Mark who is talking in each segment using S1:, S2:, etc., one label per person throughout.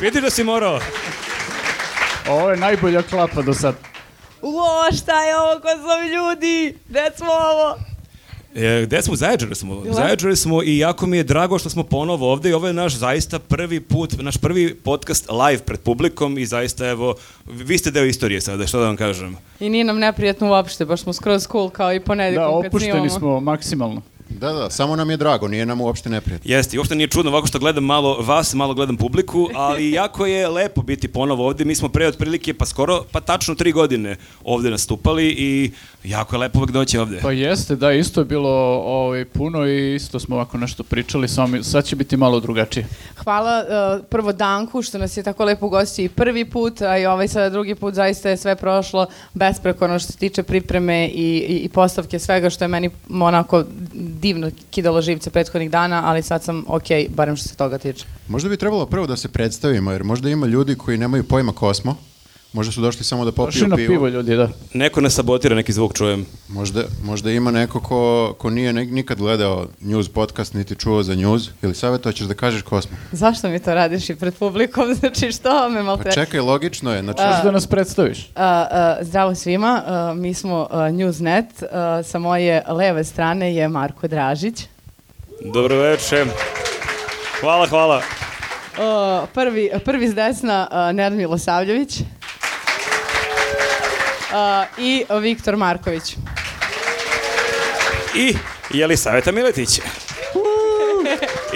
S1: Vidi da si morao.
S2: Ovo je najbolja klapa do sad.
S3: Uo, šta je ovo, ko su ovi ljudi? Gde smo ovo?
S1: E, gde smo? U Zaječaru smo. U Zaječaru smo i jako mi je drago što smo ponovo ovde i ovo je naš zaista prvi put, naš prvi podcast live pred publikom i zaista evo, vi ste deo istorije sada, što da vam kažem.
S3: I nije nam neprijatno uopšte, baš smo skroz cool kao i
S2: Da,
S3: ponedjeljkom kad snimamo.
S2: opušteni smo maksimalno.
S4: Da, da, samo nam je drago, nije nam uopšte neprijatno.
S1: Jeste, i uopšte nije čudno ovako što gledam malo vas, malo gledam publiku, ali jako je lepo biti ponovo ovde. Mi smo pre otprilike pa skoro, pa tačno tri godine ovde nastupali i jako je lepo uvek doći ovde.
S2: Pa jeste, da, isto je bilo ovaj, puno i isto smo ovako nešto pričali, samo mi- sad će biti malo drugačije.
S3: Hvala uh, prvo Danku što nas je tako lepo gostio i prvi put, a i ovaj sada drugi put zaista je sve prošlo besprekorno što se tiče pripreme i, i, i postavke svega što je meni onako divno kidalo živce prethodnih dana, ali sad sam okej, barem što se toga tiče.
S4: Možda bi trebalo prvo da se predstavimo, jer možda ima ljudi koji nemaju pojma ko smo. Možda su došli samo da popiju
S2: Došli na
S4: pivo.
S2: pivo ljudi, da.
S1: Neko nas sabotira, neki zvuk čujem.
S4: Možda, možda ima neko ko, ko nije ne- nikad gledao news podcast, niti čuo za news. Ili savjet, hoćeš da kažeš ko smo?
S3: Zašto mi to radiš i pred publikom? Znači što me malte...
S4: Pa čekaj, logično je. Znači,
S2: Možeš da nas predstaviš.
S3: A, a, zdravo svima, a, mi smo a, Newsnet, a, sa moje leve strane je Marko Dražić.
S1: Dobro veče. Hvala, hvala.
S3: A, prvi, prvi s desna a, Nenad Milosavljević E, a, i Viktor Marković.
S1: I Jelisaveta Miletić.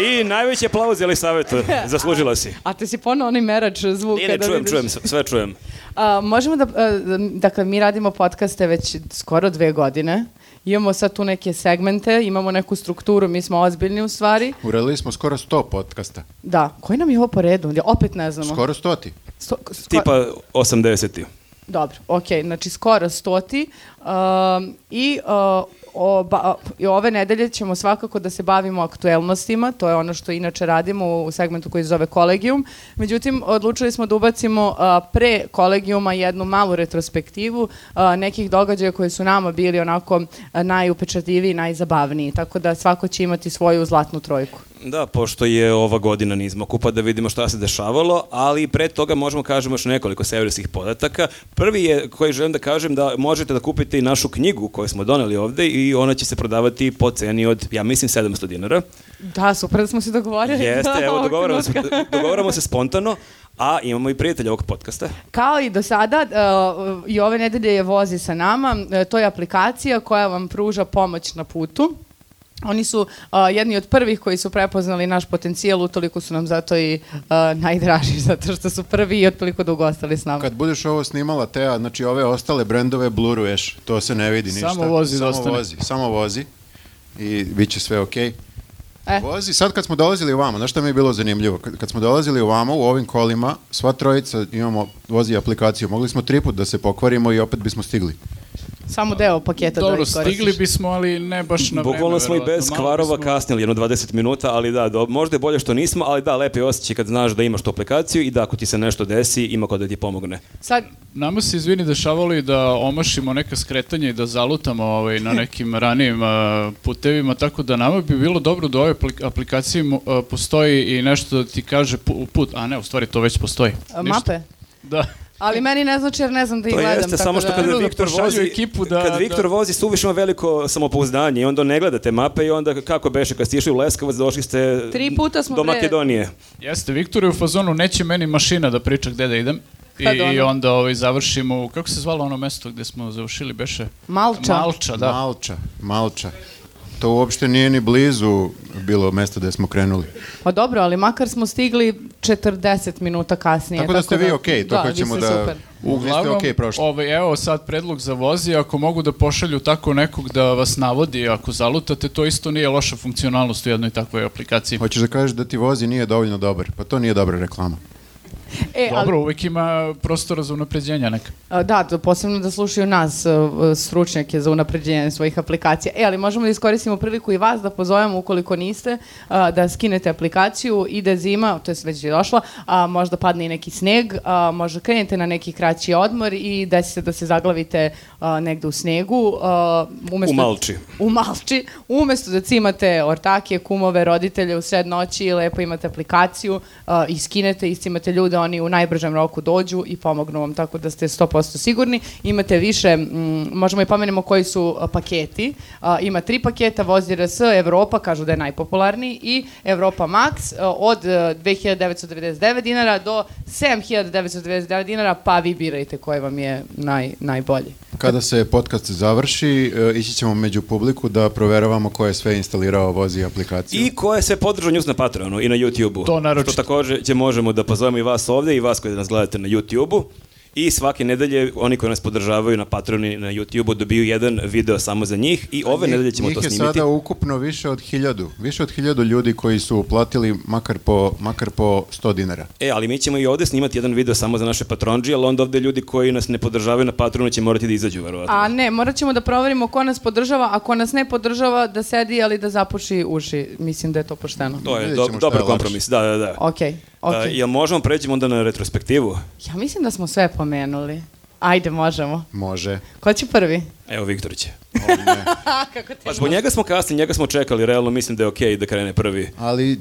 S1: I najveći aplauz Jelisavetu, zaslužila si.
S3: A te si ponovo onaj merač zvuka.
S1: Nije, ne,
S3: da
S1: čujem,
S3: vidiš.
S1: čujem, sve čujem.
S3: A, možemo da, a, dakle, mi radimo podcaste već skoro dve godine. Imamo sad tu neke segmente, imamo neku strukturu, mi smo ozbiljni u stvari.
S4: uradili smo skoro 100 podcasta.
S3: Da, koji nam je ovo po redu? Opet ne znamo.
S4: Skoro stoti.
S3: Sto- sko-
S1: Tipa 80.
S3: Dobro, ok, znači skoro stoti um, i uh, oba, i ove nedelje ćemo svakako da se bavimo aktuelnostima, to je ono što inače radimo u segmentu koji se zove kolegijum. Međutim, odlučili smo da ubacimo uh, pre kolegijuma jednu malu retrospektivu uh, nekih događaja koji su nama bili onako uh, najupečatljiviji, najzabavniji, tako da svako će imati svoju zlatnu trojku.
S1: Da, pošto je ova godina nizma kupa da vidimo šta se dešavalo, ali pre toga možemo kažemo još nekoliko severskih podataka. Prvi je koji želim da kažem da možete da kupite i našu knjigu koju smo doneli ovde i ona će se prodavati po ceni od, ja mislim, 700 dinara.
S3: Da, super da smo se dogovorili.
S1: Jeste, evo,
S3: Ovog
S1: dogovaramo se,
S3: trenutka.
S1: dogovaramo se spontano, a imamo i prijatelja ovog podcasta.
S3: Kao i do sada, uh, i ove nedelje je Vozi sa nama. E, To je aplikacija koja vam pruža pomoć na putu. Oni su a, jedni od prvih koji su prepoznali naš potencijal, utoliko su nam zato i a, najdraži, zato što su prvi i ottoliko dugo ostali s nama.
S4: Kad budeš ovo snimala, Teja, znači ove ostale brendove bluruješ. To se ne vidi ništa.
S2: Samo vozi da
S4: Samo
S2: ostane.
S4: vozi, samo vozi. I bit će sve okej.
S3: E.
S4: Vozi, sad kad smo dolazili ovamo, znaš šta mi je bilo zanimljivo? Kad, kad smo dolazili ovamo u ovim kolima, sva trojica imamo vozi aplikaciju. Mogli smo tri put da se pokvarimo i opet bismo stigli.
S3: Samo deo paketa da
S2: Dobro,
S3: ih koristiš.
S2: stigli bismo, ali ne baš na vreme.
S1: Bukvalno smo i
S2: verovatno.
S1: bez
S2: Malo
S1: kvarova
S2: bismo-
S1: kasnili jedno 20 minuta, ali da, do, možda je bolje što nismo, ali da, lepo je osjećaj kad znaš da imaš tu aplikaciju i da ako ti se nešto desi, ima ko da ti pomogne.
S3: Sad, e,
S2: Nama se, izvini, dešavalo i da omašimo neka skretanja i da zalutamo ovaj, na nekim ranijim a, putevima, tako da nama bi bilo dobro da u ovoj aplik- aplikaciji mu- a, postoji i nešto da ti kaže pu- put, a ne, u stvari to već postoji.
S3: a,
S2: Ništa.
S3: mape.
S2: Da.
S3: Ali meni ne znači jer ne znam da ih
S1: To
S3: gledam.
S1: jeste,
S3: tako
S1: samo
S3: da-
S1: što kada
S2: Da, da,
S1: Viktor
S2: pošalju
S1: vozi,
S2: ekipu da-
S1: kad
S2: da-
S1: Viktor vozi suvišno veliko samopouzdanje i onda ne gleda te mape i onda kako beše, kad ste išli u Leskovac, došli ste
S3: Tri puta smo
S1: do
S3: pre-
S1: Makedonije.
S2: Jeste, Viktor je u fazonu, neće meni mašina da priča gde da idem. I,
S3: Sad ono.
S2: i onda ovaj, završimo, u, kako se zvalo ono mesto gde smo završili, beše?
S3: Malča.
S2: Malča, da.
S4: Malča, malča. To uopšte nije ni blizu bilo mesta gde smo krenuli.
S3: Pa dobro, ali makar smo stigli 40 minuta kasnije.
S4: tako da ste vi okej, to
S3: da, vi
S4: hoćemo
S3: ste
S4: da...
S3: super.
S4: Uglavnom, vi ste okej prošli.
S2: ovaj, evo sad predlog za vozi, ako mogu da pošalju tako nekog da vas navodi, ako zalutate, to isto nije loša funkcionalnost u jednoj takvoj aplikaciji.
S4: Hoćeš da kažeš da ti vozi nije dovoljno dobar. Pa to nije dobra reklama.
S3: E, ali
S2: Dobro, uvek ima prostora za unapređenja neka.
S3: A, Da, to posebno da slušaju nas, e, e, stručnjake za unapređenje svojih aplikacija. E, ali možemo da iskoristimo priliku i vas da pozovemo, ukoliko niste, a, da skinete aplikaciju, ide zima, to je već je došla, a možda padne i neki sneg, a, možda krenete na neki kraći odmor i desi se da se zaglavite a, negde u snegu. a, umesto-
S1: U Malči.
S3: U Malči. Umesto da cimate ortake, kumove, roditelje u sred noći, lepo imate aplikaciju a, i skinete, iscimate ljude, da oni u najbržem roku dođu i pomognu vam tako da ste 100% sigurni. Imate više, mm, možemo i pomenemo koji su a, paketi. A, ima tri paketa, vozi RS, Evropa, kažu da je najpopularniji, i Evropa Max a, od e, 2999 dinara do 7999 dinara, pa vi birajte koji vam je naj, najbolji.
S4: Kada se podcast završi, e, ići ćemo među publiku da proveravamo ko je sve instalirao vozi aplikaciju.
S1: I koje se podržao njuz na Patreonu i na YouTubeu.
S2: To naročito.
S1: Što također će možemo da pozovemo i vas ovdje i vas koji nas gledate na YouTubeu. I svake nedelje oni koji nas podržavaju na Patreonu i na YouTubeu dobiju jedan video samo za njih i ove nedelje ćemo
S4: Njih
S1: to
S4: je
S1: snimiti.
S4: sada ukupno više od hiljadu. Više od hiljadu ljudi koji su uplatili makar po, makar po 100 dinara.
S1: E, ali mi ćemo i ovdje snimati jedan video samo za naše patronđije, ali onda ovdje ljudi koji nas ne podržavaju na Patreonu će morati da izađu, verovatno.
S3: A ne, morat ćemo da proverimo ko nas podržava, a ko nas ne podržava da sedi, ali da zapuši uši. Mislim da je to pošteno.
S1: To je
S4: Vidjet
S1: do-
S4: ćemo šta
S1: dobar
S4: je lakše.
S1: kompromis, da, da, da.
S3: Ok, ok.
S1: A, jel možemo preći onda na retrospektivu?
S3: Ja mislim da smo sve pomenuli. Ajde, možemo.
S4: Može.
S3: Ko će prvi?
S1: Evo, Viktor će.
S3: A, kako ti?
S1: Pa zbog njega smo kasni, njega smo čekali, realno mislim da je okej da krene prvi.
S4: Ali e,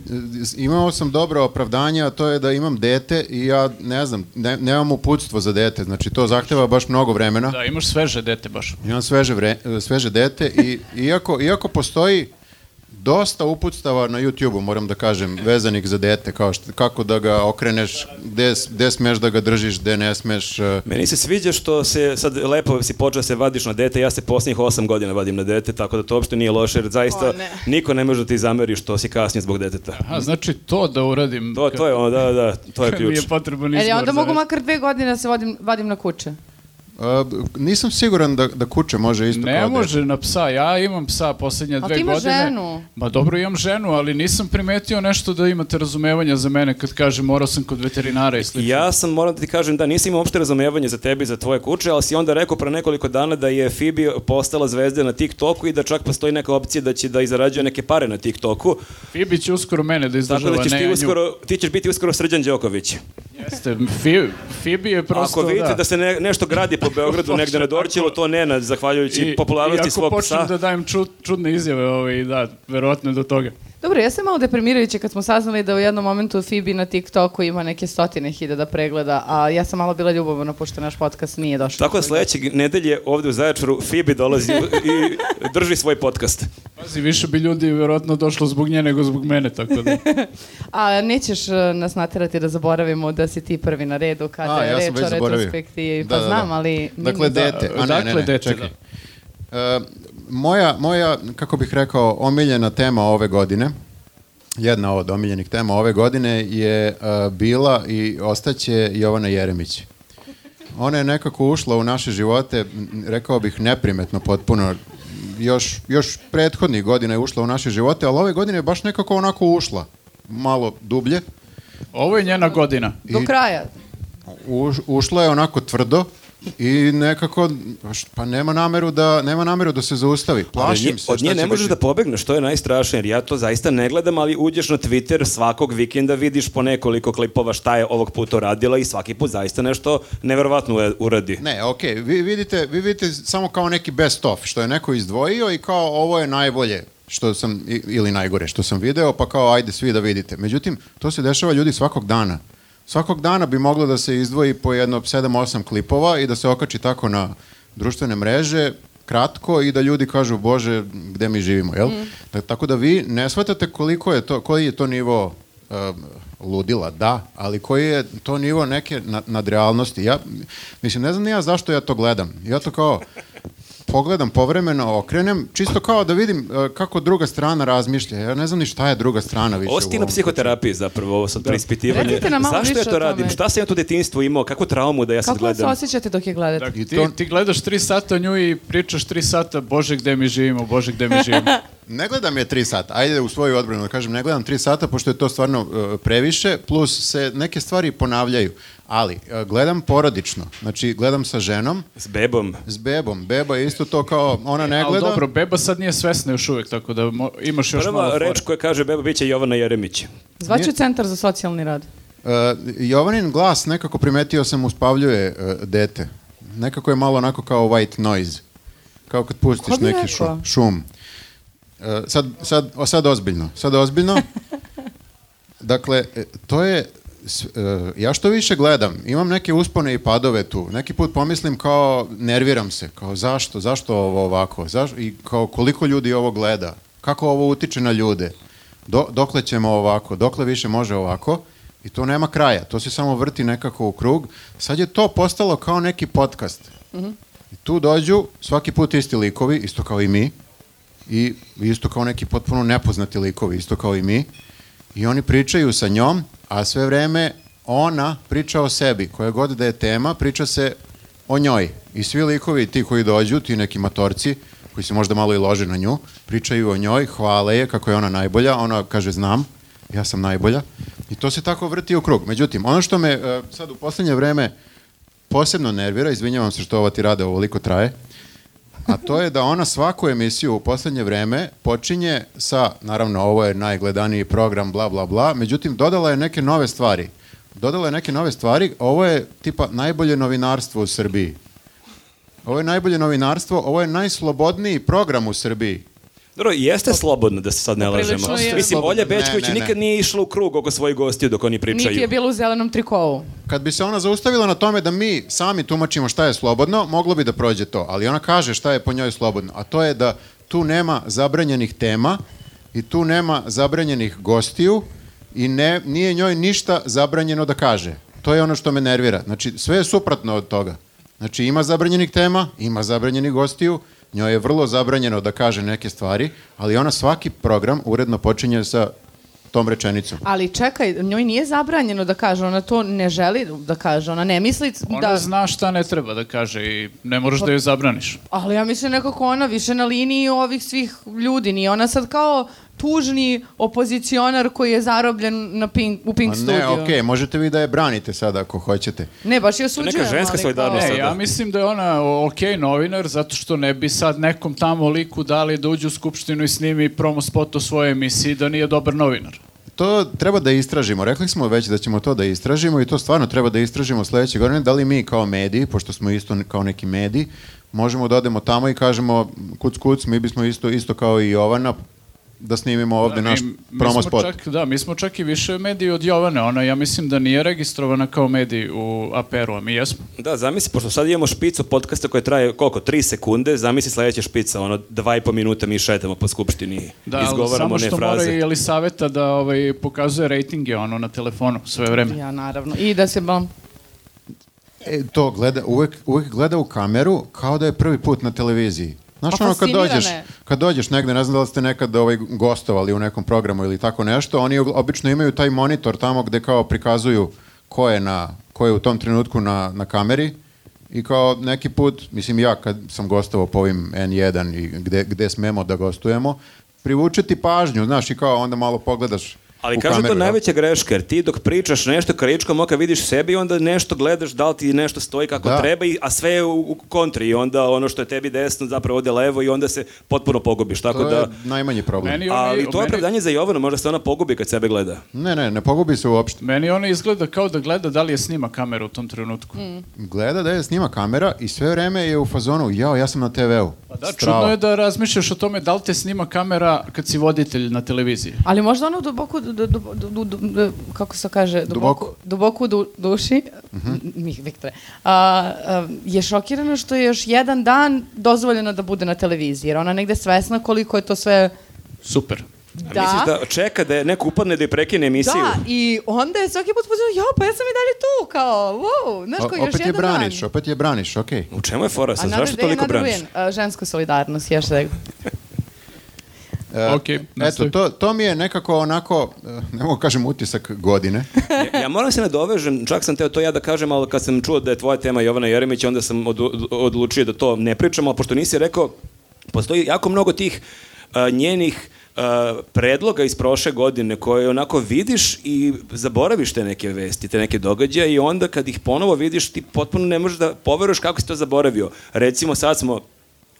S4: imao sam dobro opravdanje, a to je da imam dete i ja ne znam, ne, nemam uputstvo za dete. Znači to zahteva baš mnogo vremena.
S2: Da, imaš sveže dete baš.
S4: Imam sveže, vre, e, sveže dete i iako, iako postoji dosta uputstava na YouTube-u, moram da kažem, vezanih za dete, kao što, kako da ga okreneš, gde, s- gde smeš da ga držiš, gde ne smeš. e,
S1: Meni se sviđa što se sad lepo si počeo da se vadiš na dete, ja se posljednjih osam godina vadim na dete, tako da to uopšte nije loše, jer zaista
S3: O, ne.
S1: niko ne može da ti zameri što si kasnije zbog deteta.
S2: Aha, znači to da uradim.
S1: To, to je ono, da, da, to je
S2: kad mi
S1: ključ.
S2: je potreban
S3: E,
S2: izbor.
S3: onda
S2: za
S3: mogu
S2: nešto.
S3: makar dve godine da se vodim, vadim na kuće.
S4: A, b- nisam siguran da, da kuće može isto kao
S2: Ne
S4: dete.
S2: može na psa, ja imam psa posljednje
S3: A
S2: dve
S3: ti imaš
S2: godine.
S3: ženu.
S2: Ma dobro, imam ženu, ali nisam primetio nešto da imate razumevanja za mene kad kažem morao sam kod veterinara i slično.
S1: Ja sam, moram da ti kažem, da nisam imao uopšte razumevanje za tebi, za tvoje kuće, ali si onda rekao pre nekoliko dana da je Phoebe postala zvezda na TikToku i da čak postoji neka opcija da će da i zarađuje neke pare na TikToku.
S2: Fibi će uskoro mene da
S1: Tako
S2: izdržava,
S1: da ćeš
S2: ne
S1: ti
S2: ja nju.
S1: uskoro, ti ćeš biti uskoro Srđan Đoković.
S2: Jeste, Fi- Fibi je prosto,
S1: Ako vidite da,
S2: da.
S1: se ne- nešto gradi po Beogradu
S2: Ako
S1: negde na
S2: počne
S1: Dorćilu, to ne na, zahvaljujući
S2: I-
S1: popularnosti
S2: I
S1: svog
S2: ako počnem
S1: psa.
S2: da dajem ču- čudne izjave, ovaj, da, verovatno je do toga.
S3: Dobro, ja sam malo deprimirajuće kad smo saznali da u jednom momentu Fibi na TikToku ima neke stotine hiljada pregleda, a ja sam malo bila ljubavna pošto naš podcast nije došao.
S1: Tako da sledećeg nedelje ovde u Zaječaru Fibi dolazi i drži svoj podcast.
S2: Pazi, više bi ljudi verovatno došlo zbog nje nego zbog mene, tako da.
S3: A nećeš e, nas naterati da zaboravimo da si ti prvi na redu kada
S4: A,
S3: je
S4: ja sam
S3: reč
S4: već
S3: o
S4: zaboravio.
S3: retrospektivi. Pa
S4: Da, da, da.
S3: znam, ali...
S4: Dakle,
S3: da,
S4: dete. A ne,
S2: Dakle,
S4: ne, ne,
S2: dete,
S4: čekaj. E, moja, moja, kako bih rekao, omiljena tema ove godine, jedna od omiljenih tema ove godine je e, bila i ostaće Jovana Jeremić. Ona je nekako ušla u naše živote, m, rekao bih, neprimetno potpuno. Još, još prethodnih godina je ušla u naše živote, ali ove godine je baš nekako onako ušla. Malo dublje.
S2: Ovo je njena godina.
S3: Do
S4: I-
S3: kraja.
S4: Uš- ušla je onako tvrdo i nekako š- pa nema nameru da nema nameru da se zaustavi.
S1: Ali
S4: Plašim
S1: nje-
S4: se.
S1: Od
S4: šta
S1: nje
S4: će
S1: ne možeš
S4: biti.
S1: da pobegneš, to je najstrašnije, jer ja to zaista ne gledam, ali uđeš na Twitter svakog vikenda, vidiš po nekoliko klipova šta je ovog puta uradila i svaki put zaista nešto neverovatno ure- uradi.
S4: Ne, okej, vi vidite, vi vidite samo kao neki best of što je neko izdvojio i kao ovo je najbolje što sam i- ili najgore što sam video, pa kao ajde svi da vidite. Međutim, to se dešava ljudi svakog dana. Svakog dana bi moglo da se izdvoji po jedno 7-8 klipova i da se okači tako na društvene mreže kratko i da ljudi kažu bože gde mi živimo, jel? Da- tako da vi ne shvatate koliko je to, koji je to nivo um, ludila, da, ali koji je to nivo neke na- nadrealnosti. Ja, mislim, ne znam ni ja zašto ja to gledam. Ja to kao pogledam povremeno, okrenem, čisto kao da vidim uh, kako druga strana razmišlja. Ja ne znam ni šta je druga strana više.
S1: Ovo si
S4: u
S1: ti na
S4: ovom
S1: psihoterapiji zapravo, ovo sad preispitivanje.
S3: Da. Recite nam malo
S1: Zašto ja
S3: više
S1: to
S3: o tome.
S1: radim? Šta sam ja tu detinjstvo imao? Kakvu traumu da ja sad
S3: Kako se
S1: gledam?
S3: osjećate dok je gledate?
S2: Dakle,
S4: I
S2: ti,
S4: to-
S2: ti gledaš tri sata nju i pričaš tri sata, bože gde mi živimo, bože gde mi živimo.
S4: Ne gledam je tri sata, ajde u svoju odbranu da kažem, ne gledam tri sata pošto je to stvarno e, previše, plus se neke stvari ponavljaju, ali e, gledam porodično, znači gledam sa ženom,
S1: S bebom.
S4: s bebom, beba je isto to kao ona ne
S2: E, Ali
S4: gleda,
S2: dobro, beba sad nije svesna još uvijek, tako da mo- imaš još malo
S1: Prva
S2: fore.
S1: reč koja kaže beba biće Jovana Jeremić.
S3: Zvaću centar za socijalni rad.
S4: E, Jovanin glas nekako primetio sam uspavljuje e, dete, nekako je malo onako kao white noise, kao kad pustiš
S3: Ko bi
S4: neki
S3: rekao?
S4: šu- šum. E, sad, sad, o, sad ozbiljno, sad ozbiljno. Dakle, e, to je s- e, ja što više gledam, imam neke uspone i padove tu. Neki put pomislim kao nerviram se, kao zašto, zašto ovo ovako, zaš, i kao koliko ljudi ovo gleda, kako ovo utiče na ljude, Do, dokle ćemo ovako, dokle više može ovako i to nema kraja, to se samo vrti nekako u krug. Sad je to postalo kao neki podcast. I tu dođu svaki put isti likovi, isto kao i mi, i isto kao neki potpuno nepoznati likovi, isto kao i mi. I oni pričaju sa njom, a sve vreme ona priča o sebi. Koja god da je tema, priča se o njoj. I svi likovi, ti koji dođu, ti neki matorci, koji se možda malo i lože na nju, pričaju o njoj, hvale je kako je ona najbolja, ona kaže znam, ja sam najbolja. I to se tako vrti u krug. Međutim, ono što me e, sad u poslednje vreme posebno nervira, izvinjavam se što ova ti rade ovoliko traje, a to je da ona svaku emisiju u poslednje vreme počinje sa, naravno ovo je najgledaniji program, bla, bla, bla, međutim dodala je neke nove stvari. Dodala je neke nove stvari, ovo je tipa najbolje novinarstvo u Srbiji. Ovo je najbolje novinarstvo, ovo je najslobodniji program u Srbiji.
S1: Dobro, jeste slobodno da se sad ne lažemo.
S3: Poprilično je.
S1: Mislim, Olja Bećković
S4: Ne, ne, ne.
S1: nikad nije išla u krug oko svojih gostiju dok oni pričaju.
S3: Niti je bilo u zelenom trikovu.
S4: Kad bi se ona zaustavila na tome da mi sami tumačimo šta je slobodno, moglo bi da prođe to, ali ona kaže šta je po njoj slobodno, a to je da tu nema zabranjenih tema i tu nema zabranjenih gostiju i ne, nije njoj ništa zabranjeno da kaže. To je ono što me nervira. Znači, sve je suprotno od toga. Znači, ima zabranjenih tema, ima zabranjenih gostiju, njoj je vrlo zabranjeno da kaže neke stvari, ali ona svaki program uredno počinje sa tom rečenicom.
S3: Ali čekaj, njoj nije zabranjeno da kaže, ona to ne želi da kaže, ona ne misli
S2: Ona
S3: da...
S2: zna šta ne treba da kaže i ne moraš da joj zabraniš.
S3: Ali ja mislim nekako ona više na liniji ovih svih ljudi, nije ona sad kao tužni opozicionar koji je zarobljen na Pink, u Pink
S4: Ma ne,
S3: studiju.
S4: okej, možete vi da je branite sada ako hoćete.
S3: Ne, baš je osuđujem.
S1: Neka ženska
S3: ali
S1: solidarnost
S3: kao-
S1: sad.
S2: Ne,
S1: sada.
S2: ja mislim da je ona o- okej novinar, zato što ne bi sad nekom tamo liku dali da uđe u skupštinu i snimi promo spot o svojoj emisiji da nije dobar novinar.
S4: To treba da istražimo. Rekli smo već da ćemo to da istražimo i to stvarno treba da istražimo sledeće godine. Da li mi kao mediji, pošto smo isto n- kao neki mediji, možemo da odemo tamo i kažemo kuc kuc, mi bismo isto, isto kao i Jovana da snimimo ovde
S2: Da,
S4: naš
S2: mi- mi smo
S4: promo spot.
S2: Čak, da, mi smo čak i više mediji od Jovane. Ona, ja mislim da nije registrovana kao mediji u APR-u, a mi jesmo.
S1: Da, zamisli, pošto sad imamo špicu podcasta koja traje, koliko, tri sekunde, zamisli sledeća špica, ono, dva i po minuta mi šetamo po skupštini,
S2: Da,
S1: da,
S2: ali
S1: izgovaramo
S2: samo
S1: one
S2: što mora
S1: fraze.
S2: i Elisaveta da ovaj, pokazuje rejtinge ono na telefonu sve vreme.
S3: Ja, naravno. I da se bam...
S4: E, to gleda, uvek, uvek gleda u kameru kao da je prvi put na televiziji. Znaš
S3: Pa
S4: ono kad
S3: fascinirana
S4: dođeš,
S3: je.
S4: kad dođeš negde, ne znam da li ste nekad ovaj, gostovali u nekom programu ili tako nešto, oni ugl- obično imaju taj monitor tamo gde kao prikazuju ko je, na, ko je u tom trenutku na, na kameri i kao neki put, mislim ja kad sam gostovao po ovim N1 i gde, gde smemo da gostujemo, privuče ti pažnju, znaš, i kao onda malo pogledaš
S1: Ali
S4: u
S1: kažu
S4: kameru, da.
S1: to
S4: jel?
S1: najveća greška, jer ti dok pričaš nešto krajičkom oka vidiš sebi i onda nešto gledaš da li ti nešto stoji kako
S4: Da.
S1: treba, i, a sve je u, u kontri i onda ono što je tebi desno zapravo ode levo i onda se potpuno pogubiš, tako
S4: To je
S1: da...
S4: najmanji problem.
S2: Meni oni-
S1: Ali to je
S2: meni-
S1: opravdanje za Jovanu, možda se ona pogubi kad sebe gleda.
S4: Ne, ne, ne pogubi se uopšte.
S2: Meni ona izgleda kao da gleda da li je snima kamera u tom trenutku.
S4: gleda da je snima kamera i sve vreme je u fazonu, jao, ja sam na TV-u.
S2: Pa da,
S4: Strava.
S2: čudno je da razmišljaš o tome da li te snima kamera kad si voditelj na televiziji.
S3: Ali možda ono duboko, du, du, du- du- du- du- kako se kaže, duboko,
S4: Duboko.
S3: duboko u du, duši,
S1: Mhm.
S3: mi, Viktore, a, a, je šokirana što je još jedan dan dozvoljeno da bude na televiziji, jer ona negde svesna koliko je to sve...
S2: Super.
S1: A
S3: Da,
S1: Misliš da čeka da je neko upadne da je prekine emisiju?
S3: da, i onda je svaki put pozivao, jo, pa ja sam i dalje tu, kao, wow, znaš
S4: O-
S3: koji, još
S4: opet je
S3: jedan
S4: braniš,
S3: dan. da
S4: opet je braniš, okej.
S1: U čemu je fora sad?
S3: Another
S1: Zašto
S3: day,
S1: toliko
S3: another
S1: braniš?
S3: win. A, ženska solidarnost, još da
S4: E,
S2: Okej, nastavi.
S4: Eto, to, to mi je nekako onako, e, ne mogu kažem utisak godine.
S1: ja, ja moram se nadovežem, čak sam teo to ja da kažem, ali kad sam čuo da je tvoja tema Jovana Jeremić, onda sam odu- odlučio da to ne pričam, ali pošto nisi rekao, postoji jako mnogo tih a, njenih a, predloga iz prošle godine koje onako vidiš i zaboraviš te neke vesti, te neke događaje i onda kad ih ponovo vidiš ti potpuno ne možeš da poveruješ kako si to zaboravio. Recimo sad smo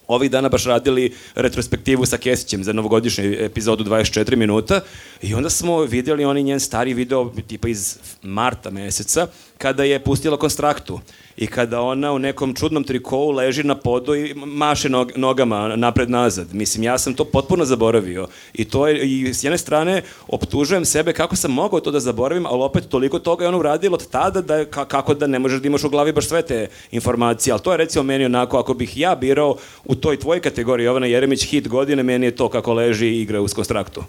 S1: ovih dana baš radili retrospektivu sa Kesićem za novogodišnju epizodu 24 minuta i onda smo vidjeli oni njen stari video tipa iz marta meseca kada je pustila konstraktu i kada ona u nekom čudnom trikovu leži na podu i maše nog- nogama napred-nazad. Mislim, ja sam to potpuno zaboravio. I to je, i s jedne strane, optužujem sebe kako sam mogao to da zaboravim, ali opet toliko toga je ona uradila od tada da, ka- kako da ne možeš da imaš u glavi baš sve te informacije. Ali to je recimo meni onako, ako bih ja birao u toj tvoj kategoriji Jovana Jeremić hit godine, meni je to kako leži i igra uz konstraktu.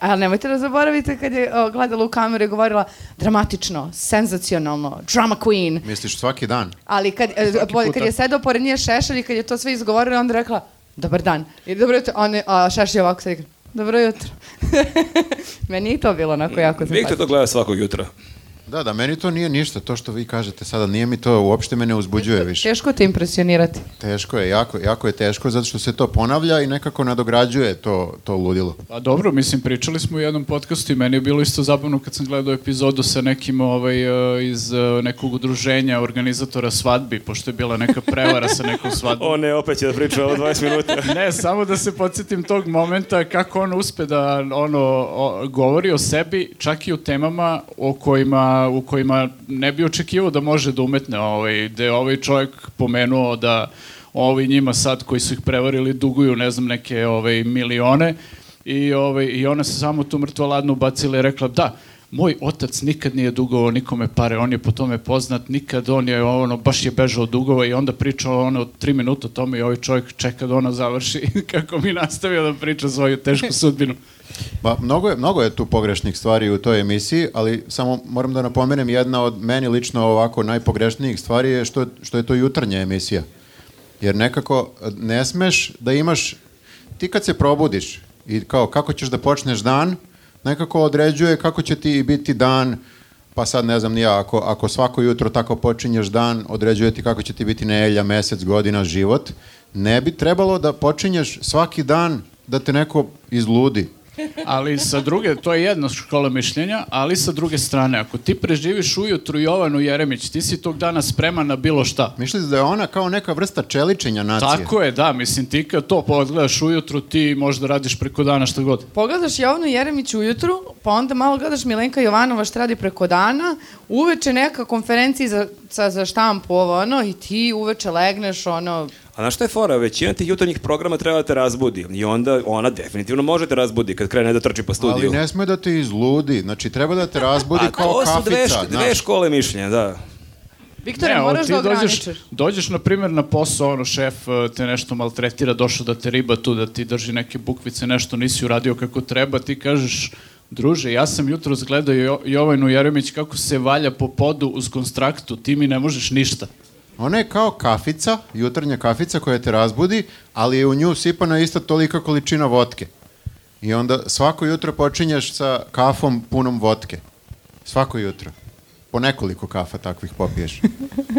S3: Ali nemojte da zaboravite kad je o, gledala u kameru i govorila dramatično, senzacionalno, drama queen.
S4: Misliš svaki dan?
S3: Ali kad, e, po-
S2: puta.
S3: kad je sedao pored nje Šešelj i kad je to sve izgovorila, onda je rekla, dobar dan. I dobro jutro, a, ne, a Šešelj ovako sad igra, dobro jutro. Meni je i to bilo onako jako
S1: Viktor
S3: simpatično.
S1: to gleda svakog jutra.
S4: Da, da, meni to nije ništa, to što vi kažete sada, nije mi to, uopšte me ne uzbuđuje više.
S3: Teško te impresionirati.
S4: Teško je, jako, jako je teško, zato što se to ponavlja i nekako nadograđuje to, to ludilo.
S2: Pa dobro, mislim, pričali smo u jednom podcastu i meni je bilo isto zabavno kad sam gledao epizodu sa nekim ovaj, e, iz e, nekog udruženja organizatora svadbi, pošto je bila neka prevara sa nekom svadbom.
S1: O ne, opet će da priča ovo 20 minuta.
S2: Ne, samo da se podsjetim tog momenta kako on uspe da ono, o- govori o sebi, čak i u temama o kojima, u kojima ne bi očekivao da može da umetne. Ovaj, gde je ovaj čovjek pomenuo da ovi njima sad koji su ih prevarili duguju, ne znam, neke ovaj, milione i, ovaj, i ona se samo tu mrtvo ladno ubacila i rekla da, moj otac nikad nije dugovao nikome pare, on je po tome poznat, nikad on je ono, baš je bežao od dugova i onda pričao ono tri minuta o tome i ovaj čovjek čeka da ona završi kako mi nastavio da priča svoju tešku sudbinu.
S4: Ba, Pa, mnogo, je, mnogo je tu pogrešnih stvari u toj emisiji, ali samo moram da napomenem, jedna od meni lično ovako najpogrešnijih stvari je što, što je to jutarnja emisija. Jer nekako eh, ne smeš da imaš, ti kad se probudiš i kao kako ćeš da počneš dan, nekako određuje kako će ti biti dan, pa sad ne znam ni ja, ako, ako svako jutro tako počinješ dan, određuje ti kako će ti biti nedelja, mesec, godina, život, ne bi trebalo da počinješ svaki dan da te neko izludi.
S2: Ali sa druge, to je jedna škola mišljenja, ali sa druge strane, ako ti preživiš ujutru Jovanu Jeremić, ti si tog dana spreman na bilo šta.
S4: Misliš da je ona kao neka vrsta čeličenja nacije?
S2: Tako je, da, mislim, ti kad to pogledaš ujutru, ti možda radiš preko dana šta god.
S3: Pogledaš Jovanu Jeremić ujutru, pa onda malo gledaš Milenka Jovanova šta radi preko dana, uveče neka konferencija za, za, za štampu, ovo ono, i ti uveče legneš, ono,
S1: A znaš šta je fora? Većina tih jutarnjih programa treba da te razbudi. I onda ona definitivno može da te razbudi kad krene da trči po studiju.
S4: Ali ne sme da te izludi, znači treba da te razbudi
S1: A
S4: kao
S1: to su
S4: kafica.
S1: dve, šk-
S4: znaš.
S1: dve škole mišljenja, da.
S3: Viktore,
S2: Ne, ali
S3: moraš
S2: ti
S3: da
S2: dođeš-
S3: ograničeš.
S2: Dođeš, na primjer, na posao, ono, šef e, te nešto maltretira, došao da te riba tu, da ti drži neke bukvice, nešto nisi uradio kako treba, ti kažeš, druže, ja sam jutro zgledao Jo- Jovanu Jeremić kako se valja po podu uz konstraktu, ti mi ne možeš ništa.
S4: Ona je kao kafica, jutarnja kafica koja te razbudi, ali je u nju sipana ista tolika količina votke. I onda svako jutro počinješ sa kafom punom votke. Svako jutro. Po nekoliko kafa takvih popiješ.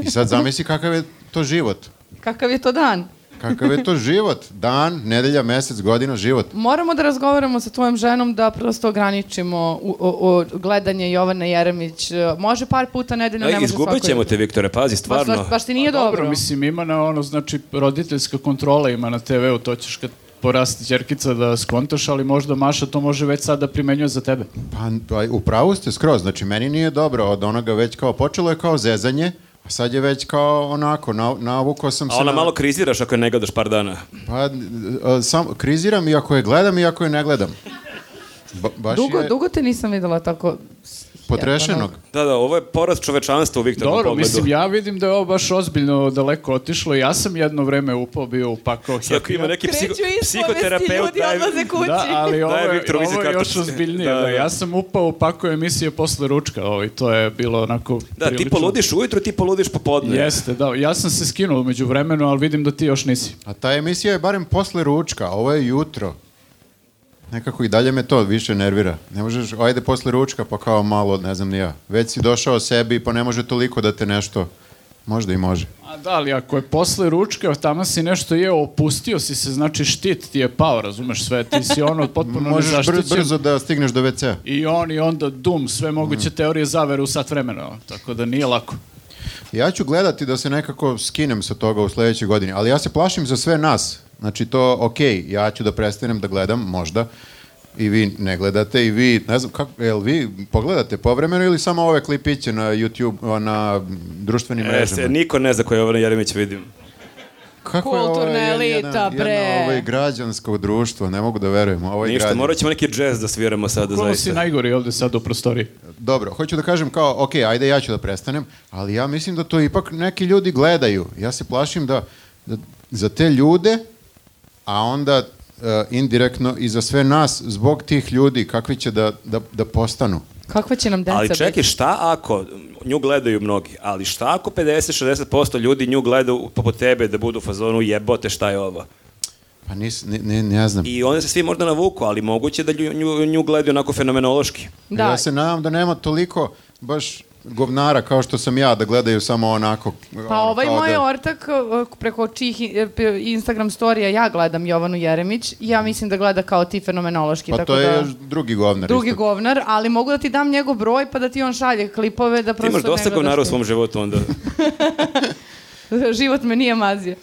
S4: I sad zamisli kakav je to život.
S3: Kakav je to dan?
S4: Kakav je to život? Dan, nedelja, mesec, godina, život.
S3: Moramo da razgovaramo sa tvojom ženom da prosto ograničimo u, u, u gledanje Jovane Jeremić. E, Može par puta nedeljno,
S1: Ej,
S3: ne može svako.
S1: E, izgubit ćemo te, Viktore, pazi,
S3: Baš,
S1: stvarno.
S3: baš- baš ti nije dobro.
S2: Pa Mislim, ima na ono, znači, roditeljska kontrola ima na TV-u, to ćeš kad porasti čerkica da skontaš, ali možda Maša to može već sad da primenjuje za tebe.
S4: Pa, pa u pravu ste skroz, znači meni nije dobro od onoga već kao počelo je kao zezanje, a sad je već kao onako, na, navukao sam se
S1: A ona
S4: na-
S1: malo kriziraš ako je ne gledaš par dana.
S4: Pa, a, sam, kriziram i ako je gledam i ako je ne gledam. Ba, baš
S3: Dugo,
S4: je
S3: dugo te nisam videla tako...
S4: potrešenog.
S1: Da, da, ovo je porast čovečanstva u Viktornom
S2: Dobro,
S1: pogledu.
S2: mislim, ja vidim da je ovo baš ozbiljno daleko otišlo. Ja sam jedno vreme upao, bio upakao
S1: Ako ima
S2: happy.
S1: neki psiho,
S3: Kreću ispovesti,
S1: psihoterapeut,
S3: ljudi
S1: daj-
S3: odlaze kući.
S2: Da, ali ovo,
S1: Daj,
S2: je-
S1: Viktor,
S2: ovo
S1: vidi
S2: je još
S1: kartice.
S2: ozbiljnije.
S1: Da,
S2: da.
S1: da.
S2: Ja sam upao, upakao emisije posle ručka. Ovaj, to je bilo onako
S1: Da, ti poludiš ujutru, ti poludiš popodne.
S2: Jeste, da. Ja sam se skinuo među vremenu, ali vidim da ti još nisi.
S4: A ta emisija je barem posle ručka, ovo je jutro. Nekako i dalje me to više nervira. Ne možeš, ajde posle ručka, pa kao malo, ne znam ni ja. Već si došao sebi, pa ne može toliko da te nešto... Možda i može.
S2: A da, ali ako je posle ručka, tamo si nešto je, opustio si se, znači štit ti je pao, razumeš sve, ti si ono
S1: Pa
S2: potpuno
S4: Možeš br-
S2: nezaštićen.
S4: brzo da stigneš do WC-a.
S2: I on i onda dum, sve moguće teorije zavere u sat vremena, ono, tako da nije lako.
S4: Ja ću gledati da se nekako skinem sa toga u sledećoj godini, ali ja se plašim za sve nas. Znači to, ok, ja ću da prestanem da gledam, možda, i vi ne gledate i vi, ne znam, kako, jel vi pogledate povremeno ili samo ove klipiće na YouTube, na društvenim
S1: E,
S4: mrežama?
S1: se, niko ne zna ko je Jovan Jeremić, vidim.
S4: Kako je ovo
S3: Kulturna
S4: jed-
S3: elita,
S4: jedan-
S3: bre.
S4: Jedno, ovo je građansko društvo, ne mogu da verujem. Ovo je
S1: Ništa,
S4: građan-
S1: morat ćemo neki jazz da sviramo sada,
S2: Kako si
S1: zaista.
S2: najgori ovde sad u prostoriji?
S4: Dobro, hoću da kažem kao, ok, ajde ja ću da prestanem, ali ja mislim da to ipak neki ljudi gledaju. Ja se plašim da, da za te ljude, a onda e, indirektno i za sve nas, zbog tih ljudi, kakvi će da, da, da postanu.
S3: Kakva će nam deca
S1: Ali čekaj,
S3: biti?
S1: šta ako, nju gledaju mnogi, ali šta ako 50-60% ljudi nju gledaju poput tebe da budu u fazonu jebote šta je ovo?
S4: Pa nis, ne, ne, ne znam.
S1: I onda se svi možda navuku, ali moguće da lju- nju, nju gledaju onako fenomenološki.
S3: Da.
S4: Ja se nadam da nema toliko baš govnara kao što sam ja, da gledaju samo onako.
S3: Pa
S4: ono,
S3: ovaj
S4: kao
S3: moj
S4: da-
S3: ortak uh, preko čijih i- p- Instagram storija ja gledam Jovanu Jeremić, ja mislim da gleda kao ti fenomenološki.
S4: Pa
S3: tako
S4: to je
S3: da...
S4: još drugi govnar.
S3: drugi
S4: isto.
S3: govnar, ali mogu da ti dam njegov broj pa da ti on šalje klipove da
S1: Ti
S3: prosto
S1: imaš dosta
S3: ne gledaš
S1: govnara u
S3: ti.
S1: svom životu onda.
S3: Život me nije mazio.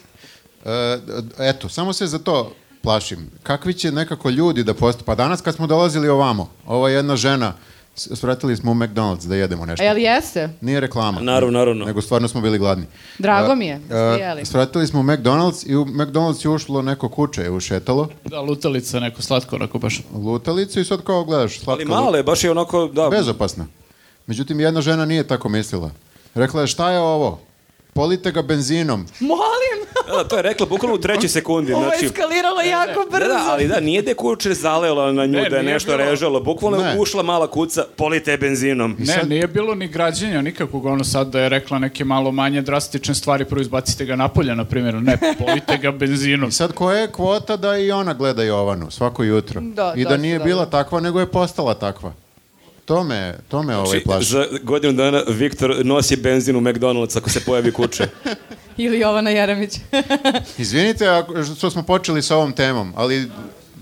S4: E, d- eto, samo se za to plašim. Kakvi će nekako ljudi da postaju? Pa danas kad smo dolazili ovamo, ova jedna žena, s- svratili smo u McDonald's da jedemo nešto.
S3: Jel jeste?
S4: Nije reklama.
S1: Naravno, naravno.
S4: Nego stvarno smo bili gladni.
S3: Drago
S4: E,
S3: mi je da ste
S4: e,
S3: jeli.
S4: svratili smo u McDonald's i u McDonald's je ušlo neko kuće, je ušetalo
S2: Da, lutalica, neko slatko, onako baš.
S4: lutalicu i sad kao gledaš slatka
S1: Ali male, baš je onako, da,
S4: bezopasna. Međutim, jedna žena nije tako mislila. Rekla je, šta je ovo? Polite ga benzinom.
S3: Molim,
S1: da, da, to je rekla bukvalno u trećoj sekundi.
S3: ovo je
S1: Znači,
S3: eskaliralo jako brzo.
S1: Da, da, ali da, nije da je kuće zalela na nju,
S2: Ne,
S1: da je
S2: nije
S1: nešto
S2: bilo.
S1: režalo. Bukvalno je
S4: Ne.
S1: ušla mala kuca, polite je benzinom.
S4: I
S2: Ne,
S4: sad-
S2: nije bilo ni građenja nikakvog, ono sad da je rekla neke malo manje drastične stvari, prvo izbacite ga napolje, na primjer, ne, polite ga benzinom.
S4: I sad koja je kvota da i ona gleda Jovanu svako jutro?
S3: Da,
S4: I da
S3: dosta
S4: nije
S3: dobro.
S4: bila takva, nego je postala takva. To me, to me ovaj
S1: Znači,
S4: plaši.
S1: za godinu dana Viktor nosi benzin u McDonald's ako se pojavi kuće.
S3: Ili Jovana Jeremić.
S4: Izvinite ako, što smo počeli sa ovom temom, ali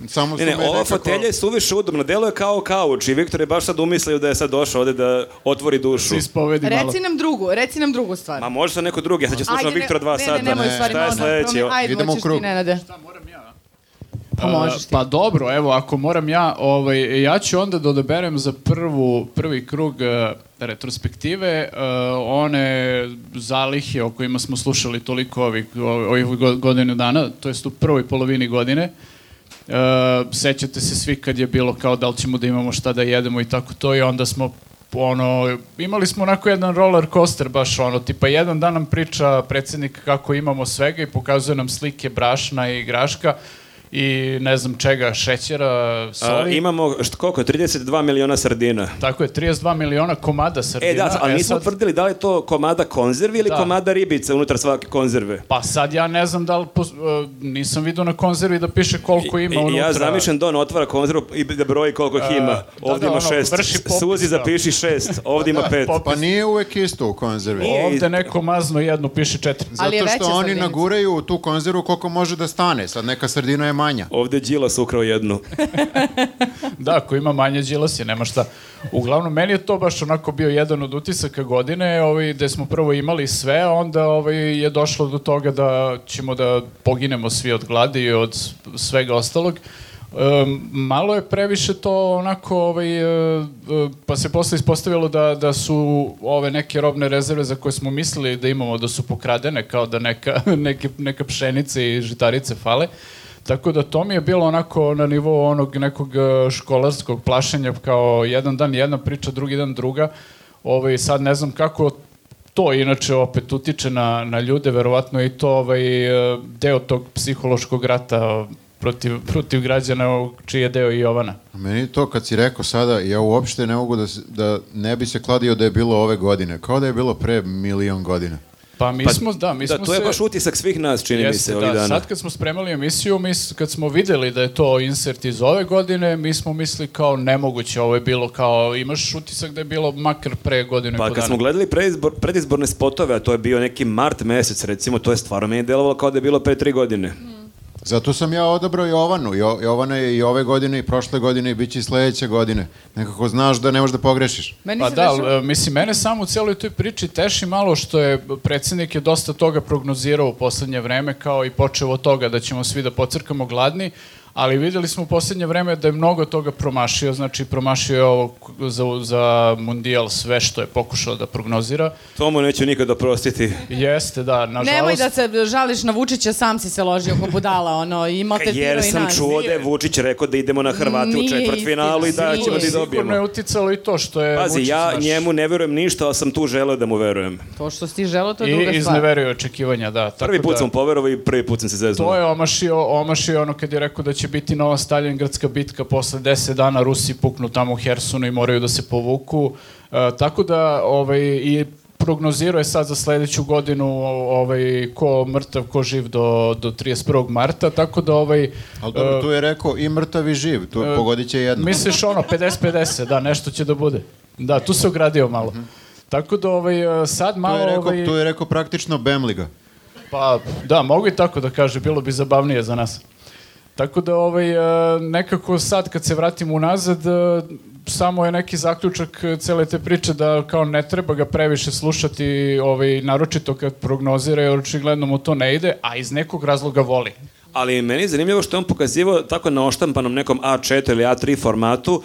S4: samo
S1: Ne,
S4: su
S1: ne,
S4: me
S1: ova
S4: nekako-
S1: fotelja je suviše udobna, delo je kao kauč i Viktor je baš sad umislio da je sad došao ovde da otvori dušu.
S2: Se ispovedi malo.
S3: reci nam drugu, reci nam drugu stvar.
S1: Ma može sad neko drugi, ja sad ću slušati
S3: ne-
S1: Viktora dva
S3: ne,
S1: sata.
S3: Ne, nemoj,
S4: Ne.
S3: stvari,
S1: Šta je
S3: molim,
S1: sledeće?
S3: promi- Ajde,
S4: Idemo u
S3: moćeš ti,
S4: krug.
S3: Nenade.
S2: Da,
S3: Pa
S2: E,
S3: možeš ti.
S2: Pa dobro, evo, ako moram ja, ovaj, ja ću onda da odaberem za prvu, prvi krug e, retrospektive e, one zalihe o kojima smo slušali toliko ovih, ovih go- godinu dana, to jest u prvoj polovini godine. E, sećate se svi kad je bilo kao da li ćemo da imamo šta da jedemo i tako to i onda smo ono, imali smo onako jedan roller coaster baš ono, tipa jedan dan nam priča predsednik kako imamo svega i pokazuje nam slike brašna i graška i ne znam čega, šećera,
S1: A,
S2: soli.
S1: imamo, št, koliko, je, 32 miliona sardina.
S2: Tako je, 32 miliona komada sardina.
S1: E da, ali nismo
S2: sad-
S1: utvrdili da li je to komada konzervi ili
S2: Da.
S1: komada ribice unutar svake konzerve.
S2: Pa sad ja ne znam da li, pos- e, nisam vidio na konzervi da piše koliko ima
S1: I,
S2: unutra.
S1: ja zamišljam da on otvara konzervu i da broji koliko ih
S2: E,
S1: ima.
S2: da,
S1: ovdje
S2: da,
S1: ima
S2: ono,
S1: šest.
S2: vrši popis,
S1: Suzi
S2: da.
S1: zapiši šest, ovdje ima pet.
S4: Pa nije uvek isto u konzervi.
S1: Nije.
S2: Ovde neko mazno jedno, piše četiri.
S3: Ali je
S4: Zato što
S3: veća
S4: oni
S3: sardinica.
S4: naguraju u tu konzervu koliko može da stane. Sad neka sardina je manja.
S1: Ovdje je Đilas ukrao jednu.
S2: Da, ako ima manje Đilas je, nema šta. Uglavnom, meni je to baš onako bio jedan od utisaka godine, ovaj, gde smo prvo imali sve, a onda ovaj, je došlo do toga da ćemo da poginemo svi od gladi i od s- svega ostalog. Um, malo je previše to onako ovaj, e, e, pa se posle ispostavilo da, da su ove neke robne rezerve za koje smo mislili da imamo da su pokradene kao da neka, neke, neka pšenice i žitarice fale Tako da to mi je bilo onako na nivou onog nekog e, školarskog plašenja, kao jedan dan jedna priča, drugi dan druga. Ovaj, sad ne znam kako to inače opet utiče na, na ljude, verovatno je i to ovaj, e, deo tog psihološkog rata protiv, protiv građana, čiji je deo i Jovana.
S4: A Meni to kad si rekao sada, ja uopšte ne mogu da, s- da ne bi se kladio da je bilo ove godine. Kao da je bilo pre milion godina.
S2: Pa mi
S1: Pa,
S2: smo, da, mi
S1: da,
S2: smo
S1: to je
S2: se...
S1: baš utisak svih nas, čini mi se,
S2: Jeste,
S1: ovih
S2: da,
S1: dana.
S2: sad kad smo spremali emisiju, mi, s- kad smo videli da je to insert iz ove godine, mi smo mislili kao nemoguće, ovo je bilo kao, imaš utisak da je bilo makar pre godinu i
S1: Pa kad
S2: po dana.
S1: smo gledali preizbor, predizborne spotove, a to je bio neki mart mesec recimo, to je stvarno meni delovalo kao da je bilo pre tri godine.
S4: Zato sam ja odabrao Jovanu. Jo, Jovana je i ove godine i prošle godine i bit će i sledeće godine. Nekako znaš da ne možeš da pogrešiš.
S3: Meni
S2: Pa
S3: se
S2: da,
S3: dešava-
S2: ali, e, mislim, mene samo u cijeloj toj priči teši malo što je predsjednik je dosta toga prognozirao u poslednje vreme, kao i počeo od toga da ćemo svi da pocrkamo gladni, ali videli smo u poslednje vreme da je mnogo toga promašio, znači promašio je ovo k- za, za mundijal sve što je pokušao da prognozira.
S1: To mu neću nikada prostiti.
S2: Jeste, da, nažalost...
S3: Nemoj da se žališ na Vučića, sam si se ložio ko budala, ono, i maltretirao
S1: Jer
S3: i
S1: sam
S3: nas.
S1: čuo da je Vučić rekao da idemo na Hrvate u
S3: Nije
S1: četvrtfinalu i da
S3: istina,
S1: ćemo da
S3: nije.
S1: i
S2: Sigurno je
S1: dobijemo.
S2: uticalo i to što je...
S1: Pazi,
S2: Vučić
S1: ja
S2: naš-
S1: njemu ne verujem ništa, ali sam tu želeo da mu verujem.
S3: To što si ti želeo, to je druga
S2: I
S3: stvar.
S2: izneverio je očekivanja, da. Tako
S1: Prvi put
S2: da,
S1: sam poverovao i prvi put sam se zeznuo.
S2: To je omašio, omašio ono kad je rekao da će biti nova Stalingradska bitka posle 10 dana Rusi puknu tamo u Hersonu i moraju da se povuku. E, tako da ovaj, i prognozirao je sad za sledeću godinu o- ovaj, ko mrtav, ko živ do, do 31. marta, tako da ovaj,
S4: Ali dobro, tu je rekao i mrtav i živ, tu
S2: E.
S4: pogodit će jedno.
S2: Misliš ono, 50-50, da, nešto će da bude. Da, tu se ogradio malo. Tako da ovaj, e, sad
S4: Tu
S2: malo...
S4: je rekao,
S2: ovaj,
S4: tu je rekao praktično Bemliga.
S2: Pa, da, mogu i tako da kaže, bilo bi zabavnije za nas. Tako da, ovaj, e, nekako sad kad se vratimo unazad, e, samo je neki zaključak e, cele te priče da kao ne treba ga previše slušati, ovaj, naročito kad prognozira, jer očigledno mu to ne ide, a iz nekog razloga voli.
S1: Ali meni je zanimljivo što je on pokazivao tako na oštampanom nekom A4 ili A3 formatu,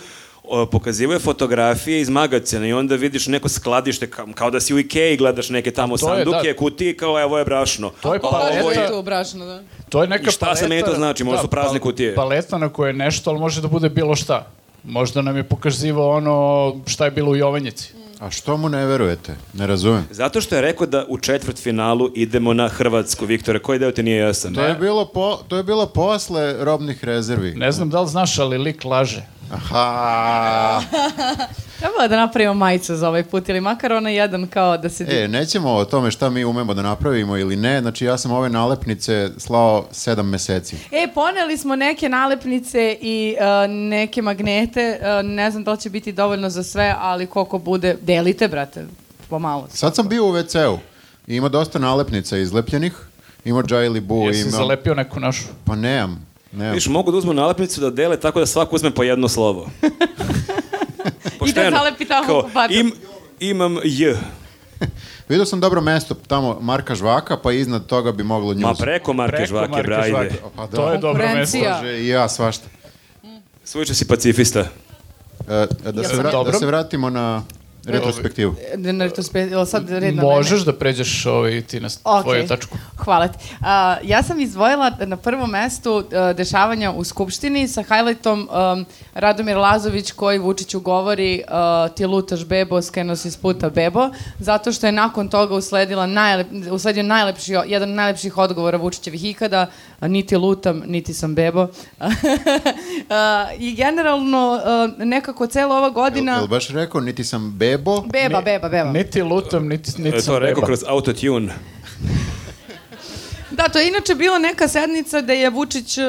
S1: o, pokazivao je fotografije iz magacina i onda vidiš neko skladište kao, kao da si u Ikea i gledaš neke tamo
S2: To je,
S1: sanduke,
S2: da.
S1: kutije, kao evo je brašno.
S2: To je
S1: A
S2: paleta.
S1: ovo je-
S3: to brašno, da.
S2: To je neka da,
S1: I šta sad meni to znači? Možda su prazne
S2: pal-
S1: kutije.
S2: Paleta na koje je nešto, ali može da bude bilo šta. Možda nam je pokazivao ono šta je bilo u Jovanjici.
S4: A što mu ne verujete? Ne razumem.
S1: Zato što je rekao da u četvrt finalu idemo na Hrvatsku, Viktore, koji deo ti nije jasan?
S4: To je, bilo po, to je bilo posle robnih rezervi.
S2: Ne znam da li znaš, ali lik laže.
S4: Aha.
S3: Treba da napravimo majicu za ovaj put ili makar ona jedan kao da se...
S4: E, nećemo o tome šta mi umemo da napravimo ili ne. Znači, ja sam ove nalepnice slao sedam meseci.
S3: E, poneli smo neke nalepnice i e, neke magnete, e, ne znam da li će biti dovoljno za sve, ali koliko bude, delite, brate, pomalo.
S4: Sad sam bio u WC-u i ima dosta nalepnica izlepljenih. Ima Jaili Boo,
S2: Jesi
S4: ima...
S2: zalepio neku našu?
S4: Pa nemam, nemam.
S1: Viš, mogu da uzmu nalepnicu da dele tako da svako uzme po jedno slovo.
S3: da zalepi tamo po patom.
S1: im, imam J.
S4: Vidio sam dobro mesto, tamo Marka Žvaka, pa iznad toga bi moglo
S1: Ma
S4: njuz.
S1: preko Marke
S2: Preko
S1: Žvake,
S2: Marke
S1: brajde.
S2: Žvake.
S4: Pa da.
S2: To je dobro mesto.
S3: Konkurencija.
S4: Može i ja svašta.
S1: Suviše si pacifista.
S4: E, da, se
S2: sam
S4: vra- da
S2: dobro.
S4: se vratimo na retrospektivu.
S3: E, Ne, ne, to spe- jel sad red na mene?
S2: Možeš da pređeš ovaj, ti na
S3: Ok,
S2: tvoju tačku.
S3: Hvala ti. A, ja sam izdvojila na prvom mestu e, dešavanja u Skupštini sa highlightom um, Radomir Lazović koji Vučiću govori e, ti lutaš bebo, skeno si s puta bebo, zato što je nakon toga usledila najlep, usledio najlepši, jedan od najlepših odgovora Vučićevih ikada, a, niti lutam, niti sam bebo. A, I generalno e, nekako cela ova
S4: Jel,
S3: godina...
S4: jel baš rekao, niti sam bebo,
S3: Beba, beba, beba.
S2: Niti lutam, niti,
S1: E,
S2: niti
S1: to
S2: sam
S1: rekao
S2: beba.
S1: kroz autotune.
S3: Da, to je inače bila neka sednica da je Vučić uh,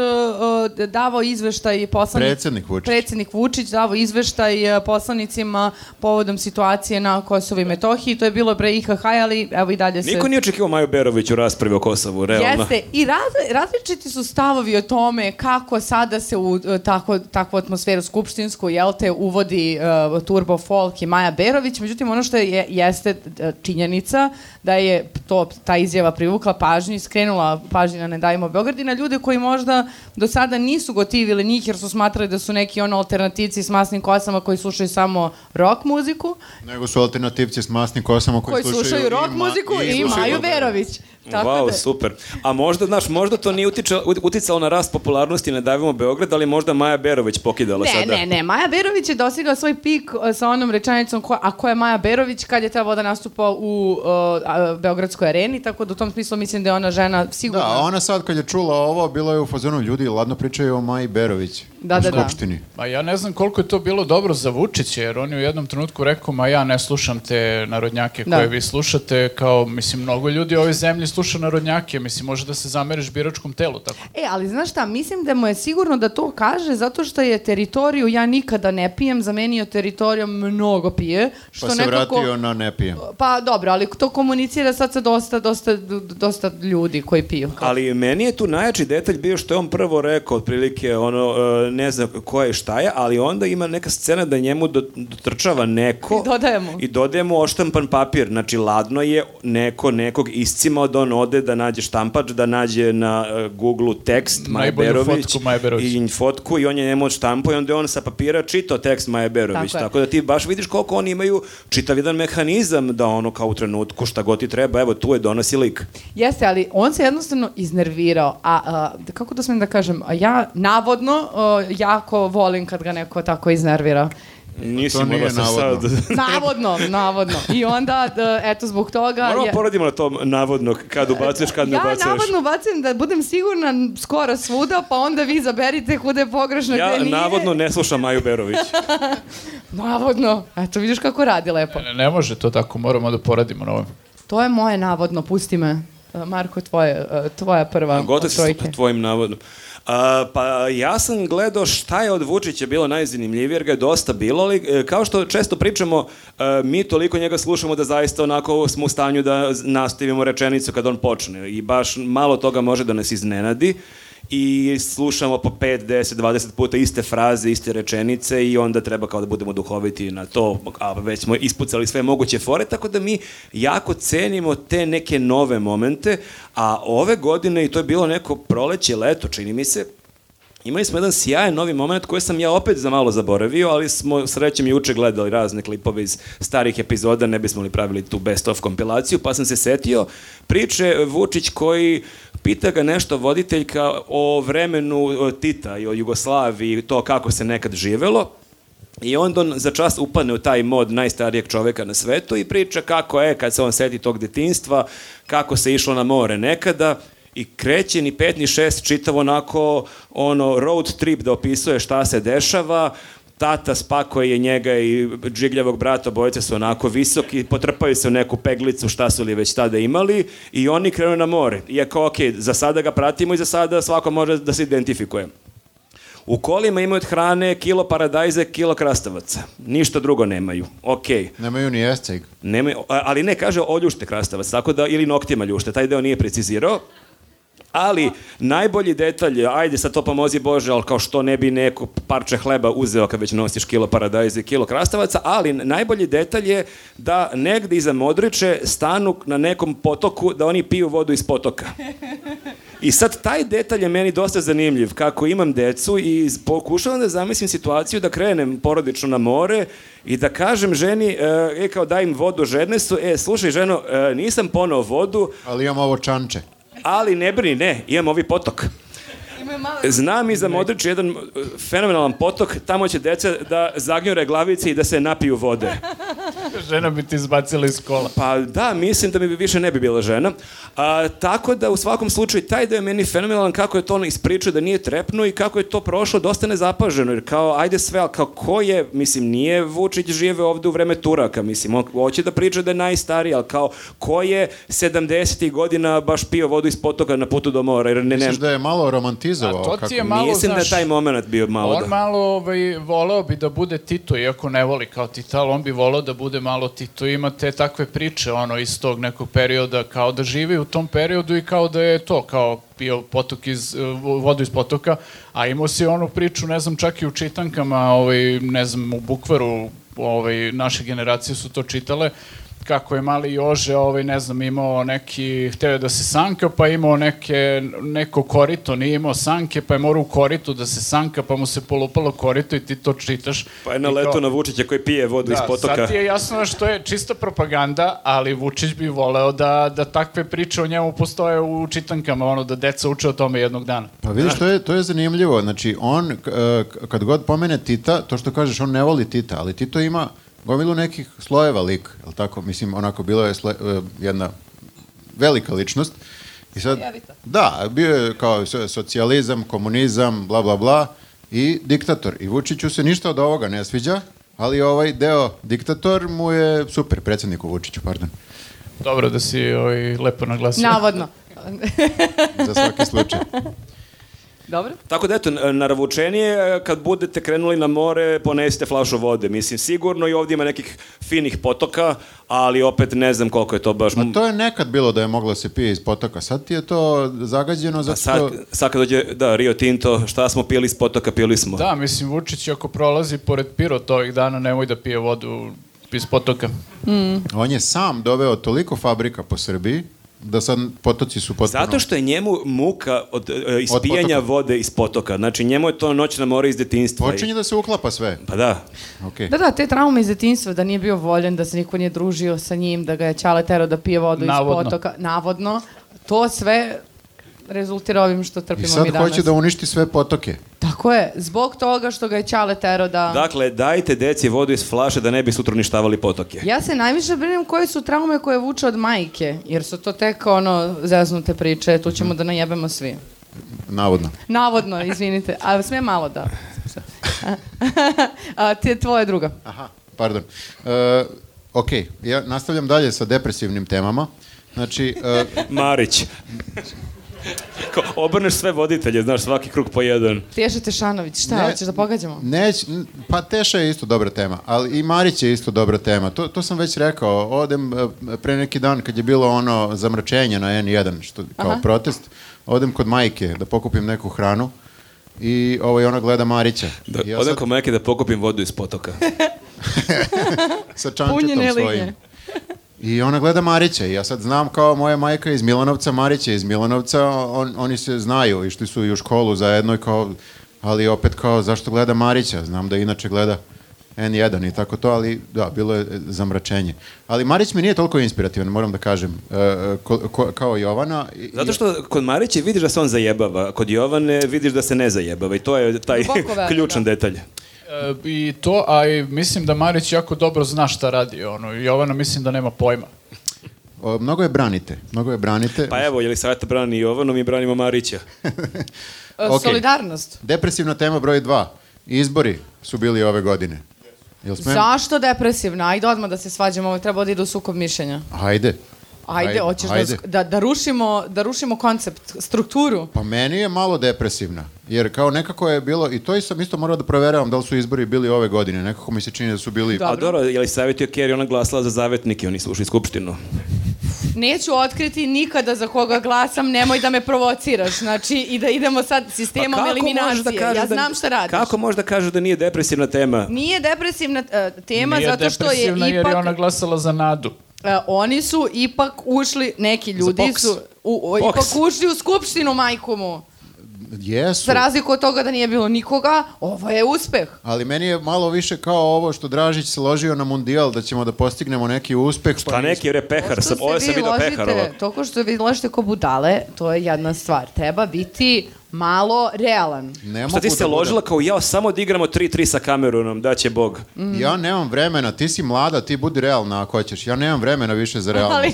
S3: uh, davao izveštaj i poslanic...
S4: Predsednik Vučić.
S3: Predsednik Vučić davao izveštaj uh, poslanicima povodom situacije na Kosovo i Metohiji. To je bilo pre IHH, ali evo i dalje se...
S1: Niko nije očekivao Maju Berović u raspravi o Kosovu, realno.
S3: E, Jeste, i razli, različiti su stavovi o tome kako sada se u e, tako, takvu atmosferu skupštinsku, jel te, uvodi uh, Turbo Folk i Maja Berović, međutim ono što je, jeste e, činjenica da je to, ta izjava privukla pažnju i skrenula pažnju na Ne davimo Beograd i na ljude koji možda do sada nisu gotivili njih jer su smatrali da su neki ono alternativci s masnim kosama koji slušaju samo rock muziku,
S4: nego su alternativci s masnim kosama koji,
S3: koji slušaju, rock
S4: i ma-
S3: muziku i,
S4: slušaju
S3: Maju
S4: dobro.
S3: Berović. Tako
S1: wow,
S3: da,
S1: super. A možda, znaš, možda to nije utiča, uticalo na rast popularnosti ne davimo Beograd, ali možda Maja Berović pokidala
S3: Ne,
S1: sada.
S3: ne, ne, Maja Berović je dosegla svoj pik e, sa onom rečanicom ko, a ko je Maja Berović kad je trebalo da nastupa u e, a, Beogradskoj areni, tako da u tom smislu mislim da je ona žena sigurno...
S4: Da, a ona sad kad je čula ovo, bila je u fazonu ljudi, ladno pričaju o Maji Berović
S3: Da,
S4: u
S3: da, da.
S4: skupštini.
S2: Ma ja ne znam koliko je to bilo dobro za Vučića, jer on je u jednom trenutku rekao, ma ja ne slušam te narodnjake
S3: Da.
S2: koje vi slušate, kao, mislim, mnogo ljudi u ovoj zemlji sluša narodnjake, mislim, može da se zameriš biračkom telu, tako.
S3: E, ali znaš šta, mislim da mu je sigurno da to kaže zato što je teritoriju ja nikada ne pijem, zamenio teritorijom mnogo pije. Što
S4: Pa se
S3: nekako...
S4: vratio na ne pijem.
S3: Pa dobro, ali to komunicira sad sa dosta, dosta, dosta ljudi koji piju.
S1: Ali meni je tu najjači detalj bio što je on prvo rekao, otprilike, ono, e, ne zna ko je šta je, ali onda ima neka scena da njemu do- dotrčava neko.
S3: I dodajemo.
S1: I dodajemo oštampan papir. Znači, ladno je neko nekog iscimao da on ode da nađe štampač, da nađe na uh, Google tekst Maja
S2: Najbolju
S1: Berović.
S2: fotku Maje Berović.
S1: I fotku i on je njemu odštampao i onda je on sa papira čitao tekst Maje Berović.
S3: Tako je.
S1: Tako, da ti baš vidiš koliko oni imaju čitav jedan mehanizam da ono kao u trenutku šta god ti treba, evo tu je donosi lik.
S3: Jeste, ali on se jednostavno iznervirao. A, a, kako da smem da kažem, a ja navodno a, jako volim kad ga neko tako iznervira.
S1: Nisi
S4: E, pa To nije
S1: morao sam sad... da-
S4: navodno.
S3: Navodno, navodno. I onda, d- eto, zbog toga...
S1: Moramo da
S3: je-
S1: poradimo na tom navodno kad ubacuješ, kad ne
S3: ja
S1: ubacuješ.
S3: navodno bacim da budem sigurna skoro svuda, pa onda vi zaberite kuda je pogrešno,
S1: Ja
S3: gde nije.
S1: navodno ne slušam Maju Berović.
S3: Navodno. Eto, vidiš kako radi lepo.
S2: Ne, ne može to tako, moramo da poradimo na ovom.
S3: To je moje navodno, pusti me. E, Marko, tvoje, e, tvoja prva
S1: Gotov
S3: od
S1: si
S3: trojke.
S1: sa tvojim navodom. A, pa ja sam gledao šta je od Vučića bilo najzanimljivije, jer ga je dosta bilo, ali e, kao što često pričamo, e, mi toliko njega slušamo da zaista onako smo u stanju da z- nastavimo rečenicu kad on počne i baš malo toga može da nas iznenadi i slušamo po 5, 10, 20 puta iste fraze, iste rečenice i onda treba kao da budemo duhoviti na to, a već smo ispucali sve moguće fore, tako da mi jako cenimo te neke nove momente, a ove godine, i to je bilo neko proleće, leto, čini mi se, Imali smo jedan sjajan novi moment koji sam ja opet za malo zaboravio, ali smo srećem juče gledali razne klipove iz starih epizoda, ne bismo li pravili tu best of kompilaciju, pa sam se setio priče Vučić koji pita ga nešto voditeljka o vremenu e, Tita i o Jugoslaviji, to kako se nekad živelo. I onda on za čas upadne u taj mod najstarijeg čoveka na svetu i priča kako je kad se on seti tog detinstva, kako se išlo na more nekada i kreće ni pet ni šest čitav onako ono road trip da opisuje šta se dešava, tata spako je njega i džigljavog brata, bojice su onako visoki, potrpaju se u neku peglicu, šta su li već tada imali i oni krenu na more. Iako, ok, za sada ga pratimo i za sada svako može da se identifikuje. U kolima imaju od hrane kilo paradajze, kilo krastavaca. Ništa drugo nemaju. Okej.
S4: Nemaju ni esceg.
S1: Nemaju, a- ali ne kaže oljušte krastavac, tako da ili noktima ljušte, taj deo nije precizirao. Ali najbolji detalj, ajde sad to pomozi Bože, ali kao što ne bi neko parče hleba uzeo kad već nosiš kilo paradajza i kilo krastavaca, ali najbolji detalj je da negde iza Modriče stanu na nekom potoku da oni piju vodu iz potoka. I sad taj detalj je meni dosta zanimljiv, kako imam decu i z- pokušavam da zamislim situaciju da krenem porodično na more i da kažem ženi, e, e kao daj im vodu, žedne su, e slušaj ženo, e, nisam poneo vodu,
S4: Ali imam ovo čanče.
S1: ali ne brini, ne, imam ovi potok. Znam i za Modrić jedan e, fenomenalan potok, tamo će deca da zagnjure glavice i da se napiju vode.
S2: Žena bi ti izbacila iz kola.
S1: Pa da, mislim da mi bi više ne bi bila žena. A, tako da u svakom slučaju taj deo je meni fenomenalan kako je to ono ispričao da nije trepno i kako je to prošlo dosta nezapaženo. Jer kao, ajde sve, ali kao ko je, mislim, nije Vučić žive ovde u vreme Turaka, mislim, on hoće da priča da je najstariji, ali kao ko je 70. godina baš pio vodu iz potoka na putu do mora, jer ne, ne,
S4: Misliš da je malo romantizovao?
S2: A to ti
S4: kako-
S2: je ma- malo,
S1: mislim da je
S2: znaš,
S1: taj moment bio malo
S2: on
S1: da...
S2: malo ovaj, voleo bi da bude Tito, iako ne voli kao Tita, ali on bi voleo da bude malo Tito. Ima te takve priče ono, iz tog nekog perioda, kao da živi u tom periodu i kao da je to, kao pio potok iz, eh, vodu iz potoka, a imao si onu priču, ne znam, čak i u čitankama, ovaj, ne znam, u bukvaru ovaj, naše generacije su to čitale, kako je mali Jože, ovaj, ne znam, imao neki, hteo je da se sanka, pa je imao neke, neko korito, nije imao sanke, pa je morao u koritu da se sanka, pa mu se polupalo korito i ti to čitaš.
S1: Pa je na
S2: I kao- Da,
S1: letu na Vučića koji pije vodu iz potoka.
S2: Sad ti je jasno što je čista propaganda, ali Vučić bi voleo da, da takve priče o njemu postoje u čitankama, ono da deca uče o tome jednog dana.
S4: Pa vidiš, to je, to je zanimljivo. Znači, on, k- e, k- kad god pomene Tita, to što kažeš, on ne voli Tita, ali Tito ima gomilu nekih slojeva lik, je li tako? Mislim, onako, bila je sle- e, jedna velika ličnost. I sad, da, bio je kao so- socijalizam, komunizam, bla, bla, bla, i diktator. I Vučiću se ništa od ovoga ne sviđa, ali ovaj deo diktator mu je super, predsjedniku Vučiću, pardon,
S2: Dobro da si ovaj, lepo naglasio.
S3: Navodno.
S4: za svaki slučaj.
S3: Dobro?
S1: Tako da eto, naravučenije, kad budete krenuli na more, ponesite flašu vode. Mislim, sigurno i ovdje ima nekih finih potoka, ali opet ne znam koliko je to baš...
S4: A Pa to je nekad bilo da je moglo se pije iz potoka. Sad ti je to zagađeno zato
S1: A Pa sad, sad kad dođe, da, Rio Tinto, šta smo pili iz potoka, pili smo.
S2: Da, mislim, Vučić ako prolazi pored Pirot ovih dana, nemoj da pije vodu iz potoka.
S4: On je sam doveo toliko fabrika po Srbiji da sad potoci su potpuno...
S1: Zato što je njemu muka od e, ispijanja
S4: potoka.
S1: vode iz potoka. Znači, njemu je to noćna mora iz detinjstva. i-
S4: Počinje da se uklapa sve.
S1: Pa da.
S4: Okay.
S3: Da, da, te traume iz detinjstva, da nije bio voljen, da se niko nije družio sa njim, da ga je Ćale terao da pije vodu
S2: Navodno.
S3: iz potoka, navodno, to sve rezultira ovim što
S4: I
S3: trpimo
S4: sad
S3: mi danas.
S4: hoće da uništi sve potoke.
S3: Tako je, zbog toga što ga je Ćale terao da...
S1: Dakle, dajte deci vodu iz flaše da ne bi sutra uništavali potoke.
S3: Ja se najviše brinem koje su traume koje vuče od majke, jer su to tek ono zeznute priče, tu ćemo da najebemo svi.
S4: Navodno.
S3: Navodno, izvinite, a smije malo da... a, ti je tvoja druga.
S4: Aha, pardon. E, ok, ja nastavljam dalje sa depresivnim temama. Znači, e,
S1: Marić. Ko- Obrneš sve voditelje, znaš, svaki krug po jedan.
S3: Teša Tešanović, šta,
S4: Ne.
S3: hoćeš da pogađamo?
S4: neć, n- pa Teša je isto dobra tema, ali i Marić je isto dobra tema. To, to sam već rekao. Odem e, pre neki dan kad je bilo ono zamračenje na N1 što, kao
S3: Aha.
S4: protest, odem kod majke da pokupim neku hranu i ovaj, ona gleda Marića.
S1: Da,
S4: I ja
S1: odem
S4: sad
S1: kod majke da pokupim vodu iz potoka.
S4: sa
S3: Punjene
S4: čančetom
S3: linije.
S4: svojim. I ona gleda Marića i ja sad znam kao moja majka je iz Milanovca, Marić je iz Milanovca, on, oni se znaju, išli su i u školu zajedno i kao, ali opet kao zašto gleda Marića, znam da inače gleda N1 i tako to, ali da, bilo je e, zamračenje. Ali Marić mi nije toliko inspirativan, moram da kažem, e, e, ko- ko- kao Jovana. i-
S1: Zato što kod Marića vidiš da se on zajebava, a kod Jovane vidiš da se ne zajebava i to je taj
S3: Duboko veruje,
S1: ključan
S3: da.
S1: detalj. Pa
S2: E, I to, a i mislim da Marić jako dobro zna šta radi, ono, Jovana mislim da nema pojma.
S4: o, mnogo je branite, mnogo je branite.
S1: Pa evo, je li savjeta brani Jovanu, mi branimo Marića.
S3: E,
S4: Ok.
S3: Solidarnost.
S4: Depresivna tema broj 2. Izbori su bili ove godine. Jel smem?
S3: Zašto depresivna? Ajde odmah da se svađamo, ovo treba da ide u sukob mišljenja.
S4: Ajde.
S3: Ajde,
S4: Ajde,
S3: hoćeš da-
S4: ajde.
S3: Da, da, rušimo, da rušimo koncept, strukturu.
S4: Pa meni je malo depresivna, jer kao nekako je bilo, i to i sam isto morao da proveravam da li su izbori bili ove godine, nekako mi se čini da su bili...
S3: Da.
S1: A
S3: Dobro.
S1: dobro, je li savjetio Kerry, ona glasila za zavetnike, oni su ušli u skupštinu.
S3: Neću otkriti nikada za koga glasam, nemoj da me provociraš. Znači, i da idemo sad sistemom eliminacije. ja znam šta radiš.
S1: da Kako možeš da kažeš da nije depresivna tema?
S3: Nije depresivna e, tema
S2: Nije
S3: zato što je
S2: depresivna
S3: ipak...
S2: jer je ona glasala za nadu.
S3: E, oni su ipak ušli, neki ljudi
S2: boks.
S3: su u, u-
S1: Boks.
S3: ipak ušli u skupštinu majku mu.
S4: Jesu,
S3: Za razliku od toga da nije bilo nikoga, ovo je uspeh.
S4: ali meni je malo više kao ovo što Dražić se ložio na mundijal, da ćemo da postignemo neki uspeh.
S1: Pa neki bre pehar, sam, ovo sam vidio pehar ovako.
S3: toko što vi ložite ko budale, to je jedna stvar. Treba biti malo realan.
S1: Šta
S4: Ne mogu
S1: ti
S4: da
S1: se
S4: budem-
S1: ložila kao ja, samo da igramo 3-3 sa Kamerunom, da će Bog.
S3: Mm.
S4: Ja nemam vremena, ti si mlada, ti budi realna ako hoćeš. Ja nemam vremena više za realno.
S3: Ali,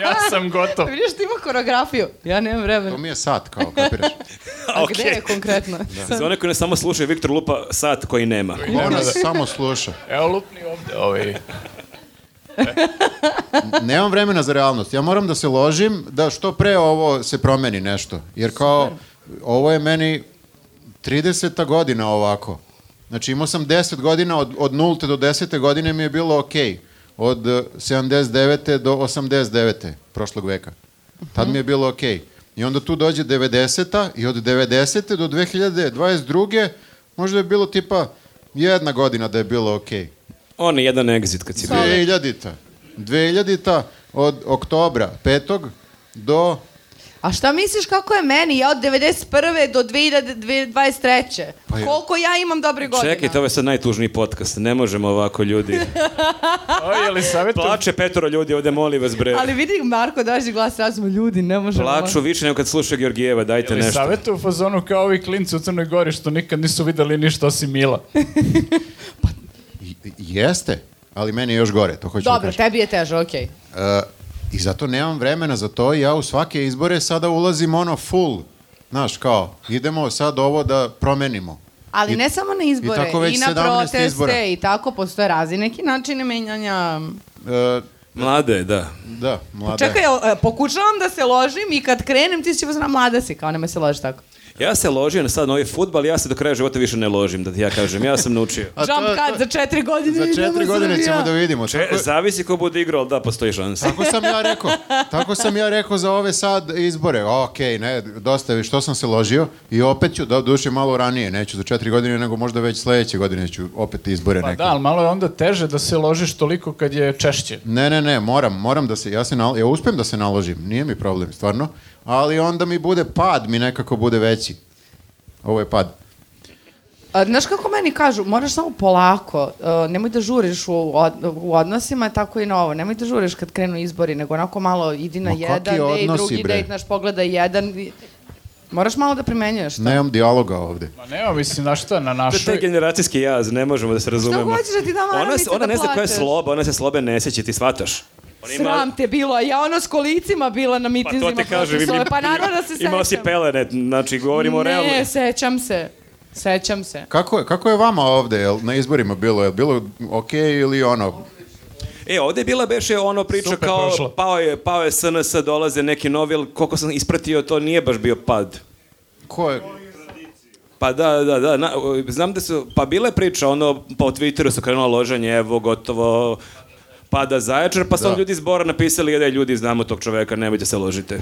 S2: Ja sam gotov.
S3: vidiš ti ima koreografiju. Ja nemam vremena.
S4: To mi Da. je sat, kao, kapiraš.
S3: A
S1: Okej.
S3: gde je konkretno?
S1: Za one koji ne samo slušaju, Viktor lupa sat koji nema.
S4: Ona da samo sluša.
S2: Evo lupni ovdje ovaj.
S4: Nemam vremena za realnost. Ja moram da se ložim da što pre ovo se promeni nešto. Jer kao, ovo je meni 30. godina ovako. Znači imao sam 10 godina, od, od 0. do 10. godine mi je bilo ok. Od eh, 79. do 89. prošlog veka. Tad mi je bilo ok. I onda tu dođe 90. i od 90. do 2022. možda je bilo tipa jedna godina da je bilo okej.
S1: On je jedan exit kad si bio.
S4: 2000-ta. 2000-ta od oktobra 5. do...
S3: A šta misliš kako je meni? Ja od 91. do 2023.
S4: Pa ja-
S3: Koliko ja imam dobre godine?
S1: Čekajte, ovo je sad najtužniji podcast. Ne možemo ovako, ljudi.
S2: O, je li savjetu?
S1: Plače petoro ljudi ovde, molim vas, bre.
S3: Ali vidi Marko daži glas razuma, ljudi, ne možemo.
S1: Plaču više nego kad sluša Georgijeva, dajte
S2: Je li
S1: nešto.
S2: savjetu u fazonu kao ovi klinci u Crnoj Gori što nikad nisu videli ništa osim Mila?
S4: I- i- Jeste, ali meni je još gore, to hoću da
S3: Dobro,
S4: kažem.
S3: tebi je teže, okej.
S4: E, I zato nemam vremena za to i ja u svake izbore sada ulazim ono full. Znaš, kao, idemo sad ovo da promenimo.
S3: Ali
S4: I-
S3: ne samo na
S4: i
S3: izbore,
S4: tako već
S3: i, na
S4: 17
S3: proteste
S4: izbora.
S3: i tako postoje razni neki načini menjanja.
S4: E,
S1: Mlade, da.
S4: da, mlada.
S3: Čekaj, jel, e, pokušavam da se ložim i kad krenem ti si će na mlada si, kao nema se loži tako.
S1: Ja se ložio na sad novi futbal, ja se do kraja života više ne ložim, da ti ja kažem. Ja sam naučio.
S4: A to-
S3: Jump cut,
S4: to-
S3: za četiri godine
S4: Za četiri
S3: idemo
S4: godine
S3: Srbija.
S4: ćemo da vidimo.
S1: E,
S4: Tako,
S1: zavisi ko bude igrao, ali da, postoji šansa.
S4: tako sam ja rekao. Tako sam ja rekao za ove sad izbore. Ok, ne, dosta je što sam se ložio i opet ću, do duše malo ranije, neću za četiri godine, nego možda već sledeće godine ću opet izbore
S2: Pa
S4: neke.
S2: da, ali malo je onda teže da se ložiš toliko kad je češće.
S4: Ne, ne, ne, moram, moram da se, ja se nal, ja uspem da se naložim, nije mi problem, stvarno, ali onda mi bude pad, mi nekako bude veći. Ovo je pad. da
S3: A, Znaš kako meni kažu, moraš samo polako, e, nemoj da žuriš u, od- u odnosima, tako i na ovo, nemoj da žuriš kad krenu izbori, nego onako malo idi na
S4: Ma
S3: jedan,
S4: kakvi
S3: ej,
S4: odnosi,
S3: drugi
S4: bre?
S3: dejt, naš pogledaj jedan. i- Moraš malo da primenjuješ. to.
S4: Nemam dijaloga ovde.
S2: Ma nema, mislim, na šta, na
S1: To je taj
S2: našoj...
S1: generacijski jaz, ne možemo da se razumemo.
S3: hoćeš da ti dam
S1: ona,
S3: maramice
S1: ona
S3: da
S1: ne zna koja je
S3: plačeš?
S1: sloba, ona se slobe ne sjeća, ti shvataš. Ona ima-
S3: Sram te bilo, a ja ono s kolicima bila na
S1: Pa
S3: mitinzima.
S1: to ti kažem.
S3: protiv
S1: im-
S3: ove, pa naravno da se sećam.
S1: Imao si pelene, znači govorimo realno.
S3: Ne, sećam se. Sećam se.
S4: Kako je, kako je vama ovde, jel, na izborima bilo, jel bilo okej ili ono,
S1: E, ovde je bila beše ono priča
S2: Super
S1: kao
S2: prošlo.
S1: pao je, pao je SNS, dolaze neki novi, ali koliko sam ispratio, to nije baš bio pad.
S4: ko je,
S1: Pa da, da, da, na, o, znam da su, pa bila je priča, ono, pa u Twitteru su krenula loženje, evo, gotovo, pada Zaječar, pa su
S4: Da.
S1: onda ljudi iz Bora napisali, je ljudi, znamo tog čoveka, nemojte se ložite.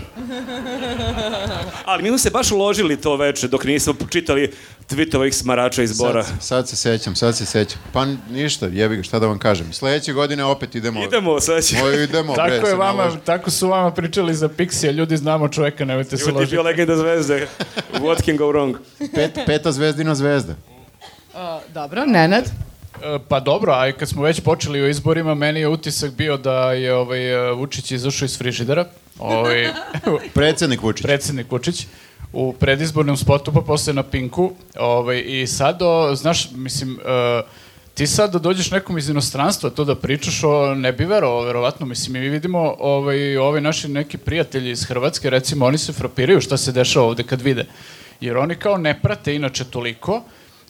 S1: Ali mi smo se baš ložili to veče, dok nismo čitali tweetovih smarača iz Bora.
S4: sad, sad se sećam, sad se sećam. Pa n- ništa, jebi ga, šta da vam kažem. Sledeće godine opet idemo.
S1: Idemo, sad će...
S4: O, idemo, bre,
S2: Tako, je
S4: se
S2: vama,
S4: naloži.
S2: tako su vama pričali za Pixija, ljudi znamo čoveka, nemojte se
S1: Ti je
S2: ložiti.
S1: bio legenda zvezde. What can go wrong?
S4: Pet, peta zvezdina zvezda.
S3: A, dobro, Nenad.
S2: E, Pa dobro, a i kad smo već počeli o izborima, meni je utisak bio da je ovaj, e, Vučić izašao iz frižidera, ovaj,
S4: Predsednik Vučić.
S2: predsednik Vučić, u predizbornom spotu, pa posle na Pinku. Ovaj, I sad, o, znaš, mislim, e, ti sad da dođeš nekom iz inostranstva to da pričaš, o, ne bi verovao, verovatno. Mislim, mi vidimo ovaj, ovaj naši neki prijatelji iz Hrvatske, recimo, oni se frapiraju šta se dešava ovde kad vide. Jer oni kao ne prate inače toliko,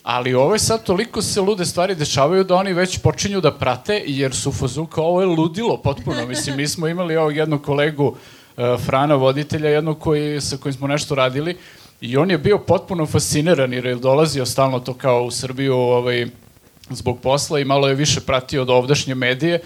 S2: Ali ovo je sad toliko se lude stvari dešavaju da oni već počinju da prate jer su u fazonu kao ovo je ludilo potpuno. Mislim, mi smo imali ovog jednog kolegu e, Frana, voditelja, jednog koji, sa kojim smo nešto radili i on je bio potpuno fasciniran jer je dolazio stalno to kao u Srbiju ovaj, zbog posla i malo je više pratio od ovdašnje medije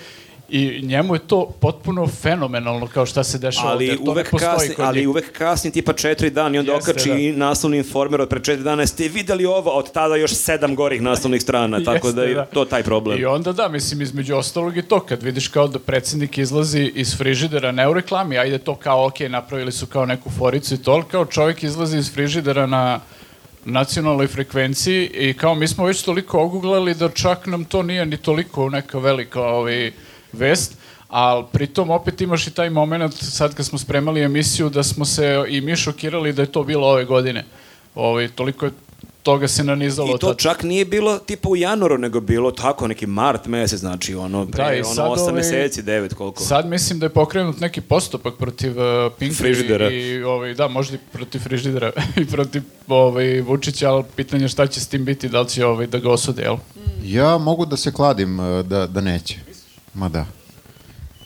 S2: i njemu je to potpuno fenomenalno kao šta se dešava
S1: ali
S2: ovde. To ne
S1: uvek
S2: postoji
S1: kasni,
S2: kod
S1: ali
S2: njih.
S1: uvek kasni tipa četiri dana i onda
S2: Jeste,
S1: okači
S2: da.
S1: i naslovni informer od pre četiri dana ste videli ovo, a od tada još sedam gorih naslovnih strana, tako da
S2: Jeste,
S1: je to taj problem.
S2: I onda da, mislim, između ostalog i to, kad vidiš kao da predsednik izlazi iz frižidera, ne u reklami, ajde to kao, ok, napravili su kao neku foricu i to, ali kao čovjek izlazi iz frižidera na nacionalnoj frekvenciji i kao mi smo već toliko oguglali da čak nam to nije ni toliko neka velika ovaj, vest, ali pritom opet imaš i taj moment sad kad smo spremali emisiju da smo se i mi šokirali da je to bilo ove godine. Ovaj, toliko je toga se nanizalo.
S1: I to
S2: tad.
S1: čak nije bilo tipa u januaru, nego bilo tako neki mart mesec, znači ono, pre,
S2: Da, i sad
S1: ono 8
S2: ovaj-
S1: meseci, 9 koliko.
S2: Sad mislim da je pokrenut neki postupak protiv uh, Pinka
S1: Frižidera.
S2: i, i ovaj, da, možda i protiv frižidera i protiv ovaj, Vučića, ali pitanje je šta će s tim biti, da li će ovaj, da ga osude, jel?
S4: Ja mogu da se kladim e, da, da neće. Ma da.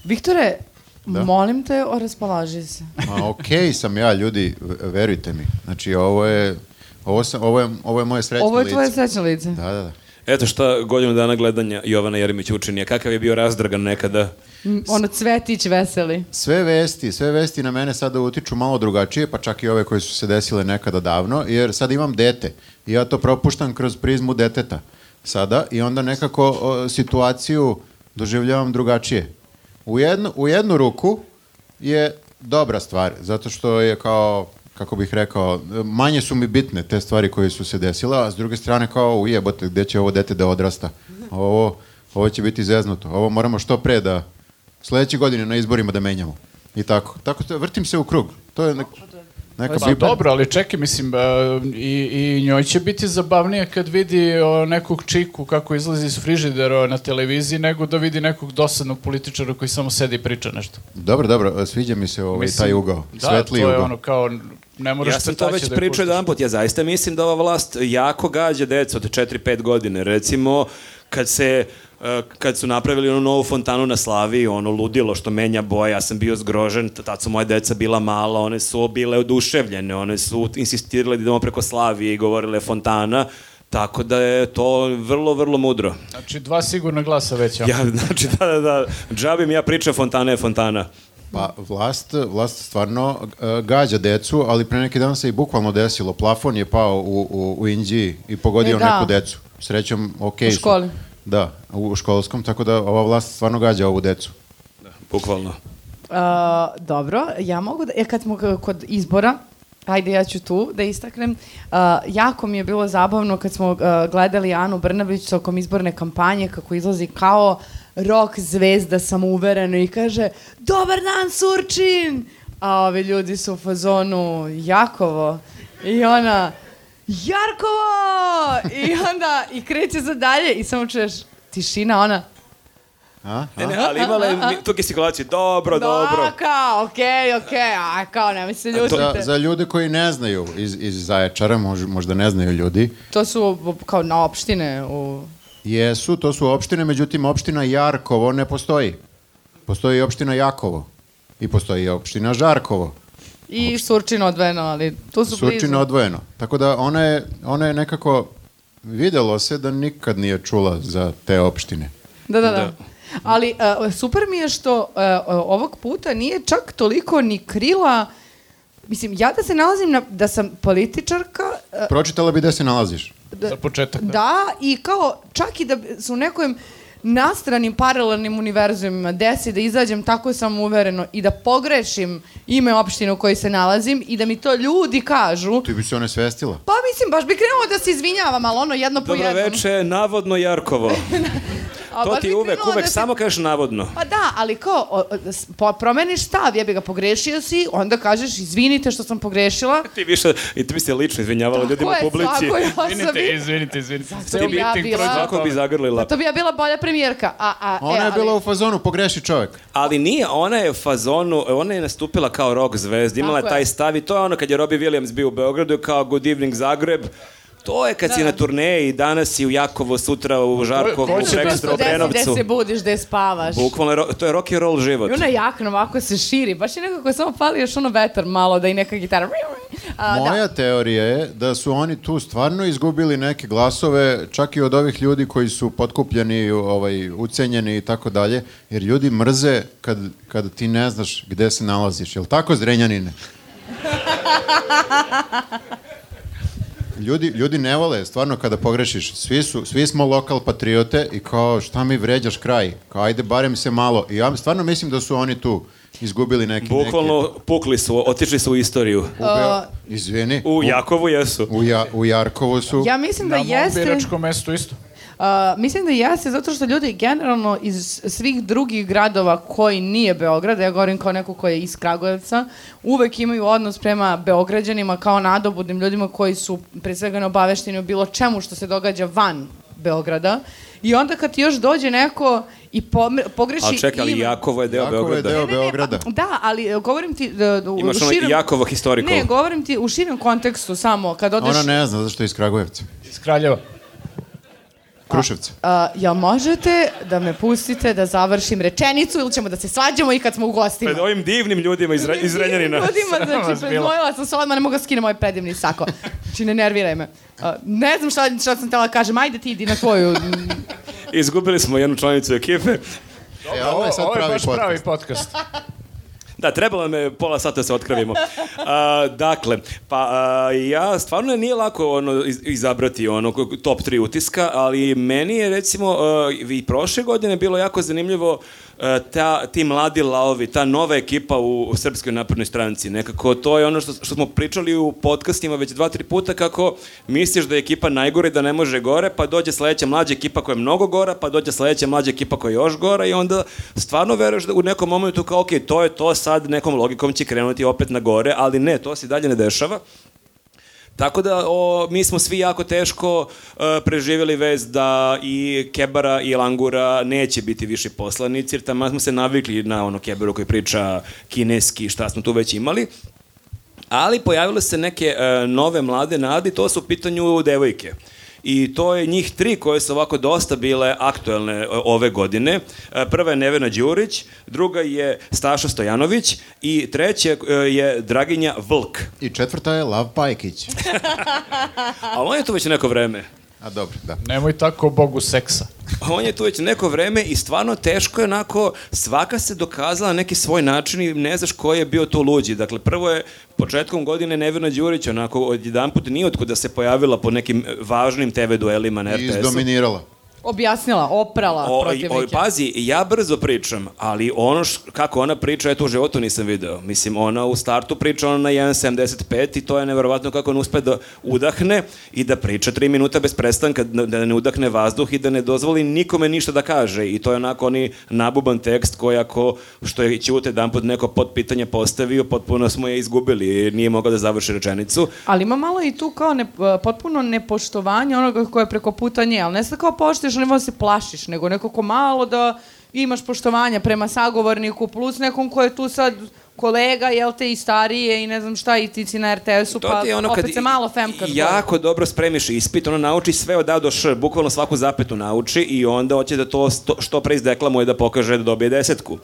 S3: Viktore, molim te, o, raspolaži se.
S4: Ma okej sam ja, ljudi, v- verujte mi. Znači, ovo je, ovo, sam, ovo je, ovo je moje srećno
S3: Ovo je tvoje
S4: lice.
S3: srećno lice.
S4: Da, da, da.
S1: Eto šta godinu dana gledanja Jovana Jeremića učinija, kakav je bio razdragan nekada.
S3: M, Ono cvetić veseli.
S4: Sve vesti, sve vesti na mene sada utiču malo drugačije, pa čak i ove koje su se desile nekada davno, jer sad imam dete i ja to propuštam kroz prizmu deteta sada i onda nekako o, situaciju doživljavam drugačije. U jednu, u jednu ruku je dobra stvar, zato što je kao, kako bih rekao, manje su mi bitne te stvari koje su se desile, a s druge strane kao, ujebote, gde će ovo dete da odrasta? Ovo, ovo će biti zeznuto, ovo moramo što pre da sledeće godine na izborima da menjamo. I tako. Tako da vrtim se u krug. To je nek, neka
S2: Pa dobro, ali čekaj, mislim, e, i, i njoj će biti zabavnije kad vidi o, nekog čiku kako izlazi iz frižidera na televiziji, nego da vidi nekog dosadnog političara koji samo sedi i priča nešto.
S4: Dobro, dobro, sviđa mi se ovaj,
S2: Mislim,
S4: taj ugao.
S2: Da,
S4: Svetli
S2: to je
S4: ugao.
S2: ono kao ne moraš
S1: Ja sam to
S2: crtaće
S1: već
S2: da je
S1: pričao
S2: pustiš.
S1: jedan put, ja zaista mislim da ova vlast jako gađa decu od 4-5 godine. Recimo, kad se e, kad su napravili onu novu fontanu na Slaviji, ono ludilo što menja boje, ja sam bio zgrožen, t- tad su moja deca bila mala, one su bile oduševljene, one su insistirale da idemo preko Slavije i govorile fontana, tako da je to vrlo, vrlo mudro.
S2: Znači, dva sigurna glasa već. Ja.
S1: Ja, znači, da, da, da, džabim ja pričam fontana je fontana.
S4: Pa vlast, vlast stvarno e, gađa decu, ali pre neki dan se i bukvalno desilo. Plafon je pao u, u, u Indiji i pogodio
S3: E, da.
S4: neku decu. Srećom, okej
S3: U
S4: su.
S3: školi.
S4: Da, u školskom, tako da ova vlast stvarno gađa ovu decu.
S1: Bukvalno.
S3: A, dobro, ja mogu da, ja kad smo k- kod izbora, ajde ja ću tu da istaknem, A, jako mi je bilo zabavno kad smo a, gledali Anu Brnabić tokom izborne kampanje kako izlazi kao rock zvezda samouvereno i kaže Dobar dan Surčin! A ovi ljudi su u fazonu Jakovo i ona Jarkovo! I onda i kreće za dalje i samo čuješ tišina ona
S4: A?
S3: E,
S1: Ne, ne, ali imala je mi- tu gestikulaciju, dobro, Pa dobro.
S3: Da, kao, okej, okej, a kao, nemoj se ljutite.
S4: Za, za ljude koji ne znaju iz, iz Zaječara, mož, možda ne znaju ljudi,
S3: To su b- kao na opštine u...
S4: jesu, to su opštine, međutim opština Jarkovo ne postoji. Postoji opština Jakovo i postoji opština Žarkovo.
S3: I Surčin odvojeno, ali tu su blizu.
S4: Surčina odvojeno. Tako da ona je, ona je nekako, videlo se da nikad nije čula za te opštine.
S3: Da, da, da.
S1: Da.
S3: Ali e, super mi je što e, ovog puta nije čak toliko ni krila... Mislim, ja da se nalazim na, da sam političarka, e,
S4: Pročitala bi gde se nalaziš.
S3: da,
S2: Za početak. Da.
S3: da, i kao čak i da bi- su u nekom nastranim paralelnim univerzumima desi da izađem tako sam uvereno i da pogrešim ime opštine u kojoj se nalazim i da mi to ljudi kažu
S4: Ti bi se ona svestila.
S3: Pa mislim, baš bi krenuo da se izvinjavam, ali ono jedno po
S1: Dobro
S3: jednom.
S1: veče, navodno Jarkovo.
S3: A
S1: to
S3: baš
S1: ti
S3: bi
S1: uvek,
S3: krenuo
S1: uvek
S3: da se-
S1: samo kažeš navodno.
S3: Pa da, ali kao, o, o, s- po, promeniš stav, jebi ga, pogrešio si, onda kažeš, izvinite što sam pogrešila.
S1: Ti više, i ti bi se lično izvinjavala ljudima u publici.
S3: Svakoj
S2: Izvinite,
S3: osobi.
S2: izvinite, izvinite.
S3: sam ja bila-
S1: Svako bi zagrlila.
S3: To bi ja bila bolja premijerka. A, a,
S4: Ona
S3: e,
S4: je
S3: ali-
S4: bila u fazonu, pogreši čovek.
S1: Ali nije, ona je fazonu, ona je nastupila kao rock zvezda, imala
S3: Tako je.
S1: taj stav i to je ono kad je Robbie Williams bio u Beogradu kao Good Evening Zagreb, To
S3: Da,
S1: je kad si na turneji, danas si u Jakovu, sutra u Žarkovu,
S2: ko
S1: u
S2: će da-
S1: Prekstra, u
S3: Prosto desi gde
S1: Obrenovcu.
S3: se budiš, gde spavaš.
S1: Bukvalno, je ro- to je rock and roll život.
S3: I ona jakna ovako se širi, baš je nekako samo fali još ono vetar malo da i neka gitara. A, da.
S4: Moja teorija je da su oni tu stvarno izgubili neke glasove, čak i od ovih ljudi koji su potkupljeni, ovaj, ucenjeni i tako dalje, jer ljudi mrze kad, kad ti ne znaš gde se nalaziš. Jel tako, Zrenjanine? Ljudi, ljudi ne vole, stvarno, kada pogrešiš. Svi, su, svi smo lokal patriote i kao, šta mi vređaš kraj? Kao, ajde, barem se malo. I ja stvarno mislim da su oni tu izgubili neki...
S1: Bukvalno pukli su, otišli su u istoriju.
S4: Neki, u Beo- izvini.
S1: U Jakovu jesu.
S4: U, ja, u Jarkovu su...
S3: Ja mislim da
S2: Na mom
S3: jeste...
S2: biračkom mestu isto.
S3: A, mislim da jeste, zato što ljudi generalno iz svih drugih gradova koji nije Beograd, ja govorim kao neko koji je iz Kragujevca, uvek imaju odnos prema Beograđanima kao nadobudnim ljudima koji su pre svega neobavešteni o bilo čemu što se događa van Beograda. I onda kad ti još dođe neko i pome- pogreši
S1: Ali čekaj, ali
S3: ime-
S1: Jakovo je deo
S4: Jakovo je
S1: Beograda.
S4: deo
S3: Ne, ne, ne,
S4: Beograda.
S3: pa- Da, ali e, govorim ti e, u,
S1: Imaš
S3: u
S1: ono
S3: širem...
S1: Jakovo historical.
S3: Ne, govorim ti u širem kontekstu samo, kad odeš...
S4: Ona ne zna zašto je iz Kragujevca.
S2: Iz Kraljeva.
S4: Kruševca.
S3: A, jel možete da me pustite da završim rečenicu ili ćemo da se svađamo i kad smo u gostima?
S1: Pred ovim divnim ljudima E, iz, Re- iz Renjanina.
S3: Ljudima,
S2: Sram vas
S3: znači,
S2: bilo.
S3: predvojila sam se odmah, ne mogu da skinem ovaj predivni sako. Znači, ne nerviraj me. A, ne znam šta, šta sam htjela da kažem, ajde ti idi na tvoju.
S1: Izgubili smo jednu članicu ekipe.
S4: E, a ovo je sad pravi
S2: baš
S4: podcast.
S2: pravi podcast.
S1: Da, trebalo me pola sata da se otkravimo. A, dakle, pa a, ja stvarno nije lako ono, iz- izabrati ono, k- top 3 utiska, ali meni je recimo a, i prošle godine bilo jako zanimljivo a, ta, ti mladi laovi, ta nova ekipa u, u Srpskoj naprednoj stranci. Nekako to je ono što, što smo pričali u podcastima već dva, tri puta kako misliš da je ekipa najgore i da ne može gore, pa dođe sledeća mlađa ekipa koja je mnogo gora, pa dođe sledeća mlađa ekipa koja je još gora i onda stvarno veruješ da u nekom momentu kao ok, to je to sad, nekom logikom će krenuti opet na gore, ali ne, to se i dalje ne dešava. Tako da o, mi smo svi jako teško e, preživjeli vez da i Kebara i Langura neće biti više poslanici, jer tamo smo se navikli na ono Kebaru koji priča kineski, šta smo tu već imali. Ali pojavile su se neke e, nove mlade nade i to su u pitanju devojke. I to je njih tri koje su ovako dosta bile aktuelne e, ove godine. E, Prva je Nevena Đurić, druga je Staša Stojanović i treća e, je Draginja Vlk.
S4: I četvrta je Lav Pajkić.
S1: A on je tu već neko vreme.
S4: A dobro, da.
S2: Nemoj tako o bogu seksa.
S1: On je tu već neko vreme i stvarno teško je onako, svaka se dokazala na neki svoj način i ne znaš ko je bio tu luđi. Dakle, prvo je početkom godine Nevena Đurić, onako odjedan put nije otkud da se pojavila po nekim eh, važnim TV duelima na
S4: I
S1: RTS-u.
S4: izdominirala.
S3: Objasnila, oprala
S1: O, pa o,
S3: protivnike.
S1: pazi, ja brzo pričam, ali ono š, kako ona priča, eto u životu nisam video. Mislim, ona u startu priča ona na 1.75 i to je neverovatno kako on uspe da udahne i da priča 3 minuta bez prestanka, da da ne udahne vazduh i da ne dozvoli nikome ništa da kaže. I to je onako oni nabuban tekst koji ako, što je Ćute jedan put neko pod pitanje postavio, potpuno smo je izgubili i nije mogao da završi rečenicu.
S3: Ali ima malo i tu kao ne, potpuno nepoštovanje onoga koje je preko puta nje, ali ne sad kao poštuješ, ne se plašiš, nego nekako malo da imaš poštovanja prema sagovorniku, plus nekom ko je tu sad kolega, jel te, i starije, i ne znam šta, i ti si na RTS-u,
S1: To
S3: pa
S1: ti je ono
S3: opet
S1: kad
S3: se malo femkaš. da. gore.
S1: Jako dobro spremiš ispit, ono nauči sve od A do Š, bukvalno svaku zapetu nauči i onda hoće da to sto, što pre izdeklamuje da pokaže da dobije desetku.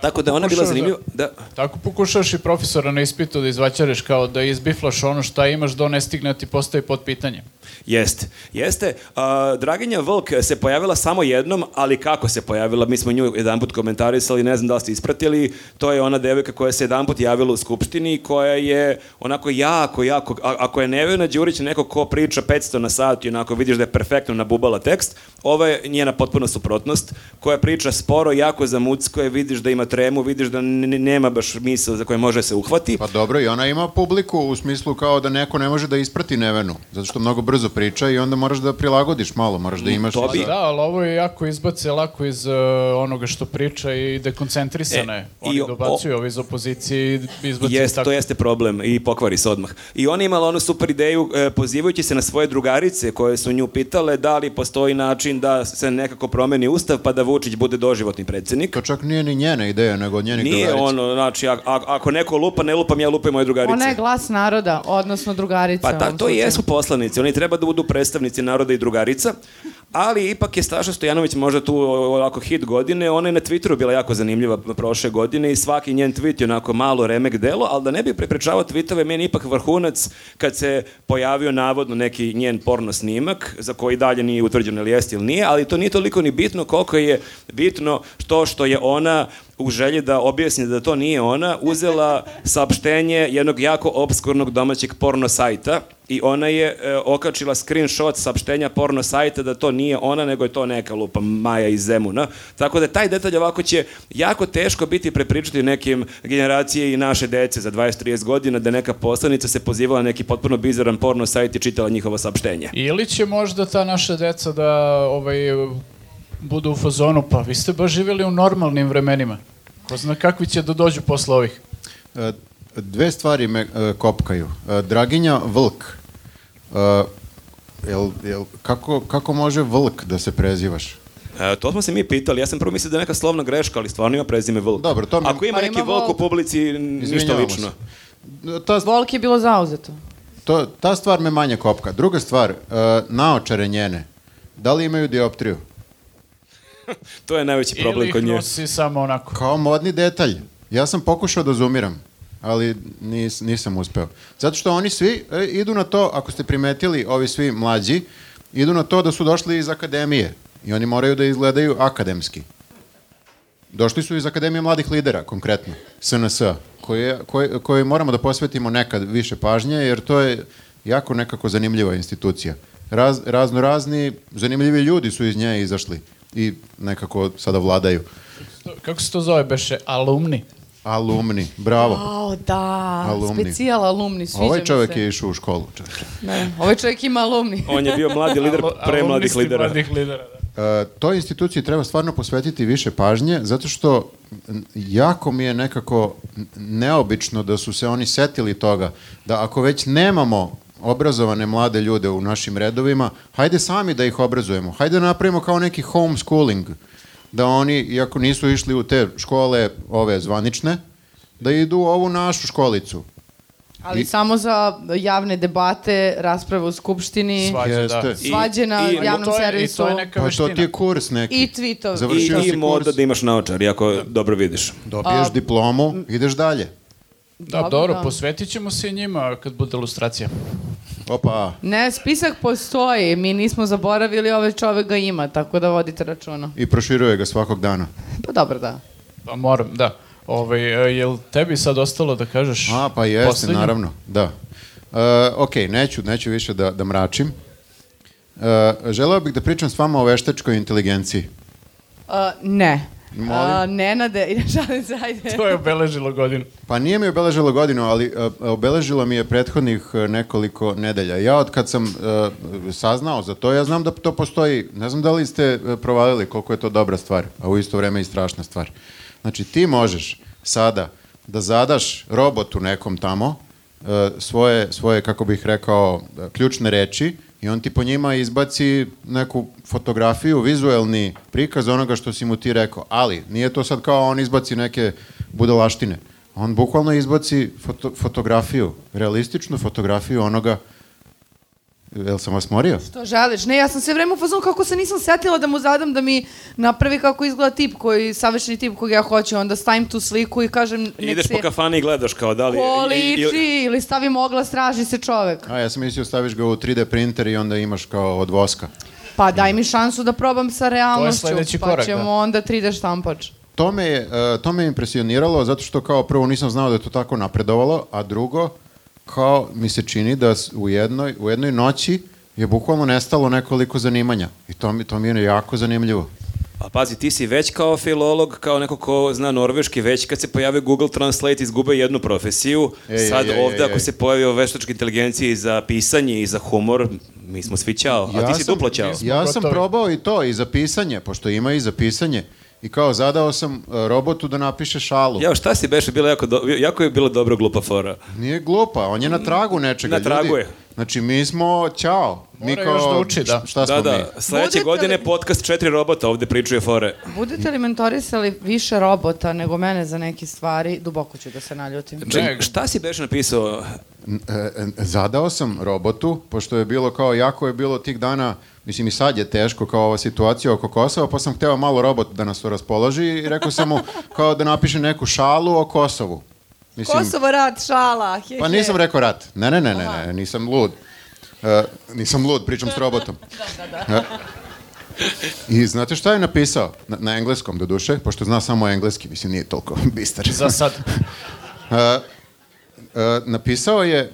S1: Tako da je ona bila
S2: Pokušaš da-
S1: zanimljiva. Da,
S2: Tako pokušaš i profesora na ispitu da izvaćareš kao da izbiflaš ono šta imaš da on ne stigne da ti postavi pod pitanje.
S1: jeste. Jeste. A, Draginja Vlk se pojavila samo jednom, ali kako se pojavila? Mi smo nju jedan put komentarisali, ne znam da li ste ispratili. To je ona devojka koja se jedan put javila u skupštini, i koja je onako jako, jako... a- ako je Nevena Đurić neko ko priča 500 na sat i onako vidiš da je perfektno nabubala tekst, ovo je njena potpuna suprotnost, koja priča sporo, jako zamucko je, vidiš da ima tremu, vidiš da n- n- nema baš misla za koje može se uhvati.
S4: Pa dobro, i ona ima publiku u smislu kao da neko ne može da isprati Nevenu, zato što mnogo brzo priča i onda moraš da prilagodiš malo, moraš da imaš...
S1: Mm, to bi-
S2: Da, ali ovo je jako izbace lako iz e, onoga što priča i dekoncentrisana
S1: E,
S2: je.
S1: i
S2: Oni
S1: o-
S2: dobacuju ovi iz opozicije i izbacuju
S1: Jest,
S2: Znači, tako.
S1: to jeste problem i pokvari se odmah. I ona je imala onu super ideju e, pozivajući se na svoje drugarice koje su nju pitale da li postoji način da se nekako promeni ustav pa da Vučić bude doživotni predsednik.
S4: To čak nije ni njena ideja, nego od njenih
S1: Nije
S4: drugarica.
S1: ono, znači, a- a- ako neko lupa, ne lupam ja, lupaju moje drugarice.
S3: Ona je glas naroda, odnosno drugarica.
S1: Pa
S3: u
S1: ta,
S3: ovom
S1: to i
S3: slučaju.
S1: jesu poslanici, oni treba da budu predstavnici naroda i drugarica, ali ipak je Staša Stojanović možda tu o- ovako hit godine, ona je na Twitteru bila jako zanimljiva prošle godine i svaki njen tweet je onako malo remek delo, ali da ne bi preprečavao tweetove, meni je ipak vrhunac kad se pojavio navodno neki njen porno snimak, za koji dalje nije utvrđeno ili jeste ili nije, ali to nije toliko ni bitno koliko je bitno to što je ona u želji da objasni da to nije ona, uzela saopštenje jednog jako obskurnog domaćeg porno sajta i ona je e, okačila screenshot saopštenja porno sajta da to nije ona, nego je to neka lupa Maja iz Zemuna. Tako da taj detalj ovako će jako teško biti prepričati nekim generacije i naše dece za 20-30 godina da neka poslanica se pozivala na neki potpuno bizaran porno sajt i čitala njihovo saopštenje.
S2: Ili će možda ta naša deca da ovaj, budu u fazonu, pa vi ste baš živjeli u normalnim vremenima. Ko zna kakvi će da dođu posle ovih.
S4: E, Dve stvari me e, kopkaju. E, Draginja Vlk. E, jel, jel, kako, kako može Vlk da se prezivaš?
S1: E, to smo se mi pitali, ja sam prvo mislio da je neka slovna greška, ali stvarno ima prezime Vlk.
S4: Dobro, to mi-
S1: Ako ima
S3: Pa
S1: neki
S3: ima
S1: Vlk u
S3: Volk.
S1: publici, n- ništa
S4: Izvinjavamo
S1: lično.
S4: se. E, Ta,
S3: Volk je bilo zauzeto.
S4: to, ta stvar me manje kopka. Druga stvar, e, naočare njene. Da li imaju dioptriju?
S1: To je najveći problem
S2: Ili ih
S1: kod nje.
S2: nosi samo onako.
S4: Kao modni detalj. Ja sam pokušao da zoomiram, ali nis, nisam uspeo. Zato što oni svi e, idu na to, ako ste primetili, ovi svi mlađi, idu na to da su došli iz akademije i oni moraju da izgledaju akademski. Došli su iz Akademije mladih lidera, konkretno, SNS, koje, koje, koje moramo da posvetimo nekad više pažnje, jer to je jako nekako zanimljiva institucija. Raz, razno razni zanimljivi ljudi su iz nje izašli i nekako sada vladaju.
S2: To- Kako se to zove, beše? Alumni.
S4: Alumni, bravo.
S3: O, da,
S4: Alumni.
S3: specijal alumni, sviđa
S4: Ovaj
S3: mi
S4: čovjek
S3: se.
S4: je išao u školu. čoveče.
S3: Da, ovaj čovjek ima alumni.
S1: On je bio mladi lider
S2: Alu-
S1: pre mladih
S2: alumnisti
S1: lidera.
S2: mladih lidera, da.
S4: E, toj instituciji treba stvarno posvetiti više pažnje, zato što n- jako mi je nekako n- neobično da su se oni setili toga, da ako već nemamo obrazovane mlade ljude u našim redovima, hajde sami da ih obrazujemo, hajde da napravimo kao neki homeschooling, da oni, iako nisu išli u te škole ove zvanične, da idu u ovu našu školicu.
S3: Ali
S4: I-
S3: samo za javne debate, rasprave u skupštini,
S2: Sva- Svađa, da.
S4: Jeste.
S3: svađe na
S1: I- i-
S3: javnom
S2: to je, I
S3: servisu
S2: to je neka
S4: Pa to
S2: veština.
S4: ti je kurs neki.
S3: i tweetovi.
S1: I,
S4: Završio si
S1: i moda
S4: kurs.
S1: da imaš naočar, jako dobro vidiš.
S4: Dobiješ diplomu, ideš dalje.
S2: Da, dobro, posvetit ćemo se i njima kad bude ilustracija.
S4: Opa.
S3: Ne, spisak postoji, mi nismo zaboravili, ovaj čovek ga ima, tako da vodite računa.
S4: I proširuje ga svakog dana.
S3: Pa dobro, da.
S2: Pa moram, da. Ovaj, e, jel tebi sad ostalo da kažeš?
S4: A, pa jeste,
S2: poslednju?
S4: naravno, da. Uh, ok, neću, neću više da, da mračim. Uh, želeo bih da pričam s vama o veštačkoj inteligenciji.
S3: A, ne.
S4: Molim?
S3: A, Nenade, šalim se, ajde.
S2: To je obeležilo godinu.
S4: Pa nije mi obeležilo godinu, ali uh, obeležilo mi je prethodnih uh, nekoliko nedelja. Ja od kad sam uh, saznao za to, ja znam da to postoji. Ne znam da li ste uh, provalili koliko je to dobra stvar, a u isto vreme i strašna stvar. Znači, ti možeš sada da zadaš robotu nekom tamo uh, svoje, svoje, kako bih rekao, uh, ključne reči i on ti po njima izbaci neku fotografiju, vizuelni prikaz onoga što si mu ti rekao. Ali, nije to sad kao on izbaci neke budalaštine. On bukvalno izbaci foto, fotografiju, realističnu fotografiju onoga, jel sam vas morio?
S3: To želiš? Ne, ja sam sve vreme u fazonu kako se nisam setila da mu zadam da mi napravi kako izgleda tip koji, savršeni tip kog ja hoću, onda stavim tu sliku i kažem nek
S1: I ideš
S3: se
S1: po kafani i gledaš kao da li... ili-
S3: poliči ili stavim oglas, traži se čovek.
S4: A ja sam mislio staviš ga u 3D printer i onda imaš kao od voska.
S3: Pa daj mi šansu da probam sa realnošću,
S2: sledeći
S3: pa
S2: korak,
S3: ćemo
S2: da.
S3: onda 3D štampač.
S4: To me, je, e, to me je impresioniralo zato što kao prvo nisam znao da je to tako napredovalo, a drugo kao mi se čini da s- u jednoj, u jednoj noći je bukvalno nestalo nekoliko zanimanja i to mi, to mi je jako zanimljivo.
S1: Pa pazi, ti si već kao filolog, kao neko ko zna norveški, već kad se pojavio Google Translate izgube jednu profesiju.
S4: Ej,
S1: Sad
S4: ej, ej,
S1: ovde
S4: ej,
S1: ako
S4: ej.
S1: se pojavi o veštačkoj inteligenciji i za pisanje i za humor, mi smo svi ćao. A ti si
S4: sam-
S1: duplo ćao.
S2: smo
S4: Ja sam
S2: gotovi.
S4: probao i to, i za pisanje, pošto ima i za pisanje. I kao zadao sam e, robotu da napiše šalu.
S1: Jao, šta si beše, bilo jako, do, jako je bilo dobro glupa fora.
S4: Nije glupa, on je na tragu nečega.
S1: Na tragu
S4: ljudi.
S1: je.
S4: Znači, mi smo, ćao. Mi
S2: Mora još da uči, da.
S4: š- Šta smo
S1: Da,
S4: mi?
S1: da, sledeće
S3: Budete li-
S1: godine podcast četiri robota ovde pričuje fore.
S3: Budete li mentorisali više robota nego mene za neke stvari, duboko ću da se naljutim.
S1: Ček, Znači, šta si beše napisao?
S4: N- e, e, Zadao sam robotu, pošto je bilo kao, jako je bilo tih dana, mislim i sad je teško kao ova situacija oko Kosova, pa sam hteo malo robot da nas to raspoloži i rekao sam mu kao da napiše neku šalu o Kosovu. Mislim,
S3: Kosovo rad, šala, he,
S4: Pa
S3: he.
S4: nisam rekao rat. Ne, ne, ne, ne, ne nisam lud. E, nisam lud, pričam s robotom. E, I znate šta je napisao? Na, na engleskom, do duše, pošto zna samo engleski, mislim, nije toliko bistar.
S2: Za sad.
S4: E, napisao je e,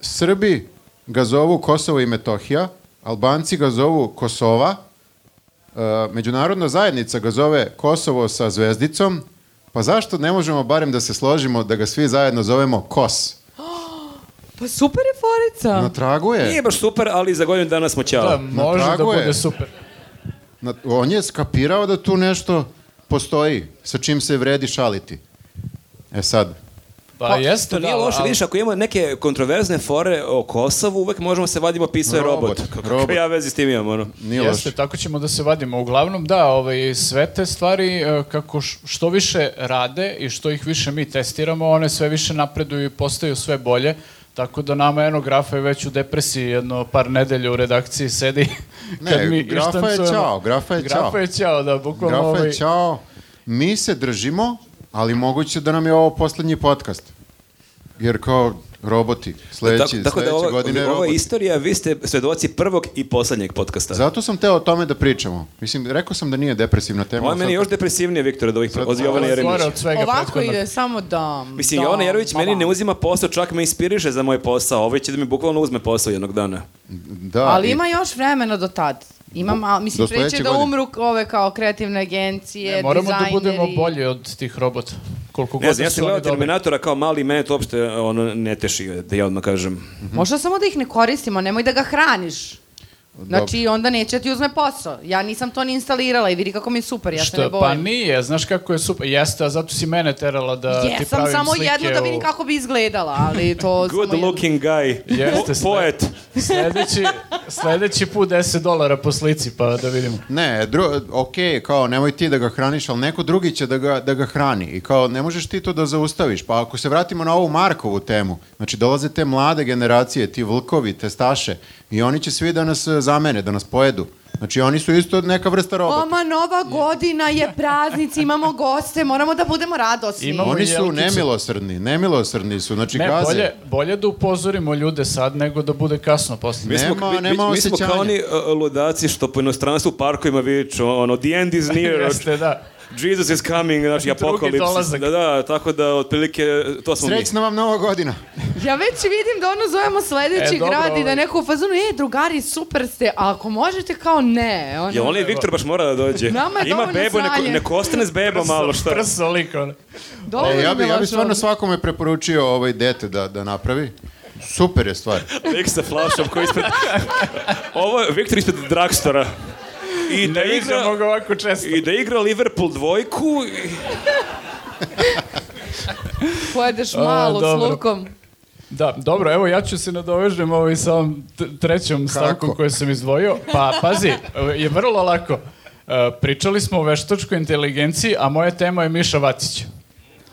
S4: Srbi ga zovu Kosovo i Metohija, Albanci ga zovu Kosova, e, međunarodna zajednica ga zove Kosovo sa zvezdicom, pa zašto ne možemo barem da se složimo da ga svi zajedno zovemo Kos?
S3: Pa super je forica.
S4: Na tragu je.
S1: Nije baš super, ali za godinu dana smo ćao.
S2: Da, može da
S4: tragu je.
S2: bude super.
S4: Na, on je skapirao da tu nešto postoji, sa čim se vredi šaliti. E sad,
S2: Pa,
S1: Pa,
S2: jeste,
S1: to nije
S2: da,
S1: loše,
S2: ali-
S1: vidiš, ako imamo neke kontroverzne fore o Kosovu, uvek možemo se vadimo pisao je robot.
S4: Robot,
S1: Kako
S4: robot.
S1: ja vezi s tim imam, ono.
S4: nije
S2: Jeste,
S4: loše.
S2: tako ćemo da se vadimo. Uglavnom, da, ovaj, sve te stvari, e, kako š- što više rade i što ih više mi testiramo, one sve više napreduju i postaju sve bolje. Tako da nama eno grafa je već u depresiji jedno par nedelja u redakciji sedi.
S4: Ne, grafa je
S2: ištancujemo-
S4: ćao, grafa je
S2: Grafa
S4: ćao.
S2: je ćao, da, bukvalno.
S4: Grafa
S2: ovaj,
S4: je čao. Mi se držimo, ali moguće da nam je ovo poslednji podcast. Jer kao roboti, sledeći,
S1: E, tako da
S4: sledeće
S1: ova,
S4: godine je
S1: ova
S4: roboti.
S1: istorija, vi ste svedoci prvog i poslednjeg podcasta. Za...
S4: Zato sam teo o tome da pričamo. Mislim, rekao sam da nije depresivna tema.
S1: Ovo je
S4: ali
S1: meni
S4: sad-
S1: još depresivnije, Viktor, od, ovih, od Jovana
S2: ovo je gore
S1: Jeremića.
S2: od svega
S3: Ovako
S2: prethodnog.
S3: ide, samo dam.
S1: Mislim,
S3: dam,
S1: Jovana Jeremić meni
S3: dam.
S1: ne uzima posao, čak me inspiriše za moj posao. Ovo će da mi bukvalno uzme posao jednog dana.
S4: Da,
S3: Ali
S4: i-
S3: ima još vremena do tad. Imam, a, mislim,
S4: Do
S3: pre će
S4: sledeće
S3: da
S4: godine.
S3: umru ove kao kreativne agencije,
S2: E, moramo da
S3: dizajneri.
S2: budemo bolji od tih robota. Koliko
S1: Ne
S2: god
S1: znam,
S2: da
S1: ja sam
S2: su oni
S1: gledao
S2: dobri.
S1: Terminatora kao mali i mene to uopšte ono, ne teši, da ja odmah kažem.
S3: Mhm. Možda samo da ih ne koristimo, nemoj da ga hraniš. Znači, onda neće da ti uzme posao. Ja nisam to ni instalirala i vidi kako mi je super, ja se ne
S2: Što, pa
S3: bojim.
S2: nije, znaš kako je super. Jeste, a zato si mene terala da ti
S3: Jesam
S2: pravim
S3: samo
S2: slike.
S3: jednu da vidim
S2: u-
S3: kako bi izgledala, ali to... samo
S1: Good
S3: jednu.
S1: looking guy.
S2: Jeste,
S1: Po- Poet.
S2: Sledeći, sledeći put 10 dolara po slici, pa da vidimo.
S1: Znači,
S4: Ne, dru, ok, kao nemoj ti da ga hraniš, ali neko drugi će da ga, da ga hrani. I kao ne možeš ti to da zaustaviš. Pa ako se vratimo na ovu Markovu temu, znači dolaze te mlade generacije, ti vlkovi, te staše, i oni će svi da nas e, zamene, da nas pojedu. Znači oni su isto neka vrsta robota.
S3: Oma, nova godina je praznici, imamo goste, moramo da budemo radosni.
S2: Imamo-
S4: Oni su
S2: Jelkice.
S4: nemilosrdni, nemilosrdni su, znači
S2: Ne,
S4: gaze.
S2: bolje, bolje da upozorimo ljude sad nego da bude kasno posle.
S1: Mi smo,
S4: Nema-
S1: mi, mi-
S4: nema
S1: mi smo kao
S4: osjećanja.
S1: oni uh, ludaci što po inostranstvu u parkovima viču, ono, the end is near,
S2: Jeste, da.
S1: Jesus is coming, znači,
S2: Drugi
S1: apokalipsis.
S2: dolazak.
S1: Da, da, tako da, otprilike, to smo mi.
S4: Srećna vam nova godina.
S3: Ja već vidim da ono zovemo sledeći
S2: E, dobro,
S3: grad i da
S2: ovaj.
S3: neko u fazonu, e, drugari, super ste, a ako možete, kao ne. Ono,
S1: Ja, on je Viktor baš mora da dođe.
S3: Nama je
S1: Ima
S3: dovoljno
S1: bebu, neko,
S3: znanje.
S1: neko ostane s bebom malo, šta?
S2: Prso lik, ono. Pa
S3: Dovoljno
S4: E, ja bi,
S3: je
S4: ja bi
S3: vaš
S4: stvarno
S3: odgovor.
S4: svakome preporučio ovaj dete da, da napravi. Super je stvar.
S1: Lik sa flašom koji je ispred... Ovo je Viktor ispred dragstora. I da
S2: Ne viđamo
S1: igra...
S2: ga ovako često.
S1: I da igra Liverpool dvojku, i-
S3: Pojedeš malo s
S2: dobro.
S3: lukom.
S2: Da, dobro, evo ja ću se nadovežem ovaj sa ovom t- trećom stavkom koju sam izdvojio. Pa, pazi, je vrlo lako. E, pričali smo o veštačkoj inteligenciji, a moja tema je Miša Vacić.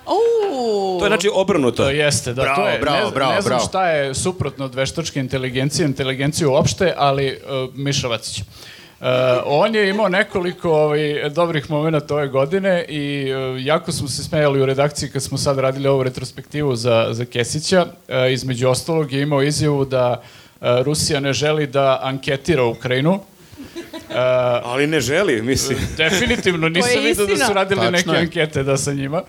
S3: Uuu.
S1: to je znači obrnuto.
S2: To jeste, da,
S4: Bravo,
S2: to je. ne,
S4: bravo,
S2: znam-
S4: bravo,
S2: ne znam
S4: bravo.
S2: šta je suprotno od veštačke inteligencije, inteligencije uopšte, ali e, Miša Vacić. E, on je imao nekoliko ovaj, dobrih momenta ove godine i e, jako smo se smejali u redakciji kad smo sad radili ovu retrospektivu za, za Kesića. E, između ostalog je imao izjavu da e, Rusija ne želi da anketira Ukrajinu.
S1: Ali ne želi, mislim.
S2: Definitivno,
S3: To
S2: nisam
S3: je
S2: vidio da
S3: istina.
S2: su radili
S4: Tačno
S2: neke
S4: je.
S2: ankete da sa njima.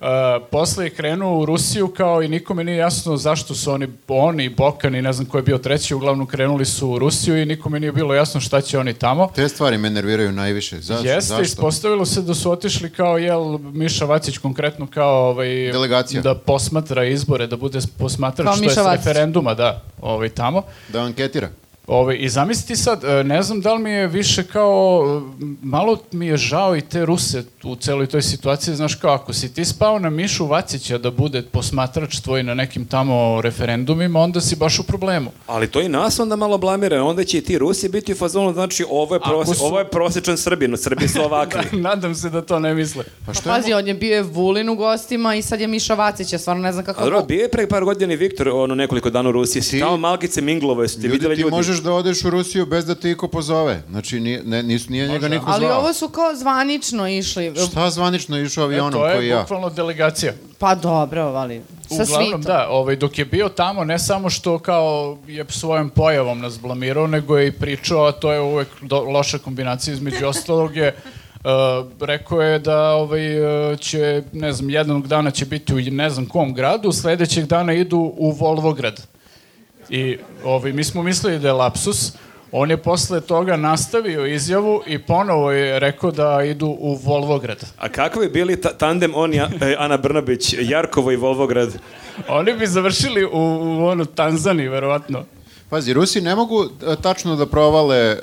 S2: Uh, posle je krenuo u Rusiju kao i nikome nije jasno zašto su oni, oni i Bokan i ne znam ko je bio treći, uglavnom krenuli su u Rusiju i nikome nije bilo jasno šta će oni tamo.
S4: Te stvari me nerviraju najviše. Zašto?
S2: Jeste,
S4: Zašto?
S2: ispostavilo se da su otišli kao, jel, Miša Vacić konkretno kao, ovaj,
S4: Delegacija.
S2: da posmatra izbore, da bude posmatrač,
S3: Kao
S2: što
S3: Miša
S2: je s
S3: Vacić.
S2: referenduma, da, ovaj, tamo.
S4: Da anketira.
S2: Ove, I zamisliti sad, e, ne znam da li mi je više kao, m, malo mi je žao i te Ruse u celoj toj situaciji, znaš kao, ako si ti spao na Mišu Vacića da bude posmatrač tvoj na nekim tamo referendumima, onda si baš u problemu.
S1: Ali to i nas onda malo blamira, onda će i ti Rusi biti u fazonu, znači ovo je,
S2: Ako
S1: prose,
S2: su-
S1: ovo je prosječan Srbin, Srbi su ovakvi.
S2: Nadam se da to ne misle.
S4: Pa
S3: Pa
S4: što je
S3: pazi, on je bio je Vulin u gostima i sad je Miša Vacić, ja stvarno ne znam
S1: A
S3: kako...
S1: dobro, bio je pre par godina i Viktor, ono nekoliko dana u Rusiji, si
S4: Ti-
S1: tamo malkice minglovo, jesu ti
S4: Ljudi,
S1: vidjeli
S4: ti
S1: ljudi?
S4: možeš da odeš u Rusiju bez da te iko pozove. Znači, nije, ne, nis, nije njega niko
S3: Ali
S4: zvao.
S3: ovo su kao zvanično išli.
S4: Šta zvanično je išao
S2: E,
S4: avionom
S2: to
S4: koji
S2: je
S4: ja?
S2: bukvalno delegacija.
S3: Pa dobro, ali... Sa svitom.
S2: Uglavnom, da, ovaj, dok je bio tamo, ne samo što kao je svojom pojavom nas blamirao, nego je i pričao, a to je uvek do, loša kombinacija, između ostalog je Uh, rekao je da ovaj, e, će, ne znam, jednog dana će biti u ne znam kom gradu, sledećeg dana idu u Volvograd. I ovaj, mi smo mislili da je lapsus, on je posle toga nastavio izjavu i ponovo je rekao da idu u Volvograd.
S1: A kako bi bili ta- tandem on i A- e, Ana Brnabić, Jarkovo i Volvograd?
S2: Oni bi završili u, u onu Tanzaniji, verovatno.
S4: Pazi, Rusi ne mogu e, tačno da provale e,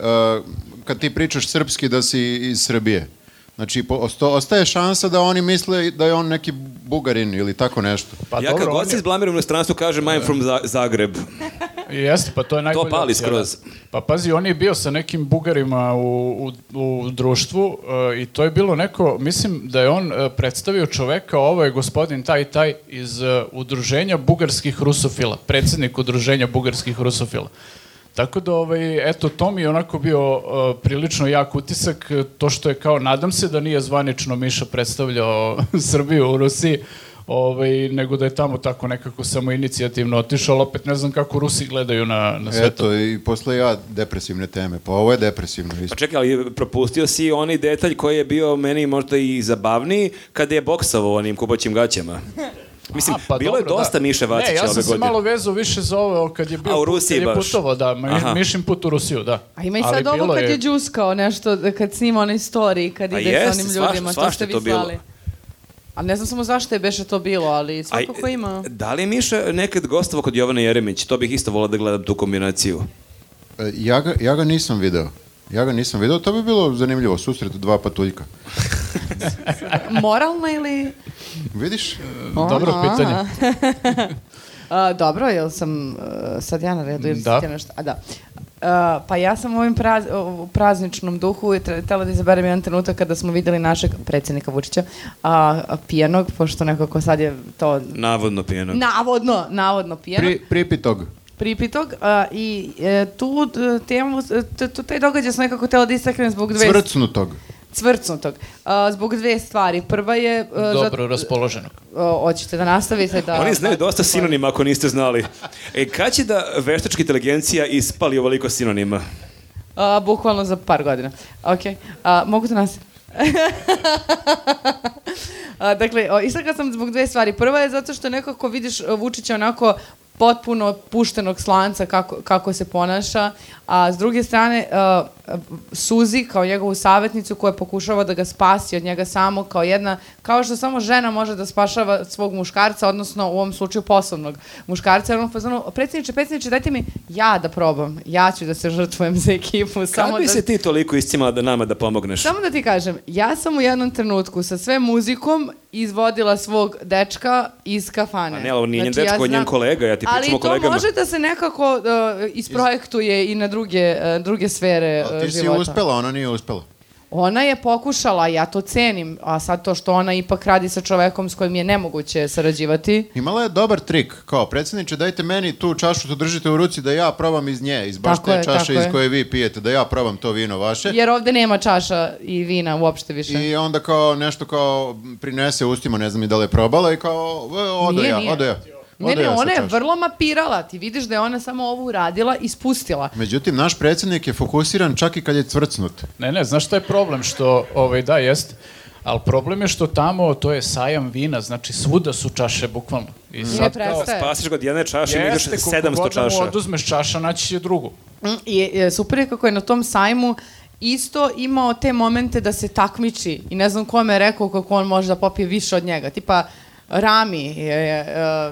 S4: kad ti pričaš srpski da si iz Srbije. Znači, po- osto- ostaje šansa da oni misle da je on neki bugarin ili tako nešto.
S2: Pa
S1: ja kad god se izblamiram u inostranstvu kažem I'm from Za- Zagreb.
S2: Jeste, pa to je najbolje.
S1: pali skroz.
S2: Pa pazi, on je bio sa nekim bugarima u, u, u društvu e, i to je bilo neko, mislim da je on e, predstavio čoveka, ovo je gospodin taj i taj iz e, udruženja bugarskih rusofila, predsednik udruženja bugarskih rusofila. Tako da, ovaj, eto, to mi je onako bio e, prilično jak utisak, e, to što je kao, nadam se da nije zvanično Miša predstavljao Srbiju u Rusiji, ovaj, nego da je tamo tako nekako samo inicijativno otišao, ali opet ne znam kako Rusi gledaju na, na sve to.
S4: Eto, i posle ja depresivne teme. Pa ovo je depresivno.
S1: Pa
S4: Isto.
S1: čekaj, ali propustio si onaj detalj koji je bio meni možda i zabavniji kada je boksao onim kupaćim gaćama. Mislim,
S2: A, pa
S1: bilo
S2: dobro,
S1: je dosta
S2: da.
S1: Miše Vacića
S2: Ne, ja
S1: ove
S2: sam
S1: godine.
S2: se malo vezao više za ovo kad je bio
S1: A, u
S2: put-
S1: Rusiji
S2: kad je
S1: baš.
S2: putovao, da, mi-
S1: Aha.
S2: Mišin put u Rusiju, da.
S3: A ima i
S2: Ali
S3: sad ovo
S2: bilo
S3: kad je džuskao nešto, da- kad snima onaj story, kad
S1: A
S3: ide
S1: jeste,
S3: sa onim
S1: svašta-
S3: ljudima, to
S1: svašta
S3: ste vi
S1: to bilo.
S3: slali. A ne znam samo zašto je beše to bilo, ali
S1: Aj,
S3: svakako ima.
S1: Da li je Miša nekad gostovo kod Jovana Jeremić? To bih isto volao da gledam tu kombinaciju.
S4: E, Ja ga, ja ga nisam video. Ja ga nisam video, to bi bilo zanimljivo, susret dva patuljka.
S3: Moralna ili...
S4: Vidiš?
S2: Dobro
S3: Aha.
S2: pitanje.
S3: A, dobro, jel sam uh, sad ja na redu ili si
S2: Da.
S3: ti nešto? A, da. Uh, pa ja sam u ovim praz, u prazničnom duhu i tra- htela da izaberem jedan trenutak kada smo videli našeg predsjednika Vučića a, a, pijanog, pošto nekako sad je to
S1: Navodno pijenog.
S3: navodno, navodno pijanog.
S4: Pri, pripitog.
S3: pripitog a, i e, tu e, temu, t- tu taj događaj sam nekako htela da istaknem zbog dve...
S4: Cvrcnutog.
S3: Cvrcnutog. A, zbog dve stvari. Prva je... e,
S5: Dobro
S3: zato-
S5: raspoloženog.
S3: o, hoćete da nastavite da...
S1: Oni znaju
S3: da-
S1: dosta sinonima ako niste znali. E, kad će da veštačka inteligencija ispali ovoliko sinonima?
S3: A, bukvalno za par godina. Ok. A, mogu da nas... A, dakle, o, istakla sam zbog dve stvari. Prva je zato što nekako vidiš e, Vučića onako potpuno puštenog slanca kako, kako se ponaša, a s druge strane e, Suzi kao njegovu savjetnicu koja pokušava da ga spasi od njega samog kao jedna, kao što samo žena može da spašava svog muškarca, odnosno u ovom slučaju poslovnog muškarca, jer on fazonu, predsjedniče, predsjedniče, dajte mi ja da probam, ja ću da se žrtvujem za ekipu.
S1: Kad
S3: samo
S1: bi
S3: da...
S1: se ti toliko iscimala da nama da pomogneš?
S3: Samo da ti kažem, ja sam u jednom trenutku sa sve muzikom izvodila svog dečka iz kafane. Znači,
S1: A ne, ali on nije njen
S3: ja
S1: dečko, on je njen
S3: znam-
S1: kolega, ja ti pričam o
S3: Ali to
S1: kolegama.
S3: može da se nekako uh, isprojektuje i na druge, uh, druge sfere uh,
S4: Ali ti si
S3: života.
S4: uspela, ona nije uspela.
S3: Ona je pokušala, ja to cenim, a sad to što ona ipak radi sa čovekom s kojim je nemoguće sarađivati.
S4: Imala je dobar trik, kao predsjedniče, dajte meni tu čašu što držite u ruci da ja probam iz nje, iz baš
S3: Tako
S4: te
S3: je, tako
S4: čaše iz
S3: je.
S4: koje vi pijete, da ja probam to vino vaše.
S3: Jer ovde nema čaša i vina uopšte više.
S4: I onda kao nešto kao prinese ustima, ne znam i da li je probala i kao e, odo
S3: Nije,
S4: ja,
S3: nije.
S4: odo ja.
S3: Ne,
S4: Odo
S3: ne,
S4: ja sa
S3: ona je
S4: čašom.
S3: vrlo mapirala. Ti vidiš da je ona samo ovo uradila i spustila.
S4: Međutim, naš predsjednik je fokusiran čak i kad je cvrcnut.
S2: Ne, ne, znaš šta je problem? Što, ovaj, da, jest, ali problem je što tamo, to je sajam vina, znači svuda su čaše, bukvalno. I
S3: Ne
S2: sad kao,
S3: prestaje.
S1: Spasiš ga od jedne čaše i ideš
S2: jeste, koliko
S1: 700
S2: god da mu
S1: čaša.
S2: oduzmeš čaša, naći će drugu.
S3: Mm, I e, super je kako je na tom sajmu isto imao te momente da se takmiči i ne znam kome je rekao kako on može da popije više od njega. Tipa Rami, e, e,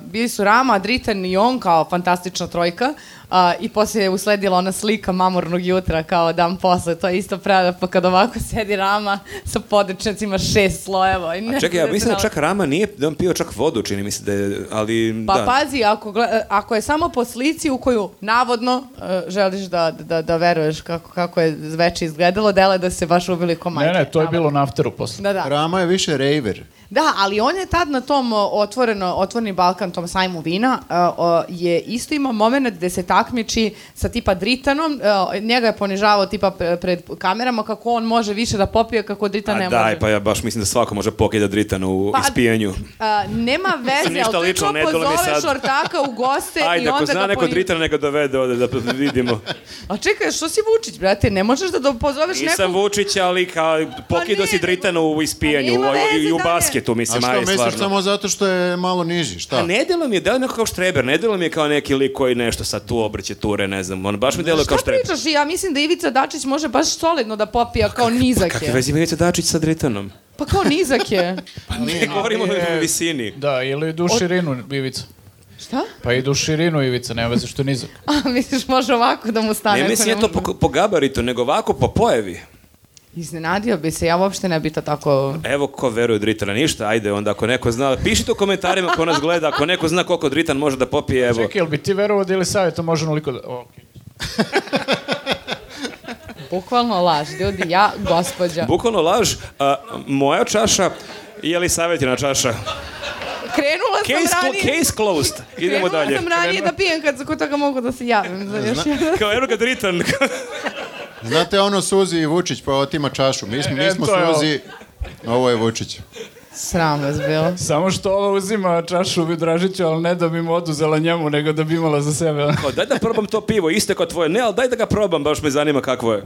S3: bili su Rama, Dritan i on kao fantastična trojka a, i poslije je usledila ona slika mamornog jutra kao dan posle. To je isto prada pa kad ovako sedi Rama sa područnjacima šest slojeva. I ne
S1: A
S3: znam
S1: čekaj, ja
S3: gde se
S1: mislim da
S3: nalazi.
S1: čak Rama nije, da on pio čak vodu, čini mi se da je, ali
S3: Pa
S1: da.
S3: pazi, ako, gle- e, ako je samo po slici u koju navodno e, želiš da, da, da veruješ kako, kako je veče izgledalo, dele da se baš ubili ko majke.
S2: Ne, ne, to je
S3: navodno.
S2: bilo na afteru posle.
S3: Da, da.
S4: Rama je više rejver.
S3: da, ali on je tad na tom o, otvoreno, otvoreni Balkan, tom sajmu vina, e, o, je isto imao moment gde se takmiči sa tipa Dritanom, e, njega je ponižavao tipa pre- pred kamerama kako on može više da popije, kako Dritan
S1: A
S3: ne može.
S1: daj, pa ja baš mislim da svako može pokida dritanu u
S3: Pa,
S1: ispijanju.
S3: a, nema veze,
S1: Ništa
S3: ali to je
S1: lično,
S3: kao
S1: ne dole mi
S3: pozoveš
S1: sad.
S3: ortaka u goste i
S1: Ajde,
S3: onda
S1: ako zna
S3: ga
S1: neko
S3: poni-
S1: dritan, neka dovede ovde da vidimo.
S3: A čekaj, što si Vučić, brate? Ne možeš da do, pozoveš
S1: Nisam
S3: nekog...
S1: Vučić, ali kao pokido
S3: ne,
S1: si dritanu u
S3: Pa
S1: ispijanju
S3: nema
S1: u- i- i
S3: veze
S1: u
S3: da je.
S1: basketu,
S4: A
S1: mislim,
S4: što
S1: aj,
S4: misliš
S1: stvarno.
S4: samo zato što je malo niži, šta?
S1: A ne delo mi je, delo je neko kao štreber, ne delo mi je kao neki lik koji nešto sad tu obreće ture, ne znam, on baš mi delo
S3: Da Šta
S1: kao štreber.
S3: pričaš? Ja mislim da Ivica Dačić može baš solidno da popija kao nizak
S1: Pa Kakve
S3: je.
S1: veze ima Ivica Dačić sa dritanom?
S3: Pa kao nizak je.
S1: Pa ne, govorimo
S2: ali-
S1: o visini.
S2: Da, ili idu u širinu, Ivica.
S3: Šta?
S2: Pa idu u širinu, Ivica, nema veze što je nizak.
S3: A misliš može ovako da mu stane?
S1: Ne
S3: ako
S1: mislim je to
S3: može?
S1: po, po gabaritu, nego ovako po pojavi.
S3: Iznenadio bi se, ja uopšte ne bi to tako...
S1: Evo ko veruje u Dritana, ništa, ajde onda ako neko zna, pišite u komentarima ko nas gleda, ako neko zna koliko Dritan može da popije, evo.
S2: Čekaj, jel bi ti verovao da ili savjeta može onoliko da... okej.
S3: Bukvalno laž, ljudi, ja, gospođa.
S1: Bukvalno laž, a, moja čaša je li savjetina čaša?
S3: Krenula
S1: Case,
S3: sam
S1: clo-
S3: ranije...
S1: case closed, idemo
S3: Krenula
S1: dalje.
S3: sam ranije da pijem kad za kod toga mogu da se javim za još jedan.
S1: Kao eno ga Dritan.
S4: Znate ono Suzi i Vučić pa otima čašu. Mi smo,
S2: E,
S4: mi
S2: e,
S4: smo
S2: to je ovo.
S4: Suzi, ovo je Vučić.
S3: Sram vas bilo.
S2: Samo što ova uzima čašu Vidražiću, ali ne da bi mu oduzela njemu, nego da bi imala za sebe.
S1: Kao, daj da probam to pivo, iste kao tvoje, ne, ali daj da ga probam, baš me zanima kakvo je.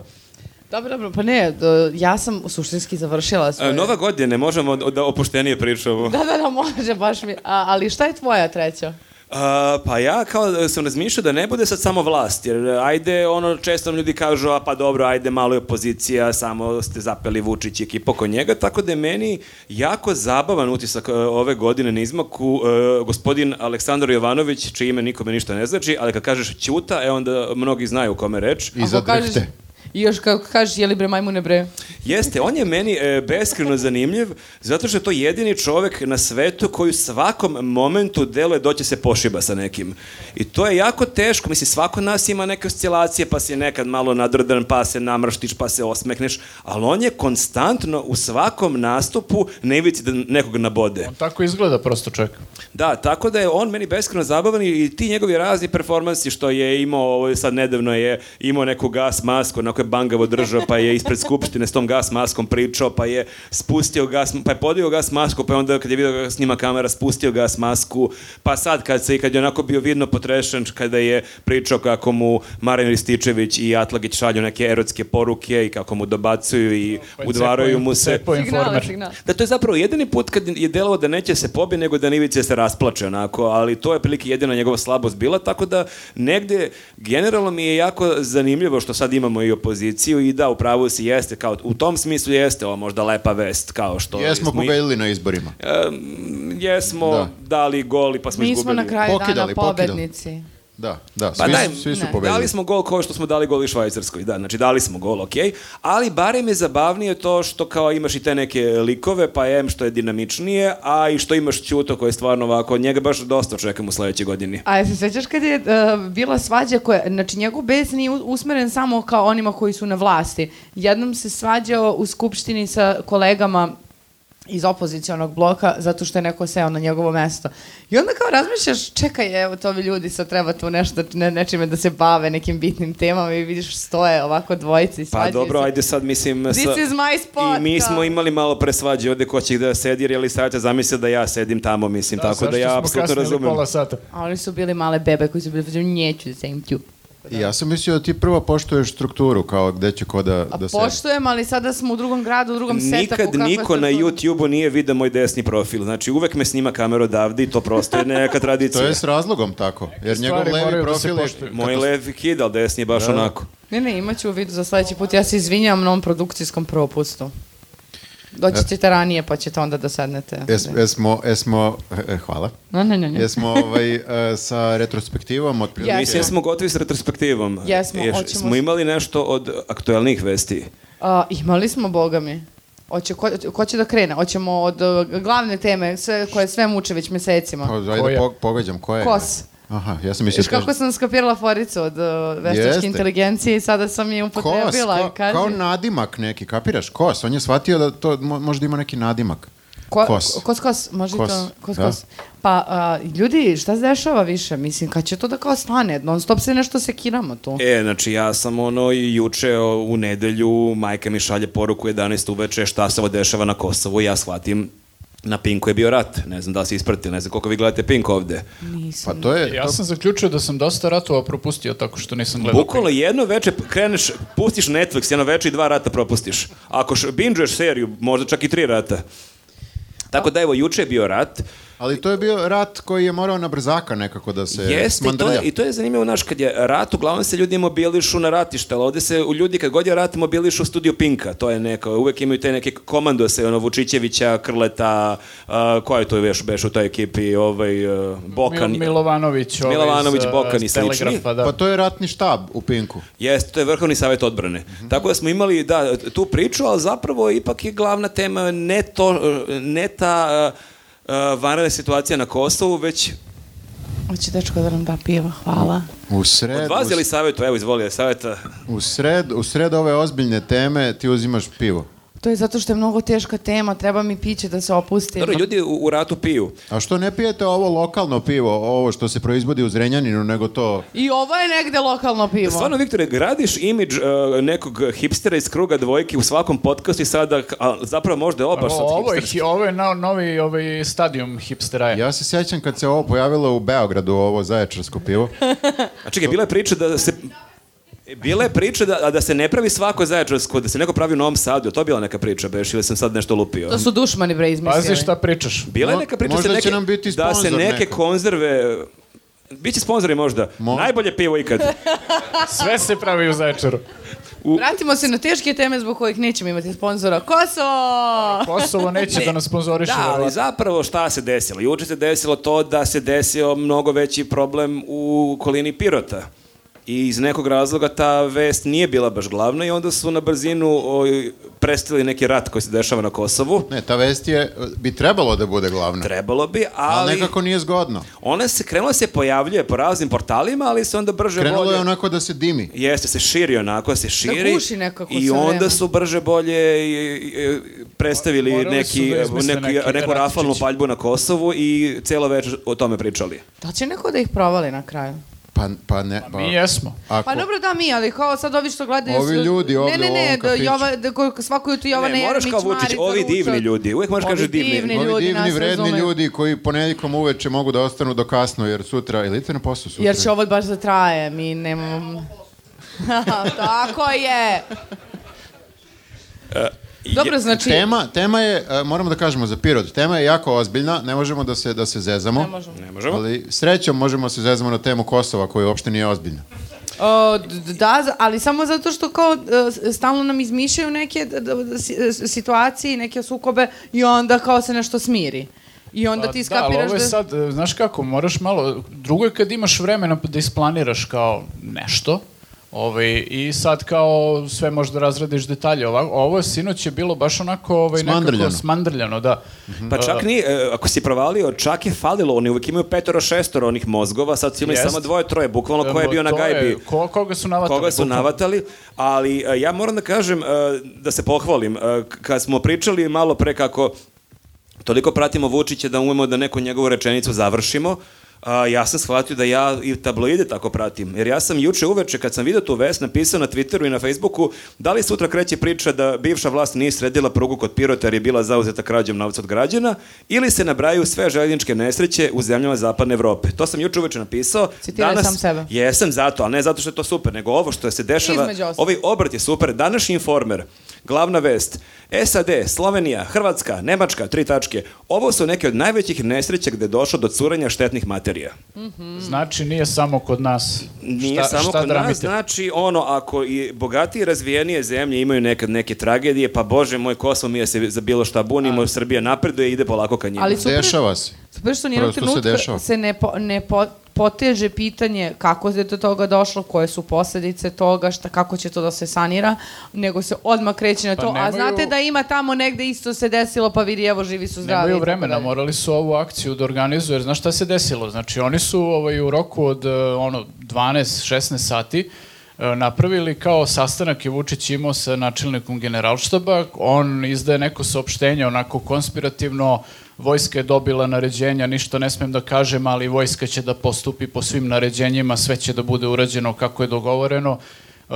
S3: Dobro, dobro, pa ne, do- ja sam suštinski završila
S1: E,
S3: svoje...
S1: nova godine, možemo da opuštenije pričamo.
S3: Da, da, da, može, baš mi. A, ali šta je tvoja treća?
S1: A, pa ja kao sam razmišljao da ne bude sad samo vlast, jer ajde, ono, često nam ljudi kažu, a pa dobro, ajde, malo je opozicija, samo ste zapeli Vučić i ekipa oko njega, tako da je meni jako zabavan utisak e, ove godine na izmaku e, gospodin Aleksandar Jovanović, čije ime nikome ništa ne znači, ali kad kažeš Ćuta, e onda mnogi znaju o kome je reč.
S4: I zadrhte.
S3: I još kako kažeš, jeli bre majmune bre.
S1: Jeste, on je meni e, beskreno zanimljiv, zato što je to jedini čovek na svetu koji u svakom momentu deluje doće se pošiba sa nekim. I to je jako teško, mislim, svako od nas ima neke oscilacije, pa si nekad malo nadrdan, pa se namrštiš, pa se osmehneš, ali on je konstantno u svakom nastupu na ivici da nekog nabode.
S2: On tako izgleda prosto čovjek.
S1: Da, tako da je on meni beskreno zabavan i i ti njegovi razni performansi što je imao, ovo je sad nedavno je imao neku gas masku, onako je bangavo držao, pa je ispred skupštine s tom gas maskom pričao, pa je spustio gas, pa je podio gas masku, pa je onda kad je vidio kako snima kamera, spustio gas masku, pa sad kad se i kad je onako bio vidno potrešen, kada je pričao kako mu Marin Rističević i Atlagić šalju neke erotske poruke i kako mu dobacuju i
S2: Pa je
S1: udvaraju
S2: cepao-
S1: mu se.
S2: cepao
S3: Signal,
S2: informer.
S3: signal.
S1: Da, to je zapravo jedini put kad je delovao da neće se pobi, nego da Nivice se rasplače onako, ali to je prilike jedina njegova slabost bila, tako da negde generalno mi je jako zanimljivo što sad imamo i opoziciju i da, u pravu si jeste, kao u tom smislu jeste ovo možda lepa vest, kao što
S4: Jesmo
S1: smo i-
S4: pobedili na izborima.
S1: jesmo
S4: Da.
S1: dali gol i pa smo
S3: Mi smo
S1: izgubili.
S3: na kraju
S4: Pokidali,
S3: dana
S4: pokidali.
S3: pobednici.
S4: Da, da, svi,
S1: Pa daj,
S4: svi su
S3: ne.
S4: pobedili.
S1: Dali smo gol kao što smo dali gol i Švajcarskoj, da, znači dali smo gol, okej, ali barem je zabavnije to što kao imaš i te neke likove, pa M što je dinamičnije, a i što imaš Ćuto koji je stvarno ovako, njega baš dosta očekujemo u sledećoj godini.
S3: A jel se sećaš kad je uh, bila svađa koja, znači njegov bes nije u- usmeren samo kao onima koji su na vlasti. Jednom se svađao u skupštini sa kolegama iz opozicionog bloka zato što je neko seo na njegovo mesto. I onda kao razmišljaš, čekaj, evo to ovi ljudi sad treba tu nešto, ne, nečime da se bave nekim bitnim temama i vidiš stoje ovako dvojice i
S1: Pa
S3: svađaju
S1: dobro,
S3: se.
S1: ajde sad mislim...
S3: This is my spot, da.
S1: I mi
S3: kao.
S1: smo imali malo pre svađe ovde ko će da sedi, jer je li savjeta zamisli da ja sedim tamo, mislim, tako da
S2: zašto
S1: ja
S2: smo
S1: apsolutno
S2: kasnili
S1: razumem.
S2: pola sata?
S3: A oni su bili male bebe koji su bili, znači, neću da sedim tu.
S4: I ja sam mislio da ti prvo poštuješ strukturu, kao gde će ko da,
S3: A
S4: da se...
S3: poštujem, ali sada smo u drugom gradu, u drugom setapu.
S1: Nikad
S3: kakva je
S1: niko na
S3: struktura.
S1: YouTube-u nije vidio moj desni profil. Znači, uvek me snima kamera odavde i to prosto je neka tradicija.
S4: To je s razlogom tako, jer njegov
S2: stvari
S4: levi
S2: moraju da se
S4: profil je...
S2: poštuju.
S1: Moj levi kid, ali desni je baš onako.
S3: Ne, ne, imaću u vidu za sledeći put. Ja se izvinjam na ovom produkcijskom propustu.
S4: E.
S3: Doći ćete ranije, pa ćete onda da sednete.
S4: Es, esmo, esmo, e, e, hvala.
S3: Ne, ne, ne. ne.
S4: Jesmo ovaj, e, sa retrospektivom od
S3: Jesmo.
S1: Mislim, jesmo gotovi s retrospektivom.
S3: Jesmo,
S1: Ješ-
S3: hoćemo-
S1: Smo imali nešto od aktuelnih vesti.
S3: A, imali smo, boga mi. Oće, ko, ko će da krene? Hoćemo od uh, glavne teme, sve, koje sve muče već mesecima.
S4: Ajde,
S2: Koja?
S4: da po, pogađam, koja je?
S3: Kos.
S4: Aha, ja sam mislio...
S3: Viš kako sam skapirala foricu od uh, veštačke
S4: Jeste.
S3: inteligencije i sada sam je
S4: Kos,
S3: upotrebila.
S4: kao,
S3: kaži.
S4: kao nadimak neki, kapiraš? Kos, on je shvatio da to mo- možda ima neki nadimak.
S3: Ko,
S4: kos.
S3: Kos, kos, može
S4: Kos,
S3: to. Kos,
S4: da.
S3: kos. Pa, a, ljudi, šta se dešava više? Mislim, kad će to da kao stane? Non stop se nešto sekiramo tu.
S1: E, znači ja sam ono i juče o, u nedelju, majka mi šalje poruku 11 uveče šta se ovo dešava na Kosovu i ja shvatim na Pinku je bio rat. Ne znam da li si ispratili, ne znam koliko vi gledate Pink ovde.
S4: Pa
S3: Nisam.
S4: to je...
S2: Ja
S4: to-
S2: sam zaključio da sam dosta ratova propustio tako što nisam gledao.
S1: Bukvalno jedno veče kreneš, pustiš Netflix, jedno veče i dva rata propustiš. Ako š- bingeuješ seriju, možda čak i tri rata. Tako da evo, juče je bio rat,
S4: Ali to je bio rat koji je morao na brzaka nekako da se
S1: Jeste, i to,
S4: smandrlja.
S1: je, i to je zanimljivo, znaš, kad je rat, uglavnom se ljudi mobilišu na ratište, ali ovde se u ljudi, kad god je rat, mobilišu u studio Pinka, to je neka, uvek imaju te neke komandose, ono, Vučićevića, Krleta, a, ko je to još beš u toj ekipi, ovaj, e, Bokan,
S2: Mil- Milovanović, ovaj
S1: Milovanović,
S2: iz, eh,
S1: Bokan i slični.
S2: Telegrafa, da.
S4: Pa to je ratni štab u Pinku.
S1: Jeste, to je Vrhovni savjet odbrane. Tako da smo imali da, tu priču, ali zapravo ipak je glavna tema ne, to, ne ta uh, vanredna situacija na Kosovu, već
S3: Hoće dečko da nam da piva, hvala.
S4: U sred,
S1: od vas je
S4: u,
S1: li savjetu, evo izvoli, savjeta,
S4: u sred, u sred ove ozbiljne teme ti uzimaš pivo.
S3: To je zato što je mnogo teška tema, treba mi piće da se opustim.
S1: Dobro, ljudi u, u ratu piju.
S4: A što ne pijete ovo lokalno pivo, ovo što se proizvodi u Zrenjaninu, nego to...
S3: I ovo je negde lokalno pivo.
S1: Da Stvarno, Viktore, gradiš imidž e, nekog hipstera iz kruga dvojke u svakom podcastu i sada, a, zapravo možda je oba što
S2: Ovo je,
S1: hipster.
S2: hi- ovo je na, novi ovaj stadion hipsteraja.
S4: Ja se sjećam kad se ovo pojavilo u Beogradu, ovo zaječarsko pivo.
S1: A čekaj, bila je priča da se... Bila je priča da, da se ne pravi svako zajačarsko, da se neko pravi u Novom Sadu, to je bila neka priča, beš, ili sam sad nešto lupio.
S3: To su dušmani bre izmislili.
S2: Pazi šta pričaš.
S1: Bila je
S4: Mo-
S1: neka priča da
S4: možda
S1: se
S4: će
S1: neke,
S4: nam biti
S1: da se
S4: sponzor
S1: neke
S4: neko.
S1: konzerve Biće sponzori možda.
S4: Mo-
S1: Najbolje pivo ikad.
S2: Sve se pravi u začaru.
S3: Vratimo se na teške teme zbog kojih nećemo imati sponzora. Kosovo!
S2: Kosovo neće
S1: Ne.
S2: da nas sponzoriše.
S1: Da, ali
S2: verovatno.
S1: zapravo šta se desilo? Juče se desilo to da se desio mnogo veći problem u okolini Pirota. I iz nekog razloga ta vest nije bila baš glavna i onda su na brzinu oj, prestili neki rat koji se dešava na Kosovu.
S4: Ne, ta vest je, bi trebalo da bude glavna.
S1: Trebalo bi,
S4: Ali
S1: ali
S4: nekako nije zgodno.
S1: ona se krenula se pojavljuje po raznim portalima, ali se onda brže
S4: Krenulo
S1: bolje...
S4: je onako da se dimi.
S1: Jeste, se širi onako, se širi.
S3: Da guši nekako
S1: I
S3: sa
S1: onda
S3: vremenom.
S1: su brže bolje i, i, predstavili
S2: Morali su
S1: neki, e,
S2: da izmisle
S1: neki,
S2: neki
S1: neku rafalnu
S2: ratičić.
S1: paljbu na Kosovu i celo večer o tome pričali.
S3: Da će neko da ih provali na kraju?
S4: Pa, pa ne, pa,
S2: Mi jesmo.
S4: ako,
S3: Pa dobro da mi, ali kao sad ovi što gledaju...
S4: Ovi
S3: su-
S4: ljudi
S3: Ne,
S4: ovde u
S3: ne, ne,
S4: ovom
S3: da
S4: kafiću.
S3: Jova, da, ko- svako jutro Jovana
S1: ne, moraš
S3: Jeremić,
S1: kao Vučić,
S3: Marica
S1: ovi divni
S3: Ručak.
S1: ljudi. Uvijek moraš
S3: Ovi
S1: kaže divni.
S3: divni.
S4: Ovi
S3: ljudi
S4: divni,
S3: nas
S4: vredni
S3: razumeju.
S4: ljudi koji ponedjeljkom uveče mogu da ostanu do kasno, jer sutra, ili idete na posao sutra?
S3: Jer će ovo baš da traje, mi nemamo... Tako je! Dobro, znači...
S4: Tema, tema je, e, moramo da kažemo za Pirot, tema je jako ozbiljna, ne možemo da se, da se zezamo.
S3: Ne možemo.
S1: Ne možemo.
S4: Ali srećom možemo da se zezamo na temu Kosova koja uopšte nije ozbiljna.
S3: O, d- d- da, za- ali samo zato što kao e, s- stalno nam izmišljaju neke d- d- d- si- e, situacije i neke sukobe i onda kao se nešto smiri. I onda ti
S2: Pa Da, ali
S3: skapiraš
S2: ovo
S3: da...
S2: je sad, e, znaš kako, moraš malo, drugo je kad imaš vremena da isplaniraš kao nešto, ovaj, i sad kao sve možeš da razradiš detalje. Ovako, ovo je sinoć je bilo baš onako ovaj,
S4: Smandrljano.
S2: nekako smandrljano, da.
S1: Pa čak ni, e, ako si provalio, čak je falilo, oni uvijek imaju petoro, šestoro onih mozgova, sad su imali
S2: Jest.
S1: samo dvoje, troje, bukvalno ko je
S2: E,
S1: bio na
S2: to je-
S1: gajbi.
S2: Ko, koga su navatali?
S1: koga su
S2: bukvalno.
S1: navatali, ali e, ja moram da kažem, e, da se pohvalim, e, k- kad smo pričali malo pre kako toliko pratimo Vučića da umemo da neku njegovu rečenicu završimo, a, ja sam shvatio da ja i tabloide tako pratim, jer ja sam juče uveče kad sam vidio tu vest napisao na Twitteru i na Facebooku da li sutra kreće priča da bivša vlast nije sredila prugu kod Pirota jer je bila zauzeta krađom novca od građana ili se nabraju sve željezničke nesreće u zemljama zapadne Evrope. To sam juče uveče napisao.
S3: Citiraj sam sebe.
S1: Jesam zato, ali ne zato što je to super, nego ovo što se dešava,
S3: Između ostalog.
S1: ovaj obrat je super. Današnji informer, glavna vest, SAD, Slovenija, Hrvatska, Nemačka, tri tačke, ovo su neke od najvećih nesreća gde je došlo do curanja štetnih materija.
S3: Mm.
S2: Znači nije samo kod nas.
S1: Nije
S2: šta,
S1: samo
S2: šta
S1: kod
S2: dramite?
S1: nas, znači ono, ako i bogatije i razvijenije zemlje imaju nekad neke tragedije, pa bože moj Kosovo, mi je se za bilo šta bunimo, Srbija napreduje i ide polako ka njima.
S3: Ali super,
S4: Dešava se.
S3: super što nijednog
S4: Prosto se
S3: trenutka se,
S4: dešava.
S3: ne, po, ne po, poteže pitanje kako je do toga došlo, koje su posljedice toga, šta, kako će to da se sanira, nego se odmah kreće na
S2: Pa
S3: to. A
S2: nemaju-
S3: znate da ima tamo negde isto se desilo, pa vidi, evo, živi su zdravi. i
S2: Nemaju
S3: tako
S2: vremena,
S3: dalje.
S2: morali su ovu akciju da organizuju, jer znaš šta se desilo? Znači, oni su ovaj, u roku od eh, ono, 12-16 sati eh, napravili kao sastanak je Vučić imao sa načelnikom generalštaba, on izdaje neko saopštenje onako konspirativno, vojska je dobila naređenja, ništa ne smem da kažem, ali vojska će da postupi po svim naređenjima, sve će da bude urađeno kako je dogovoreno. Uh,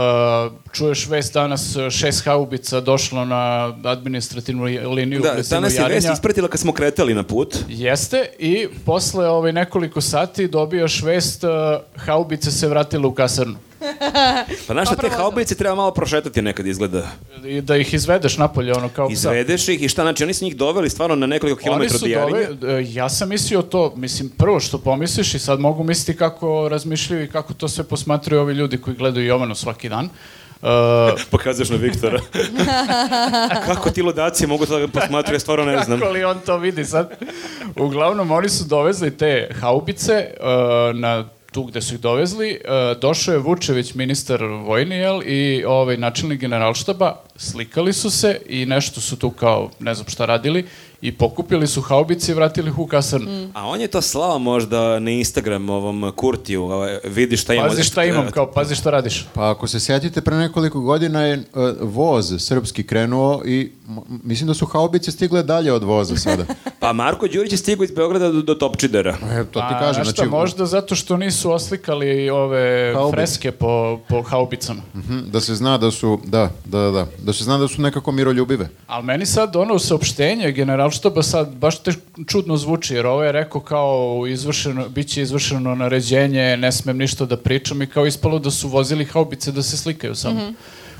S2: čuješ vest danas eh, šest haubica došlo na administrativnu liniju
S1: da,
S2: blizinu
S1: danas je vest
S2: Jarinja.
S1: ispratila kad smo kretali na put.
S2: Jeste i posle ovaj nekoliko sati dobijaš vest uh, haubice se vratile u kasarnu.
S1: Pa znaš šta, te
S3: da.
S1: haubice treba malo prošetati nekad izgleda.
S2: I da ih izvedeš napolje ono kao psa.
S1: Izvedeš ih i šta, znači oni su njih doveli stvarno na nekoliko
S2: Da. Oni
S1: kilometra
S2: su
S1: od Jarinja.
S2: dove- e, ja sam mislio to, mislim prvo što pomisliš i sad mogu misliti kako razmišljaju i kako to sve posmatraju ovi ljudi koji gledaju Jovanu svaki dan. Uh,
S1: Pokazuješ na Viktora. Kako ti ludaci mogu to da posmatruju, ja stvarno ne znam.
S2: Kako li on to vidi sad? Uglavnom, oni su dovezli te haubice e, na tu gde su ih dovezli. E, došao je Vučević, ministar vojni, jel, i ovaj, načelnik generalštaba. Slikali su se i nešto su tu kao, ne znam šta radili, i pokupili su haubice i vratili ih u kasarnu.
S1: A on je to slao možda na Instagram ovom Kurtiju, ovaj, vidi šta ima.
S2: Pazi šta imam, kao pazi šta radiš.
S4: Pa ako se sjetite, pre nekoliko godina je e, voz srpski krenuo i m- mislim da su haubice stigle dalje od voza sada.
S1: Pa Marko Đurić je stigao iz Beograda do, do Topčidera.
S4: E, to ti
S2: A,
S4: kažem.
S2: Pa, znaš šta,
S4: znači,
S2: možda zato što nisu oslikali ove
S4: Haubice.
S2: freske po, po haubicama.
S4: mhm, Da se zna da su, da, da, da, da, da se zna da su nekako miroljubive.
S2: Ali meni sad ono saopštenje generalštaba sad baš te čudno zvuči, jer ovo je rekao kao izvršeno, bit će izvršeno naređenje, ne smem ništa da pričam i kao ispalo da su vozili haubice da se slikaju samo.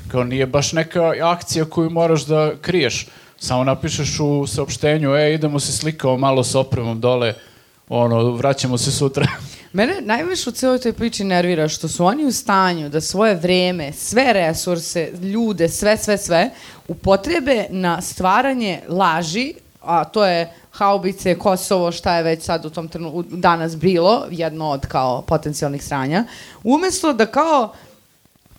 S2: Kao nije baš neka akcija koju moraš da kriješ. Samo napišeš u saopštenju, e, idemo se slikao malo s opremom dole, ono, vraćamo se sutra.
S3: Mene najviše u cijeloj toj priči nervira što su oni u stanju da svoje vreme, sve resurse, ljude, sve, sve, sve, upotrebe na stvaranje laži, a to je haubice, Kosovo, šta je već sad u tom trenutku danas bilo, jedno od kao potencijalnih sranja, umesto da kao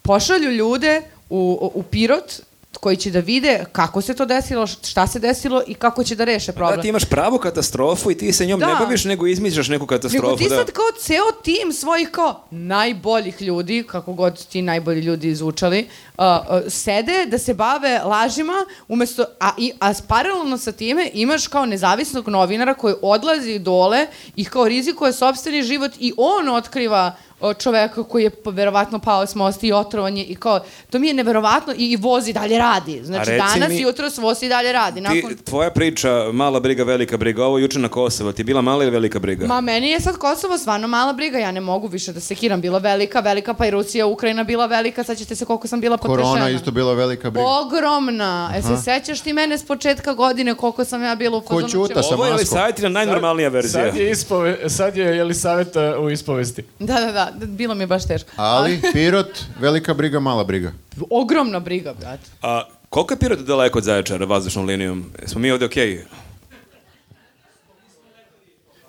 S3: pošalju ljude u, u Pirot koji će da vide kako se to desilo, šta se desilo i kako će da reše problem.
S1: Da, ti imaš pravu katastrofu i ti se njom
S3: Da.
S1: ne baviš, nego izmišljaš neku katastrofu.
S3: Nego ti
S1: da.
S3: sad kao ceo tim svojih kao najboljih ljudi, kako god ti najbolji ljudi izvučali, uh, uh, sede da se bave lažima, umesto, a, i, a s- paralelno sa time imaš kao nezavisnog novinara koji odlazi dole i kao rizikuje sobstveni život i on otkriva uh, čoveka koji je pa- verovatno pao s mosta i otrovan je i kao, to mi je neverovatno i, i vozi dalje radi. Znači
S1: reci
S3: danas
S1: mi-
S3: i jutro vozi dalje radi.
S1: Ti,
S3: Nakon...
S1: tvoja priča, mala briga, velika briga, ovo juče na Kosovo, ti je bila mala ili velika
S4: Da.
S1: briga?
S3: Ma meni je sad Kosovo stvarno mala briga, ja ne mogu više da sekiram, bila velika, velika, pa i Rusija, Ukrajina bila velika, sad ćete se koliko sam bila potrešena.
S4: Korona je isto bila velika briga.
S3: Ogromna. E se sećaš ti mene s početka godine koliko sam ja bila u fazonu
S4: ćuta
S3: ćemo-
S4: sa
S1: Ovo je
S4: maskom.
S1: Elisavetina najnormalnija verzija.
S2: Sad je, ispove, sad je Jelisaveta u ispovesti.
S3: Da, da, da, da, bilo mi je baš teško.
S4: Ali, Pirot, velika briga, mala briga.
S3: A, ogromna briga, brat.
S1: A koliko je Pirot daleko od Zaječara vazdušnom linijom? Smo mi ovde okej?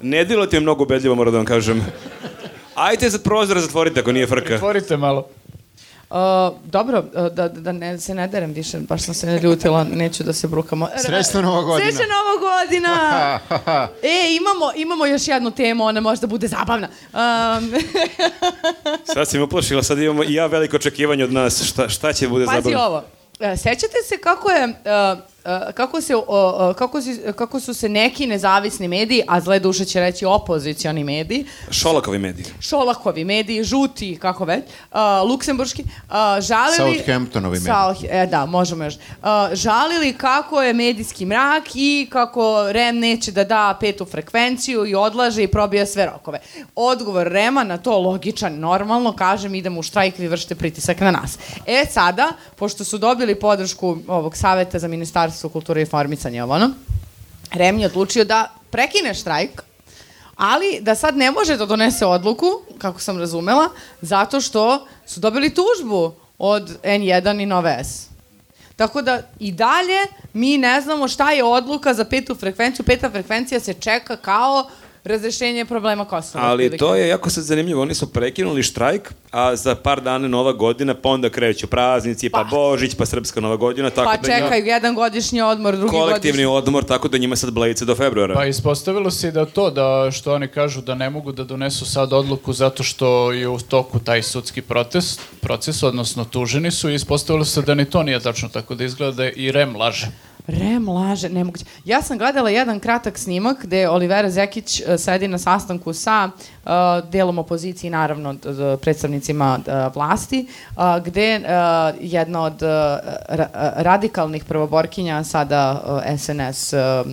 S1: Ne dilo ti je mnogo ubedljivo, moram da vam kažem. Ajde sad prozor zatvorite ako nije frka.
S2: Otvorite malo.
S3: A, dobro, a, da, da ne, se ne derem više, baš sam se ne ljutila, neću da se brukamo.
S4: Srećna Nova godina.
S3: Srećna nova godina!
S4: Ha, ha, ha.
S3: E, imamo, imamo još jednu temu, ona možda bude zabavna. Um,
S1: Sad si me uplašila, sad imamo i ja veliko očekivanje od nas. Šta, šta će bude
S3: Pazi
S1: zabavno?
S3: ovo. E, Sećate se kako je e, e, kako se o, o, kako si- kako su se neki nezavisni mediji, a zle duše će reći opozicioni mediji,
S1: Šolakovi mediji.
S3: Šolakovi mediji, žuti, kako već, a, luksemburški, a, žalili...
S4: Southamptonovi mediji.
S3: South- e, da, možemo još. A, žalili kako je medijski mrak i kako REM neće da da petu frekvenciju i odlaže i probija sve rokove. Odgovor REM-a na to logičan, normalno, kažem idemo u štrajk, vi vršite pritisak na nas. E sada, pošto su dobili podršku ovog saveta za Ministarstvo kulture i informisanja, ovo ono, REM je odlučio da prekine štrajk, ali da sad ne može da donese odluku, kako sam razumela, zato što su dobili tužbu od N1 i Nove S. Tako da i dalje mi ne znamo šta je odluka za petu frekvenciju. Peta frekvencija se čeka kao razrešenje problema Kosova.
S1: Ali
S3: otprilike.
S1: to je jako sad zanimljivo. Oni su prekinuli štrajk, a za par dana je nova godina, pa onda kreću praznici, pa,
S3: Pa.
S1: Božić, pa Srpska nova godina, tako
S3: Pa
S1: da njima-
S3: čekaju jedan godišnji odmor, drugi
S1: kolektivni
S3: godišnji.
S1: odmor, tako da njima sad blejice do februara.
S2: Pa ispostavilo se i da to, da što oni kažu da ne mogu da donesu sad odluku zato što je u toku taj sudski protest, proces, odnosno tuženi su i ispostavilo se da ni to nije tačno, tako da izgleda da i REM laže.
S3: Rem laže, nemoguće. Ja sam gledala jedan kratak snimak gde Olivera Zekić e, sedi na sastanku sa e, delom opozicije i naravno d- d- predstavnicima e, vlasti, a, gde e, jedna od e, ra- a, radikalnih prvoborkinja, sada e, SNS, e,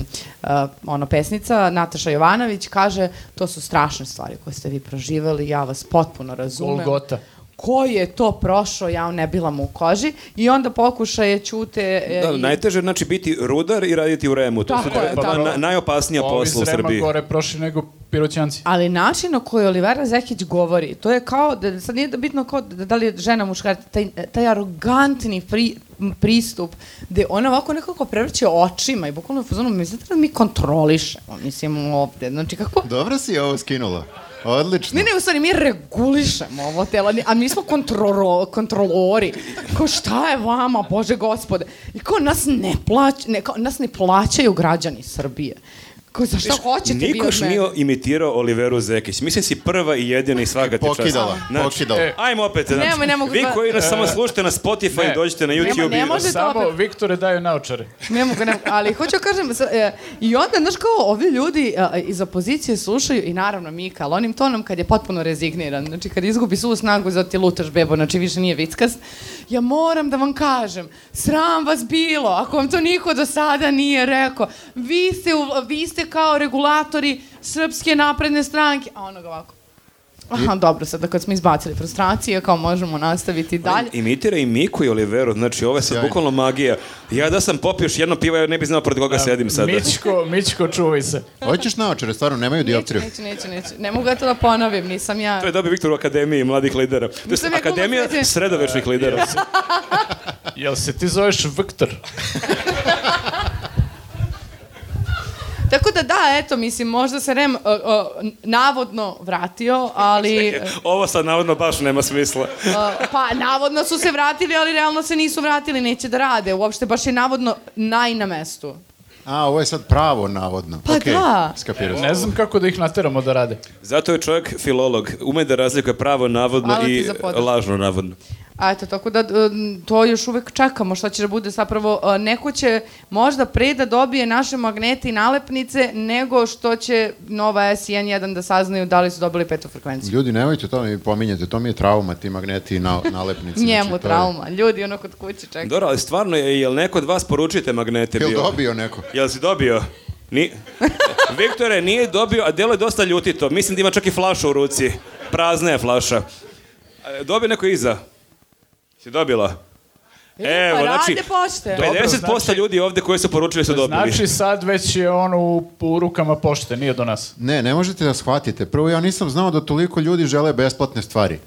S3: e, ono pesnica, Nataša Jovanović, kaže to su strašne stvari koje ste vi proživali, ja vas potpuno razumem
S2: Golgota.
S3: ko je to prošao, ja ne bila mu u koži i onda pokušaje Ćute e,
S1: Da,
S3: i-
S1: najteže je, znači biti rudar i raditi u remu. To su
S3: Tako je,
S1: dva- dva
S2: tako.
S1: na- najopasnija
S2: pa Ovi
S1: posla u
S2: iz REM-a
S1: Srbiji.
S2: gore prošli nego piroćanci.
S3: Ali način na koji Olivera Zekić govori, to je kao, da, sad nije bitno kao da, da li je žena muškarac, taj, taj arogantni pri, m, pristup, gde ona ovako nekako prevrće očima i bukvalno je u fazonu, mislite da mi kontrolišemo, mislim ovde, znači kako...
S4: Dobro si ovo skinula. Odlično.
S3: Ne, ne, u stvari, mi regulišemo ovo telo, ni- a mi smo kontrolo, kontrolori. Kao, šta je vama, Bože gospode? I kao, nas ne, plać, ne, kao, nas ne plaćaju građani Srbije. Kao, za šta hoćete vi
S1: Nikoš
S3: od mene?
S1: nije imitirao Oliveru Zekić. Mislim si prva i jedina i svaka ti čast.
S4: Pokidala,
S1: Znači,
S4: pokidala.
S2: e,
S1: Ajmo opet, znači,
S3: Nemoj, ne mogu
S1: vi
S3: da-
S1: koji nas samo slušate na Spotify
S2: Ne.
S1: i dođete na
S3: Nema-
S1: YouTube.
S3: ne
S1: i-
S3: može- Možete
S2: Samo
S3: opet-
S2: Viktore daju naočare.
S3: Ne mogu, ne mogu, ali hoću da kažem, s- e, i onda, znaš kao, ovi ljudi e, iz opozicije slušaju i naravno Mika, ali onim tonom kad je potpuno rezigniran, znači kad izgubi svu snagu za ti lutaš bebo, znači više nije vickast, ja moram da vam kažem, sram vas bilo, ako vam to niko do sada nije rekao, vi ste, u- vi ste kao regulatori Srpske napredne stranke, a onog ovako. Aha, dobro, sada kad smo izbacili frustracije, kao možemo nastaviti dalje.
S1: Imitira i Miku i Oliveru, znači ovo je sad
S4: Sjajno.
S1: bukvalno magija. Ja da sam popio još jedno pivo, ja ne bi znao pored
S2: E,
S1: koga sedim sada.
S2: Mičko, Mičko, čuvaj se.
S4: Hoćeš naočare, stvarno, nemaju
S3: Neću,
S4: dioptriju.
S3: neću, neću, neću. Ne mogu ja to da ponovim, nisam ja.
S1: To je dobio Viktor u Akademiji mladih lidera. To je
S3: Nisam ja
S1: Akademija
S3: glumac, neće.
S1: sredovečnih lidera.
S2: Jel se ti zoveš Viktor?
S3: Tako da da, eto, mislim, možda se Rem uh, uh, navodno vratio, ali... uh,
S1: Ovo sad navodno baš nema smisla.
S3: Uh, pa navodno su se vratili, ali realno se nisu vratili, neće da rade. Uopšte baš je navodno naj na mestu.
S4: A, ovo je sad pravo, navodno.
S3: Pa
S4: Okej,
S3: da.
S4: Skapirao sam.
S2: Ne znam kako da ih nateramo da rade.
S1: Zato je čovjek filolog. Ume da razlikuje pravo navodno
S3: Hvala ti
S1: i
S3: za podršku.
S1: lažno navodno.
S3: A eto, tako da um, to još uvek čekamo šta će da bude zapravo. uh, Neko će možda pre da dobije naše magnete i nalepnice nego što će Nova S1.1 da saznaju da li su dobili petu frekvenciju.
S4: Ljudi, nemojte to mi pominjati, to mi je trauma, ti magneti i na, nalepnice.
S3: Njemu
S4: znači, to je-
S3: trauma. Ljudi, ono kod kuće čeka.
S1: Dobro, ali stvarno, je, jel neko od vas poručite magnete
S4: Jel
S1: bio?
S4: dobio neko?
S1: Jel si dobio? Ni... Viktore, nije dobio, a delo je dosta ljutito. Mislim da ima čak i flašu u ruci. Prazna je flaša. E, Dobio neko iza? Si dobila? Evo,
S3: pa
S1: znači,
S3: rade pošte.
S2: Dobro,
S1: 50%
S2: znači-
S1: ljudi ovde koji su poručili su dobili.
S2: Znači sad već je on u, u rukama pošte, nije do nas.
S4: Ne, ne možete da shvatite. Prvo, ja nisam znao da toliko ljudi žele besplatne stvari.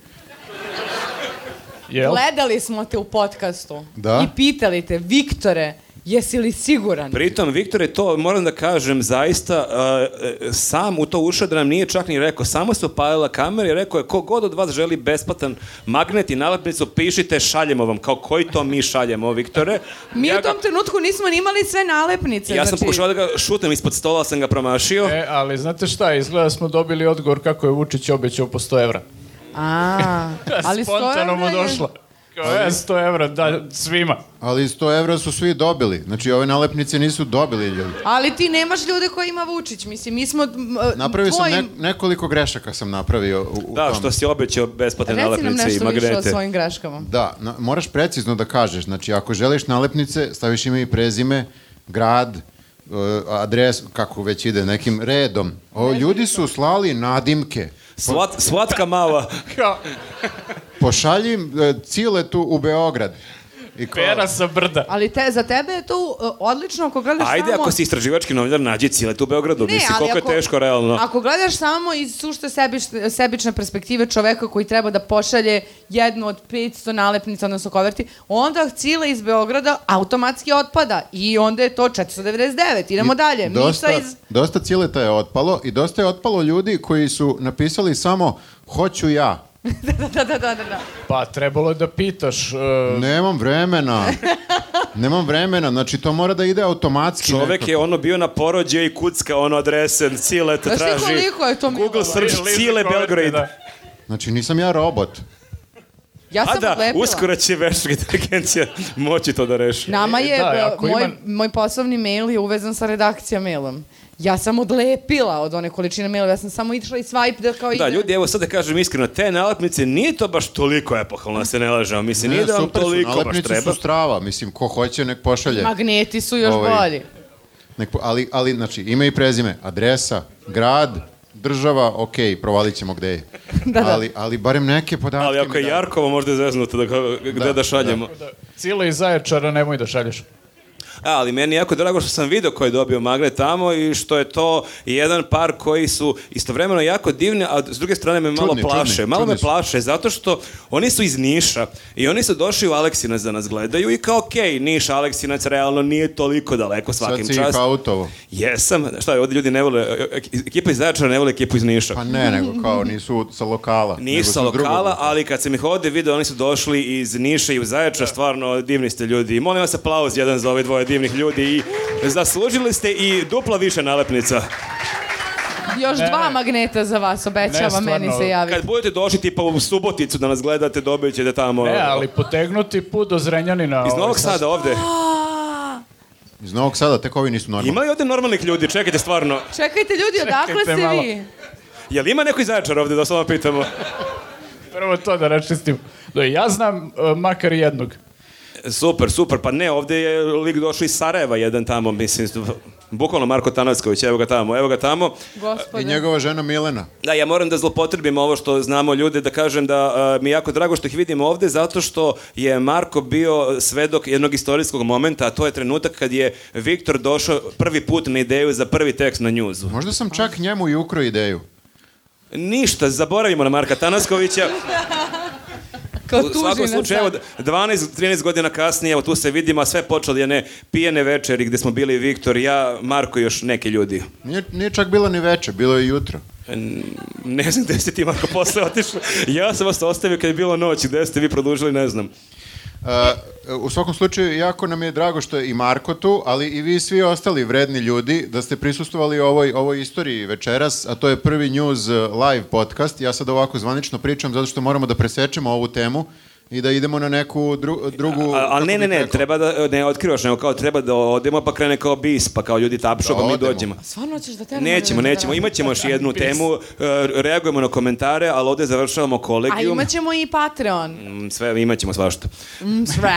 S2: Jel?
S3: Gledali smo te u podcastu
S4: Da.
S3: i pitali te, Viktore, jesi li siguran?
S1: Pritom, Viktor je to, moram da kažem, zaista uh, uh, sam u to ušao da nam nije čak ni rekao. Samo se upalila kamera i rekao je, ko god od vas želi besplatan magnet i nalepnicu, pišite, šaljemo vam. Kao koji to mi šaljemo, Viktore?
S3: Mi
S1: ja
S3: u tom trenutku nismo ni imali sve nalepnice.
S1: Ga, ja sam
S3: znači,
S1: pokušao da ga šutem ispod stola, ali sam ga promašio.
S2: E, ali znate šta, izgleda smo dobili odgovor kako je Vučić obećao po 100 evra.
S3: A, ali
S2: Spontano mu
S3: Stojana je-
S2: došlo. Kao, e, 100 evra, da, svima.
S4: Ali 100 evra su svi dobili. Znači, ove nalepnice nisu dobili ljudi.
S3: Ali ti nemaš ljude koji ima Vučić, mislim, mi smo... m,
S4: Napravio sam
S3: tvojim-
S4: ne, nekoliko grešaka sam napravio u, u
S1: Da,
S4: tom.
S1: što si obećao besplatne
S3: Reci nam
S1: nalepnice i
S3: nešto više o
S1: magnete.
S3: svojim greškama.
S4: Da, na, moraš precizno da kažeš. Znači, ako želiš nalepnice, staviš ime i prezime, grad, e, adres, kako već ide, nekim redom. O, ljudi su slali nadimke.
S1: Slat, slatka mala.
S2: Kao,
S4: Pošaljim e, ciletu u Beograd. I kao-
S2: pera sa brda.
S3: Ali te, za tebe je to uh, odlično ako gledaš
S1: Ajde,
S3: samo...
S1: ako si istraživački novinar, nađi cijele tu u Beogradu. Mislim, koliko je teško, realno.
S3: Ako gledaš samo iz sušte sebične, sebične perspektive čoveka koji treba da pošalje jednu od 500 nalepnica, odnosno koverti, onda cila iz Beograda automatski otpada i onda je to 499. Idemo dalje.
S4: Dosta,
S3: Mica iz...
S4: dosta cileta je otpalo i dosta je otpalo ljudi koji su napisali samo hoću ja.
S3: da, da, da, da, da, da.
S2: Pa, trebalo je da pitaš. e,
S4: Nemam vremena. Nemam vremena, znači to mora da ide automatski.
S1: Čovek
S4: nekako.
S1: je ono bio na porođaju i kucka ono adrese, Cile te
S3: Znaš ti
S1: traži.
S3: koliko je to
S1: Google
S3: milovalo?
S1: search
S2: Liza
S1: Cile
S2: Koverte,
S1: Belgrade.
S2: da.
S4: Znači nisam ja robot.
S1: Znači,
S3: Ja sam
S1: A da,
S3: odlepila.
S1: uskoro će veštačka inteligencija moći to da reši.
S3: Nama
S2: E,
S3: je,
S2: da,
S3: e,
S2: ako
S3: moj,
S2: ima-
S3: moj poslovni mail je uvezan sa redakcija mailom. Ja sam odlepila od one količine mailova, ja sam samo išla i swipe da kao
S1: Da,
S3: idem.
S1: ljudi, evo sad da kažem iskreno, te nalepnice nije to baš toliko epohalno, da se ne lažemo. Mislim, nije da vam
S4: super su,
S1: toliko baš
S4: nalepnice
S1: treba.
S4: su strava, mislim, ko hoće nek pošalje.
S3: Magneti su još
S4: Ovaj,
S3: bolji.
S4: Nek po- ali, ali, znači, ime i prezime, adresa, grad, država, ok, provalit ćemo gde je.
S3: Da, da.
S4: Ali, ali barem neke podatke.
S1: Ali
S4: mi
S1: ako je
S4: daj.
S1: Jarkovo, možda je zeznuto da, ga- gde da,
S4: Da,
S1: šaljemo.
S2: Cile iz Zaječara nemoj da šalješ.
S1: A, ali meni je jako drago što sam video ko je dobio magnet tamo i što je to jedan par koji su istovremeno jako divni, a s druge strane me malo
S4: Čudni,
S1: plaše.
S4: čudni,
S1: malo
S4: čudni
S1: me
S4: su.
S1: plaše zato što oni su iz Niša i oni su došli u Aleksinac da nas gledaju i kao okej, Niš, Aleksinac realno nije toliko daleko svakim
S4: Sad si
S1: čast.
S4: ih autovo.
S1: Jesam, šta je, ovdje ljudi ne vole, ekipa iz Zaječara ne vole ekipu iz Niša.
S4: Pa ne, nego kao nisu sa lokala. nego
S1: Nisu
S4: su
S1: sa
S4: s drugog.
S1: lokala, ali kad sam ih ovde video, oni su došli iz Niša i u Zaječar, stvarno divni ste ljudi. I Molim vas aplauz jedan za ove dvoje divnih ljudi i zaslužili ste i duplo više nalepnica.
S3: Još
S2: Ne,
S3: dva
S2: ne.
S3: magneta za vas, obećava,
S2: stvarno.
S3: meni se javi.
S1: Kad budete došli tipa u Suboticu da nas gledate, dobit ćete tamo...
S2: Ne, E, ali potegnuti put do Zrenjanina.
S1: Iz
S2: ovaj,
S1: Novog Sada ovde.
S4: Iz Novog Sada, tek ovi nisu normalni.
S1: Ima li ovde normalnih ljudi? Čekajte, stvarno.
S3: Čekajte ljudi, odakle
S2: Čekajte
S3: ste
S2: malo.
S3: vi?
S1: Jel ima neko iz Zaječara ovde, da se vam pitamo?
S2: Prvo to da račistim. Da, ja znam e, makar jednog.
S1: Super, super. Pa ne, ovdje je lik došao iz Sarajeva, jedan tamo, mislim, bukvalno Marko Tanacković, evo ga tamo, evo ga tamo.
S4: I
S3: Gospode.
S4: njegova žena Milena.
S1: Da, ja moram da zlopotrebim ovo što znamo ljude, da kažem da e, mi je jako drago što ih vidimo ovde, zato što je Marko bio svedok jednog istorijskog momenta, a to je trenutak kad je Viktor došao prvi put na ideju za prvi tekst na njuzu.
S4: Možda sam čak njemu i ukro ideju.
S1: Ništa, zaboravimo na Marka Tanaskovića.
S3: Kao
S1: U svakom
S3: tužina
S1: slučaju, evo,
S3: Pa
S1: da-
S3: sad.
S1: 12-13 godina kasnije, evo tu se vidimo, a sve počelo od jedne pijene večeri gde smo bili Viktor, ja, Marko i još neki ljudi.
S4: Nije, nije čak bila ni veče, bilo je jutro.
S1: N- Ne znam gde ste ti, Marko, posle otišao. Ja sam vas ostavio kad je bilo noć, gde ste vi produžili, ne znam.
S4: E, u svakom slučaju, jako nam je drago što je i Marko tu, ali i vi svi ostali vredni ljudi da ste prisustovali ovoj, ovoj istoriji večeras, a to je prvi news e, live podcast. Ja sad ovako zvanično pričam zato što moramo da presečemo ovu temu i da idemo na neku dru- drugu...
S1: A- Ali
S4: kako
S1: ne, ne,
S4: bih
S1: ne,
S4: rekao?
S1: treba da, ne otkrivaš, nego kao treba da odemo, pa krene kao bis, pa kao ljudi tapšu,
S4: Da
S1: pa mi
S4: odemo.
S1: dođemo.
S3: Stvarno ćeš da teramo
S1: Nećemo,
S3: da-
S1: nećemo, imat ćemo još jednu temu, e, reagujemo na komentare, ali ovde završavamo
S3: A
S1: kolegijum.
S3: imat ćemo i Patreon.
S1: Mm, Sve, imat ćemo svašta.
S3: Mm, sve.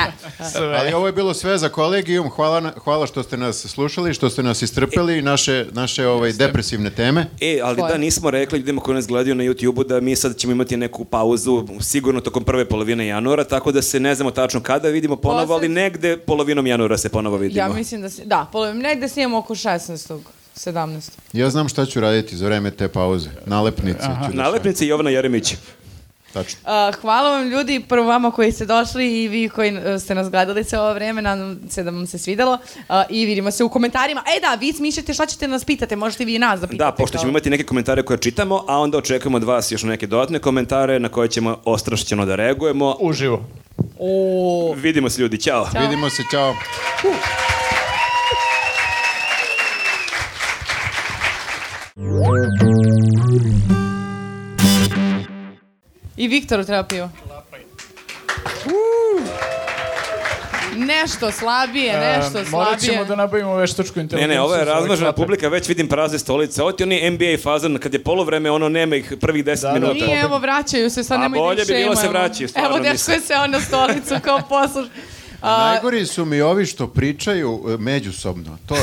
S4: Ali ovo je bilo sve za kolegijum. Hvala, na- hvala što ste nas slušali, što ste nas istrpeli, naše, naše ovaj, depresivne teme.
S1: E, ali
S3: Koje?
S1: da nismo rekli ljudima koji nas gledaju na YouTube-u da mi sad ćemo imati neku pauzu sigurno tokom prve polovine januara, tako da se ne znamo tačno kada vidimo ponovo, ali
S3: Posle-
S1: negde polovinom januara se ponovo vidimo.
S3: ja mislim da se... Da, polovim, negde snijemo oko 16. 17.
S4: Ja znam šta ću raditi za vreme te pauze. Nalepnice. ću da-
S1: Nalepnice Jovana Jeremić.
S4: Tačno.
S3: Uh, hvala vam ljudi, prvo vama koji ste došli i vi koji uh, ste nas gledali sve ovo vreme, nadam se da vam se svidelo uh, i vidimo se u komentarima. E da, vi smišljate šta ćete nas pitate, možete vi i nas da pitate.
S1: Da, pošto ćemo
S3: kao-
S1: imati neke komentare koje čitamo, a onda očekujemo od vas još neke dodatne komentare na koje ćemo ostrašćeno da reagujemo.
S2: Uživo.
S3: O,
S1: Vidimo se ljudi, ćao.
S4: Vidimo se, čao.
S3: I Viktoru treba pivo. Nešto slabije, nešto
S2: E, Morat
S3: slabije.
S2: ćemo da nabavimo veštačku
S1: Ne,
S2: inteligenciju.
S1: ne, ovo je
S2: za ove
S1: razmažena
S2: klape.
S1: publika, već vidim prazne stolice. Ovo ti je oni NBA fazan, kad je polovreme, ono nema ih prvih 10
S2: Da, da.
S1: minuta.
S3: Nije, evo, vraćaju se, sad
S1: A
S3: nemoj da ih
S1: bolje bi bilo
S3: šejmujemo.
S1: se vraćaju, stvarno
S3: Evo,
S1: mislim.
S3: deško je se on na stolicu kao posluš. A,
S4: Najgori su mi ovi što pričaju e, međusobno. To, e,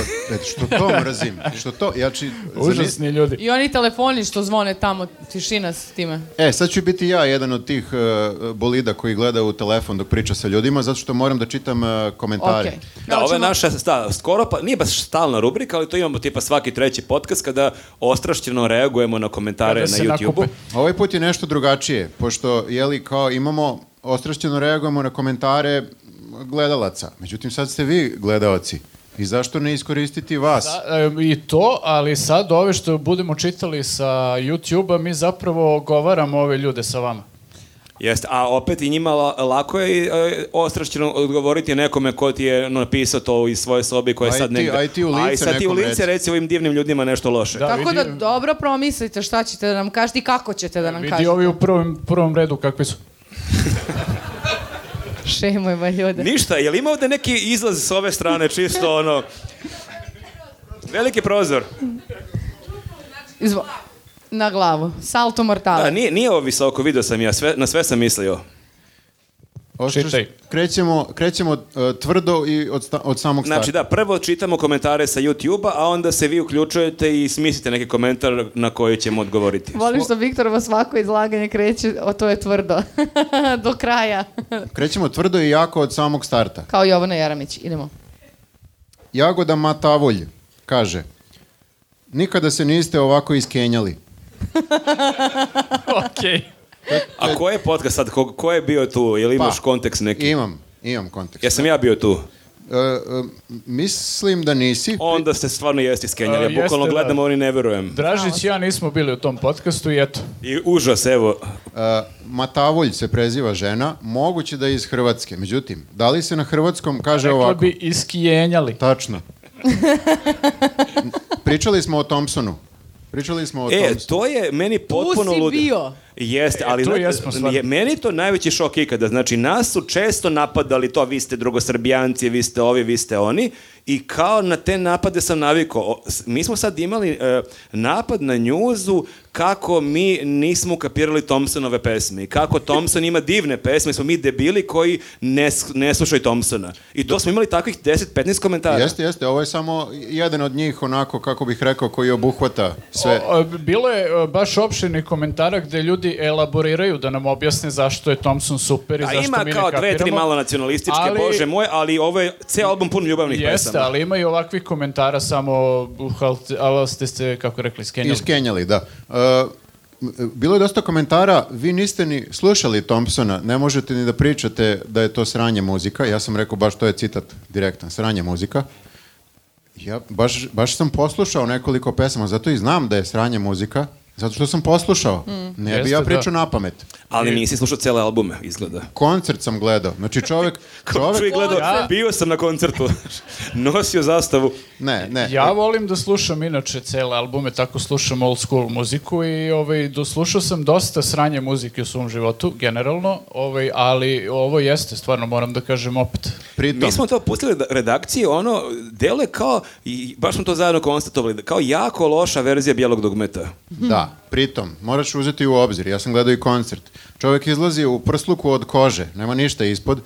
S4: što to mrazim. Što to, ja či,
S2: Užasni ljudi.
S3: I oni telefoni što zvone tamo, tišina s time.
S4: E, sad ću biti ja jedan od tih e, bolida koji gleda u telefon dok priča sa ljudima, zato što moram da čitam e, komentare.
S3: Okej.
S1: Da, ovo je
S3: Hoćemo-
S1: naša sta, skoro pa, nije baš stalna rubrika, ali to imamo tipa svaki treći podcast kada ostrašćeno reagujemo na komentare
S2: Kada
S1: na
S2: se
S1: YouTube-u.
S2: nakupe.
S4: Ovaj put je nešto drugačije, pošto jeli kao imamo ostrašćeno reagujemo na komentare gledalaca. Međutim, sad ste vi gledalci. I zašto ne iskoristiti vas?
S2: Da, e, I to, ali sad ove što budemo čitali sa YouTube-a, mi zapravo ogovaramo ove ljude sa vama.
S1: Jeste, a opet i njima la- lako je e, ostrašćeno odgovoriti nekome ko ti je napisao to iz svoje sobi koje
S4: Aj
S1: sad
S4: ti-
S1: negde.
S4: aj ti u
S1: Aj
S4: lice
S1: sad ti u
S4: nekom
S1: lice
S4: reci.
S1: reci ovim divnim ljudima nešto loše.
S2: Da,
S3: Tako da
S2: vidi-
S3: dobro promislite šta ćete da nam kažete i kako ćete da nam
S2: Vidi
S3: kažete.
S2: ovi u prvom, prvom redu kakvi su.
S3: Šemujemo ljude.
S1: Ništa, je li ima ovde neki izlaz s ove strane, čisto ono... Veliki prozor.
S3: Izvo- Na glavu. Salto mortale.
S1: Da, nije, nije ovo visoko, video sam ja, sve, na sve sam mislio.
S4: Ostraš-
S2: Čitaj.
S4: Krećemo, krećemo e, tvrdo i od, sta- od samog starta.
S1: Znači da, prvo čitamo komentare sa YouTube-a, a onda se vi uključujete i smislite neki komentar na koji ćemo odgovoriti.
S3: Volim što Viktorovo da svako izlaganje kreće, o to je tvrdo. Do kraja.
S4: Krećemo tvrdo i jako od samog starta.
S3: Kao Jovana Jaramić, idemo.
S4: Jagoda Matavolj kaže Nikada se niste ovako iskenjali.
S2: Okej.
S1: A ko je podcast sad? Ko, ko je bio tu? Je li imaš
S4: Pa,
S1: kontekst neki?
S4: Imam, imam kontekst.
S1: Jesam ja bio tu.
S4: E, e, mislim da nisi.
S1: Onda se stvarno jeste iskenjali. Ja
S2: A,
S1: bukvalno
S2: jeste, da.
S1: gledam, oni ne verujem.
S2: Dražić i ja nismo bili u tom podcastu i eto.
S1: I užas, evo.
S4: E, Matavolj se preziva žena, moguće da je iz Hrvatske. Međutim, da li se na hrvatskom kaže
S2: Rekla
S4: ovako?
S2: bi iskijenjali.
S4: Tačno. Pričali smo o Thompsonu. Pričali smo o
S1: E,
S4: Thompsonu.
S1: to je meni
S3: Tu
S1: potpuno
S3: si
S1: ludi.
S3: bio.
S1: Jeste, ali
S2: E, tu
S1: znate,
S2: jesmo stvarno.
S1: je, meni je to najveći šok ikada. Znači, nas su često napadali to, vi ste drugosrbijanci, vi ste ovi, vi ste oni. I kao na te napade sam navikao. O, s- Mi smo sad imali e, napad na njuzu kako mi nismo kapirali Thompsonove pesme i kako Thompson ima divne pesme, smo mi debili koji ne, s- ne slušaju Thompsona. I to smo imali takvih 10-15 komentara.
S4: Jeste, jeste, ovo je samo jedan od njih onako, kako bih rekao, koji obuhvata sve.
S2: O, o, Bilo je o, baš opširni komentara gde ljudi elaboriraju da nam objasne zašto je Thompson super i
S1: A
S2: zašto
S1: Da, ima
S2: mi ne
S1: kao
S2: kapiramo.
S1: dve, tri malo nacionalističke,
S2: ali-
S1: bože moj, ali ovo je ceo album pun ljubavnih
S2: Jeste,
S1: pesama.
S2: ali ima i ovakvih komentara samo uhalt, ali ste se, kako rekli, skenjali.
S4: Iskenjali, da. E, m- bilo je dosta komentara, vi niste ni slušali Thompsona, ne možete ni da pričate da je to sranje muzika. Ja sam rekao baš to je citat direktan, sranje muzika. Ja baš, baš sam poslušao nekoliko pesama, zato i znam da je sranje muzika, zato što sam poslušao. Ne
S2: Jeste,
S4: bi ja
S2: da.
S4: pričao na pamet.
S1: Ali nisi slušao cele albume, izgleda.
S4: Koncert sam gledao. Znači čovek,
S1: Čovjek
S4: čovek,
S1: gledao,
S2: Ja-
S1: bio sam na koncertu, nosio zastavu.
S4: ne, ne.
S2: Ja volim da slušam inače cele albume, tako slušam old school muziku i ovaj, doslušao sam dosta sranje muzike u svom životu, generalno, ovaj, ali ovo jeste, stvarno moram da kažem opet.
S4: Pritom,
S1: Mi smo to pustili da- redakciji, ono, delo je kao, i baš smo to zajedno konstatovali, da kao jako loša verzija bijelog dogmeta.
S4: Da, pritom, moraš uzeti u obzir, ja sam gledao i koncert. Čovjek izlazi u prsluku od kože, nema ništa ispod,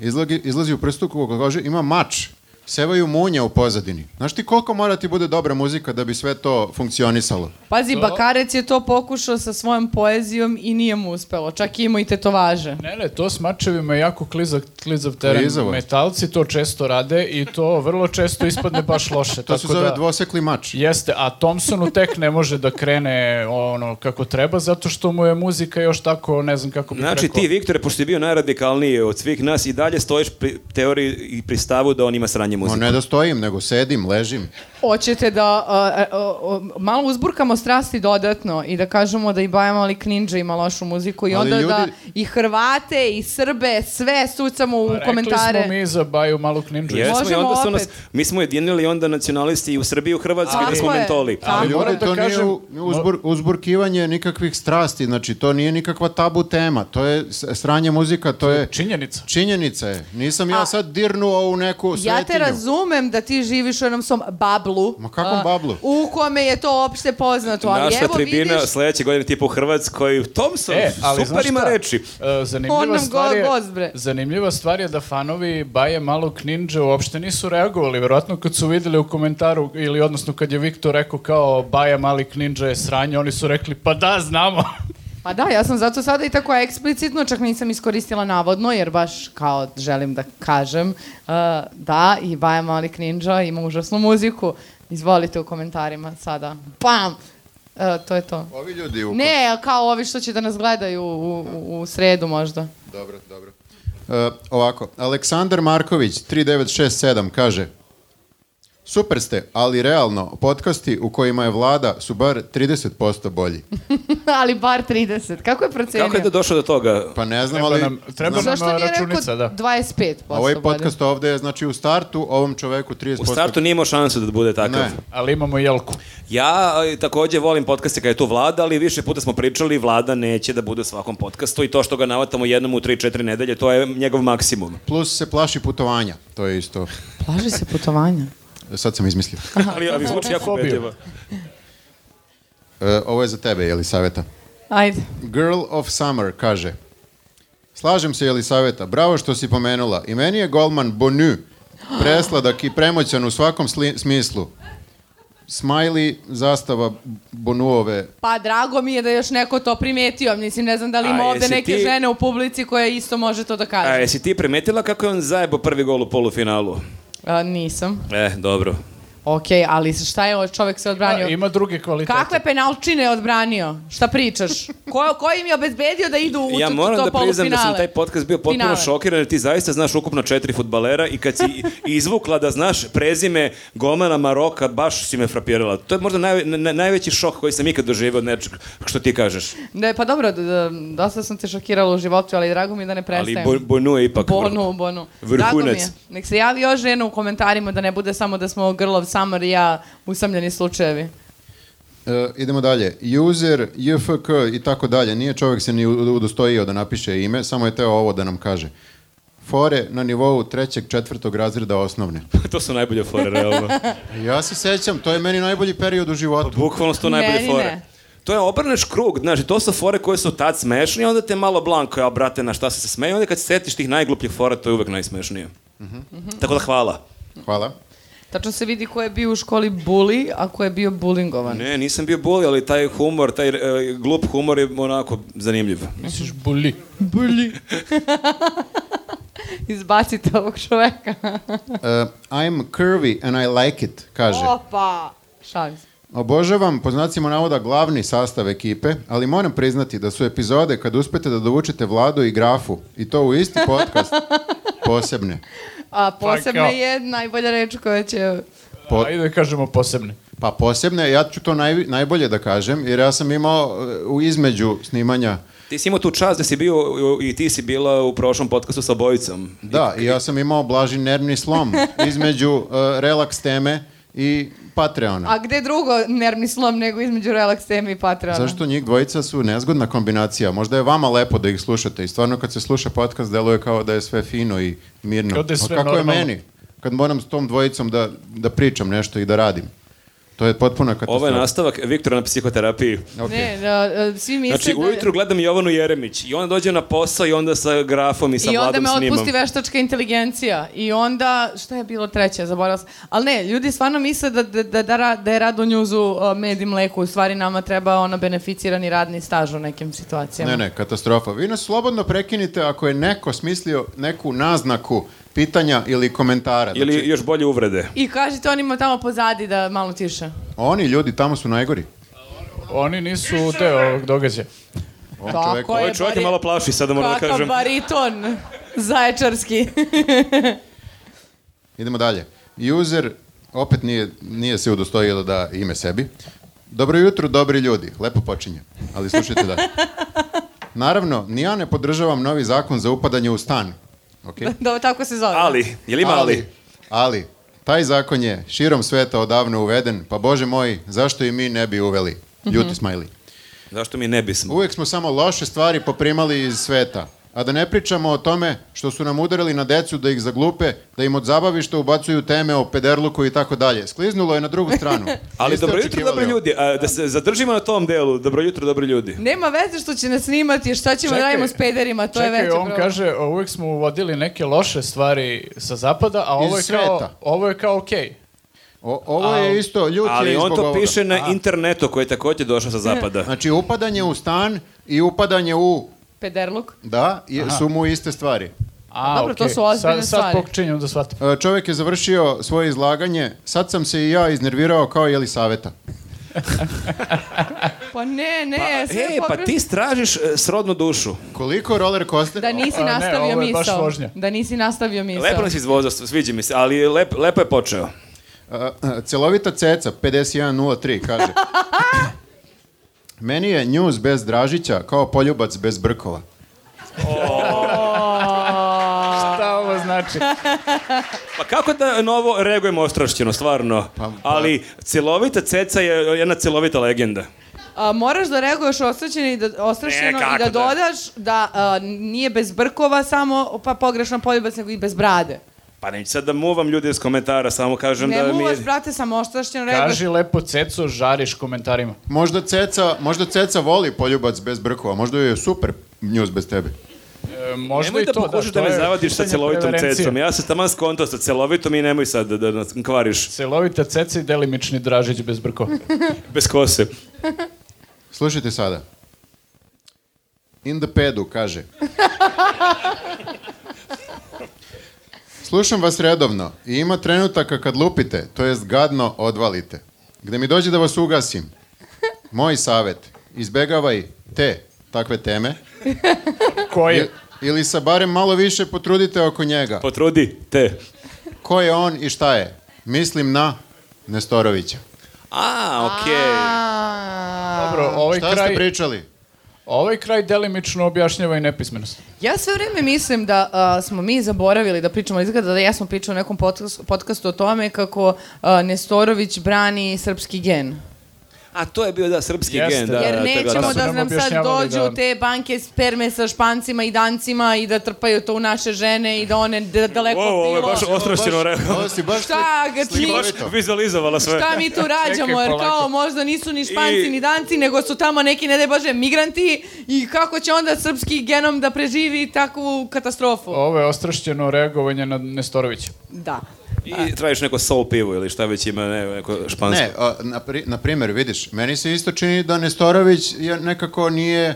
S4: izlagi, izlazi u prsluku od kože, ima mač, sevaju munje u pozadini. Znaš ti koliko mora ti bude dobra muzika da bi sve to funkcionisalo?
S3: Pazi,
S2: To-
S3: Bakarec je to pokušao sa svojom poezijom i nije mu uspelo. Čak i imao i tetovaže.
S2: Ne, ne, to s mačevima je jako klizav, klizav teren.
S4: Klizavo je.
S2: Metalci to često rade i to vrlo često ispadne baš loše.
S4: To
S2: tako
S4: se zove
S2: da-
S4: dvosekli mač.
S2: Jeste, a Thompsonu tek ne može da krene ono kako treba, zato što mu je muzika još tako, ne znam kako bih
S1: Znači,
S2: rekao.
S1: ti, Viktore, pošto je bio najradikalniji od svih nas i dalje stojiš pri teoriji i pri stavu da on ima sranje
S4: No,
S1: muzike.
S4: ne da stojim, nego sedim, ležim.
S3: Hoćete da a, a, a, malo uzburkamo strasti dodatno i da kažemo da i Baja Mali Kninđa ima lošu muziku i
S4: Ali
S3: onda da
S4: ljudi-
S3: i Hrvate i Srbe sve sucamo u komentare.
S2: Pa Rekli smo mi za Baju Malog Ninja.
S1: Jesmo, i
S3: Možemo
S1: onda su nas-
S3: opet.
S1: mi smo jedinili onda nacionalisti i u Srbiji i u Hrvatskoj
S3: Tako
S1: da smo
S3: je.
S1: mentoli.
S3: Tako.
S4: Ali
S2: moram
S4: ljudi,
S2: da
S4: to nije
S2: kažem-
S4: u- uzbur- uzburkivanje nikakvih strasti, znači to nije nikakva tabu tema, to je s- sranje muzika, to je...
S2: Činjenica.
S4: Činjenica je, nisam ja
S3: A-
S4: sad dirnuo u neku svetinju.
S3: Ja te razumem da ti živiš u jednom svom bablu.
S4: Ma kakvom
S3: a,
S4: bablu?
S3: U kome je to opšte poznato. Ali
S1: Naša
S3: evo
S1: tribina
S3: vidiš,
S1: sledeće godine tipa u Hrvatskoj, Thompson,
S2: E, ali
S1: super
S2: znaš
S1: ima
S2: šta?
S1: reči.
S2: E,
S3: On
S2: zanimljiva
S3: nam
S2: stvar, je,
S3: go- gost, bre.
S2: zanimljiva stvar je da fanovi Baje Malog Ninja uopšte nisu reagovali. Verovatno kad su videli u komentaru, ili odnosno kad je Viktor rekao kao Baja Mali Ninja je sranje, oni su rekli pa da, znamo.
S3: pa da, ja sam zato sada i tako eksplicitno, čak nisam iskoristila navodno, jer baš kao želim da kažem uh, da i Baja Malik Ninja ima užasnu muziku. Izvolite u komentarima sada. Bam! E, to je to.
S4: Ovi ljudi u...
S3: Ne, kao ovi što će da nas gledaju u, u, u sredu možda.
S4: Dobro, dobro. E, ovako, Aleksandar Marković, 3967, kaže Super ste, ali realno, podcasti u kojima je vlada su bar 30% bolji.
S3: Ali bar 30. Kako je procenio?
S1: Kako je da došlo do toga?
S4: Pa ne znam,
S2: Treba
S4: ali...
S2: nam, treba nam
S3: Zašto nije
S2: računica,
S3: rekao
S2: da.
S3: 25%?
S4: Ovaj
S3: bolje?
S4: podcast ovde je, znači, u startu ovom čoveku 30%...
S1: U startu nije imao šansu da bude takav.
S4: Ne.
S2: Ali imamo jelku.
S1: Ja e, takođe volim podcaste kada je tu vlada, ali više puta smo pričali, vlada neće da bude u svakom podcastu i to što ga navatamo jednom u 3-4 nedelje, to je njegov maksimum.
S4: Plus se plaši putovanja, to je isto...
S3: Plaži se putovanja.
S4: Sad sam izmislio.
S1: ali, ali zvuči jako
S2: Fobiju.
S1: ubedljivo.
S4: E, ovo je za tebe, Jelisaveta.
S3: Ajde.
S4: Girl of Summer kaže Slažem se Jelisaveta, bravo što si pomenula. I meni je golman Bonu presladak i premoćan u svakom sli- smislu. Smiley zastava Bonuove.
S3: Pa drago mi je da je još neko to primetio. Mislim, ne znam da li ima
S1: A,
S3: ovde
S1: jesi
S3: neke
S1: ti-
S3: žene u publici koje isto može to da
S1: A
S3: kaže.
S1: jesi ti primetila kako je on zajebo prvi gol u polufinalu?
S3: A, nisam.
S1: E, dobro.
S3: Ok, ali šta je ovo čovek se odbranio?
S2: A, ima druge kvalitete.
S3: Kakve penalčine je odbranio? Šta pričaš? Ko, ko im je obezbedio da idu u
S1: ja
S3: to-
S1: moram da
S3: to
S1: priznam da sam
S3: polufinale?
S1: taj podcast bio potpuno
S3: Finale.
S1: šokiran jer ti zaista znaš ukupno četiri futbalera i kad si izvukla da znaš prezime golmana Maroka, baš si me frapirala. To je možda naj, na- najveći šok koji sam ikad doživio od nečeg što ti kažeš.
S3: Ne, pa dobro, d- d- dosta sam te šokirala u životu, ali drago mi je da ne
S1: Ali
S3: prestajem.
S1: Bo- Bonu je ipak...
S3: Bonu, Bonu.
S1: Vrhunac.
S3: Drago mi je. Nek se javi još žena u komentarima da ne bude samo da smo Grlov Samar i ja usamljeni slučajevi.
S4: E, idemo dalje. User, JFK i tako dalje. Nije čovjek se ni u- udostojio da napiše ime, samo je teo ovo da nam kaže. Fore na nivou trećeg, četvrtog razreda osnovne.
S1: to su najbolje fore, realno.
S4: Ja se sećam, to je meni najbolji period u životu.
S1: Bukvalno su to najbolje
S3: Meni ne.
S1: fore. To je obrneš krug, znaš, i to su fore koje su tad smešnije, onda te malo blanko, ja brate, na šta se se smeju, onda kad se setiš tih najglupljih fora, to je uvek najsmešnije.
S3: Mhm.
S1: Tako da hvala.
S4: Hvala.
S3: Tačno se vidi ko je bio u školi bully, a ko je bio bulingovan.
S1: Ne, nisam bio boli, ali taj humor, taj e, glup humor je onako zanimljiv.
S2: Misliš buli.
S3: Bully. Izbacite ovog čoveka.
S4: E, I'm curvy and I like it, kaže.
S3: Oh, Opa! Šalim se.
S4: Obožavam, po znacima navoda, glavni sastav ekipe, ali moram priznati da su epizode kad uspete da dovučete vladu i grafu, i to u isti podcast, posebne.
S3: A posebna
S2: kao-
S3: je najbolja reč koja će...
S4: Po-
S2: Pa, Ajde da kažemo posebne.
S4: Pa posebne, ja ću to naj- najbolje da kažem, jer ja sam imao e, u između snimanja,
S1: Ti si imao tu čast da si bio u- i ti si bila u prošlom podcastu sa obojicom.
S4: da, i ja sam imao blaži nervni slom između e, relaks teme i Patreona.
S3: A gde drugo nervni slom nego između relaks teme i Patreona?
S4: Zašto njih dvojica su nezgodna kombinacija? Možda je vama lepo da ih slušate i stvarno kad se sluša podcast deluje kao da je sve fino i mirno.
S2: Kao da je
S4: A
S2: sve
S4: kako
S2: normalno.
S4: je meni? Kad moram s tom dvojicom da, da pričam nešto i da radim. To je potpuna katastrofa.
S1: Ovo je nastavak Viktora na psihoterapiji.
S4: Ok.
S3: Ne, da, e, svi misle
S1: Znači,
S3: da-
S1: ujutru gledam Jovanu Jeremić i ona dođe na posao i onda sa grafom i sa
S3: I onda
S1: vladom
S3: me
S1: snimam.
S3: otpusti veštačka inteligencija. I onda, šta je bilo treće, zaboravila sam. Ali ne, ljudi stvarno misle da, da, da, da, ra- da je rad u njuzu uh, med i mleko. U stvari nama treba ono beneficirani radni staž u nekim situacijama.
S4: Ne, ne, katastrofa. Vi nas slobodno prekinite ako je neko smislio neku naznaku pitanja ili komentara.
S1: Ili
S4: Znači,
S1: još bolje uvrede.
S3: I kažete onima tamo pozadi da malo tiše.
S4: Znači, oni ljudi tamo su najgori.
S2: Oni nisu deo ovog događaja.
S4: Ovom
S3: Tako
S4: čoveku.
S3: je.
S1: Ovaj čovjek me
S3: bari-
S1: malo plaši, sada moram da
S3: Kakav
S1: kažem.
S3: bariton, zaječarski.
S4: Idemo dalje. User opet nije, nije se udostojio da da ime sebi. Dobro jutro, dobri ljudi. Lepo počinje, ali slušajte da. Naravno, ni ja ne podržavam novi zakon za upadanje u stan. Ok?
S3: da, tako se zove.
S1: Ali, je li ima ali?
S4: Ali, taj zakon je širom sveta odavno uveden, pa bože moj, zašto i mi ne bi uveli? Ljuti
S1: Mhm.
S4: smajli.
S1: Zašto mi ne bismo?
S4: Uvijek smo samo loše stvari poprimali iz sveta. A da ne pričamo o tome što su nam udarili na decu da ih zaglupe, da im od zabavišta ubacuju teme o pederluku i tako dalje. Skliznulo je na drugu stranu.
S1: Ali
S4: Niste
S1: dobro jutro,
S4: očekivali
S1: dobri
S4: ovo.
S1: ljudi. A, da se zadržimo na tom delu. Dobro jutro, dobri ljudi.
S3: Nema veze što će nas snimati, šta ćemo da
S2: Čekaj,
S3: radimo s pederima, to je
S2: Čekaj,
S3: veće
S2: on
S3: problem.
S2: kaže, "O, uvek smo uvodili neke loše stvari sa zapada, a ovo je
S4: Iz
S2: kao,
S4: sveta.
S2: ovo je kao okej.
S4: O- ovo je isto, ljut je
S1: Ali
S4: i
S1: on
S4: zbog
S1: to
S4: ovoga.
S1: piše na internetu koji je također došao sa zapada.
S4: Znači, upadanje u stan i upadanje u...
S3: Pederluk.
S4: Da, i- su mu iste stvari.
S2: A,
S3: Dobro, to
S2: okej.
S3: su ozbiljne
S2: sad,
S3: stvari.
S2: Sad počinjem da shvatim.
S4: E, Čovjek je završio svoje izlaganje, sad sam se i ja iznervirao kao Jelisaveta.
S3: Pa ne, ne, sve je
S1: Ej, pa
S3: pogrešno.
S1: ti stražiš e, srodnu dušu.
S4: Koliko roller coaster?
S3: Da nisi
S2: A ne,
S3: nastavio
S2: ovo je baš
S3: misao.
S2: vožnja.
S3: Da nisi nastavio misao.
S1: Lepo nas izvozao, sviđa mi se, ali lep- lepo je počeo.
S4: A, a, celovita ceca, 5103, kaže. Meni je njuz bez Dražića kao poljubac bez brkova.
S2: Šta ovo znači?
S1: Pa kako da na ovo reagujemo ostrašćeno, stvarno? Ali cjelovita ceca je jedna cjelovita legenda.
S3: A, moraš da reaguješ ostrašćeno i da, ostrašćeno
S1: E, kako
S3: i da
S1: da?
S3: dodaš da a, nije bez brkova samo, pa pogrešan poljubac, nego i bez brade.
S1: Pa neću sad da muvam ljude iz komentara, samo kažem
S3: ne
S1: da mi...
S3: muvaš, brate, samo ostrašćeno reaguješ.
S2: Kaži lepo ceco, žariš komentarima.
S4: Možda ceca, možda ceca voli poljubac bez brkova, možda joj je super njuz bez tebe.
S2: E, možda
S1: Nemoj
S2: i
S1: da
S2: to,
S1: pokušaš
S2: to
S1: da, me
S2: je
S1: zavadiš sa
S2: pitanje
S1: cjelovitom
S2: preferencije.
S1: cecom. Ja sam taman skontao sa cjelovitom i nemoj sad da, da nas kvariš
S2: Celovita ceca i delimični dražić bez brkova.
S1: bez kose.
S4: Slušajte sada. In the pedu, kaže. Slušam vas redovno i ima trenutaka kad lupite, to jest gadno odvalite. Gde mi dođe da vas ugasim. Moj savjet, izbegavaj te takve teme
S2: Koji?
S4: ili se barem malo više potrudite oko njega.
S1: Potrudi te.
S4: Ko je on i šta je? Mislim na Nestorovića.
S1: A, okej.
S3: A,
S2: Dobro, ovaj
S4: Šta ste
S2: kraj,
S4: pričali?
S2: ovaj kraj delimično objašnjava i nepismenost.
S3: Ja sve vrijeme mislim da a, smo mi zaboravili da pričamo, ali izgleda da ja sam pričala u nekom podcastu, podcastu o tome kako a, Nestorović brani srpski gen.
S1: A to je bio, da, srpski
S2: Jeste.
S1: gen. Da,
S3: Jer
S1: da, to je bila
S3: nećemo
S2: tako.
S1: srpska-
S3: da
S2: Sad nam
S3: nam sad
S2: objašnjavali
S3: dođu
S2: da-
S3: te banke sperme sa špancima i dancima i da trpaju to u naše žene i da one d- daleko
S1: Wow, ovo je
S3: bilo.
S1: baš ostrašćeno rekao.
S4: Ovo si baš
S3: Šta ga
S4: slikovito.
S3: ti-
S1: Baš vizualizovala sve.
S3: Šta mi tu rađamo, jer
S2: polako.
S3: kao možda nisu ni španci
S1: I-
S3: ni danci, nego su tamo neki, ne daj Bože, migranti i kako će onda srpski genom da preživi takvu katastrofu?
S2: Ovo je ostrašćeno reagovanje na Nestorovića.
S3: Da.
S1: I tražiš neko soul pivo ili šta već ima, ne, neko špansko.
S4: Ne, a, na, pri, na primjer, vidiš, meni se isto čini da Nestorović je nekako nije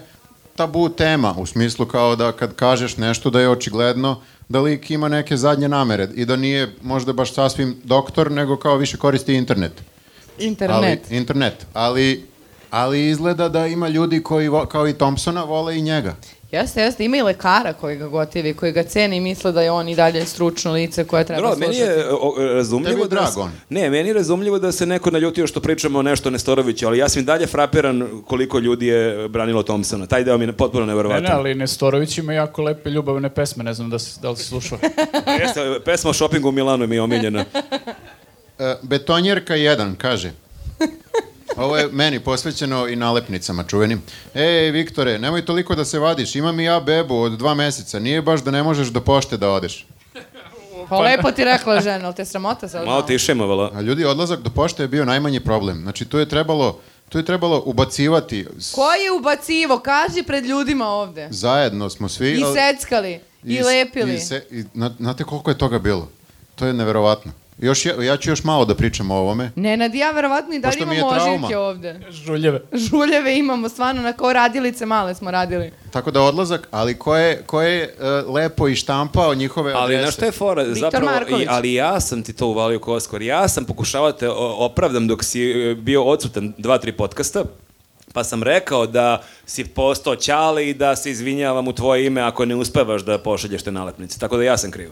S4: tabu tema, u smislu kao da kad kažeš nešto da je očigledno da lik ima neke zadnje namere i da nije možda baš sasvim doktor, nego kao više koristi internet.
S3: Internet.
S4: Ali, internet, ali, ali izgleda da ima ljudi koji, vo- kao i Thompsona, vole i njega.
S3: Jeste, jeste. Ima i lekara koji ga gotivi, koji ga ceni i misle da je on i dalje stručno lice koje treba
S1: Dobro,
S3: slušati.
S1: meni je o, o,
S4: Tebi
S1: razumljivo
S4: je drag
S1: da se-
S4: on.
S1: Ne, meni je razumljivo da se neko naljutio što pričamo nešto o Nestoroviću, ali ja sam i dalje frapiran koliko ljudi je branilo Thompsona. Taj deo mi je potpuno
S2: Ne, ne,
S1: neverovatan.
S2: ali Nestorović ima jako lepe ljubavne pesme, ne znam da, si, da li si slušao.
S1: Jeste, pesma o šopingu u Milanu mi je omiljena.
S4: E, Betonjerka 1 kaže Ovo je meni posvećeno i nalepnicama čuvenim. Ej, Viktore, nemoj toliko da se vadiš. Imam i ja bebu od dva meseca. Nije baš da ne možeš do pošte da odeš.
S3: Pa lepo ti rekla žena, ali te sramota sad?
S1: Malo te išemovala.
S4: A ljudi, odlazak do pošte je bio najmanji problem. Znači, tu je trebalo, tu je trebalo ubacivati. S-
S3: Ko je ubacivo? Kaži pred ljudima ovde.
S4: Zajedno smo svi.
S3: I
S4: ali-
S3: seckali. I,
S4: s-
S3: lepili.
S4: i se- i na- znate koliko je toga bilo? To je neverovatno. Još ja, ja ću još malo da pričam o ovome.
S3: Nenad, ja verovatno i dalje
S4: Pošto mi je
S3: imamo
S4: trauma.
S3: ožiljke ovde.
S2: Žuljeve.
S3: Žuljeve imamo, stvarno, na kao radilice male smo radili.
S4: Tako da odlazak, ali ko je, ko je e, lepo i štampao njihove
S1: Ali
S4: adrese?
S1: na što je fora?
S3: Viktor
S1: Zapravo,
S3: Marković.
S1: i, ali ja sam ti to uvalio kao oskor. Ja sam pokušavao da te o, opravdam dok si e, bio odsutan dva, tri podcasta, pa sam rekao da si postao ćale i da se izvinjavam u tvoje ime ako ne uspevaš da pošalješ te nalepnice. Tako da ja sam kriv.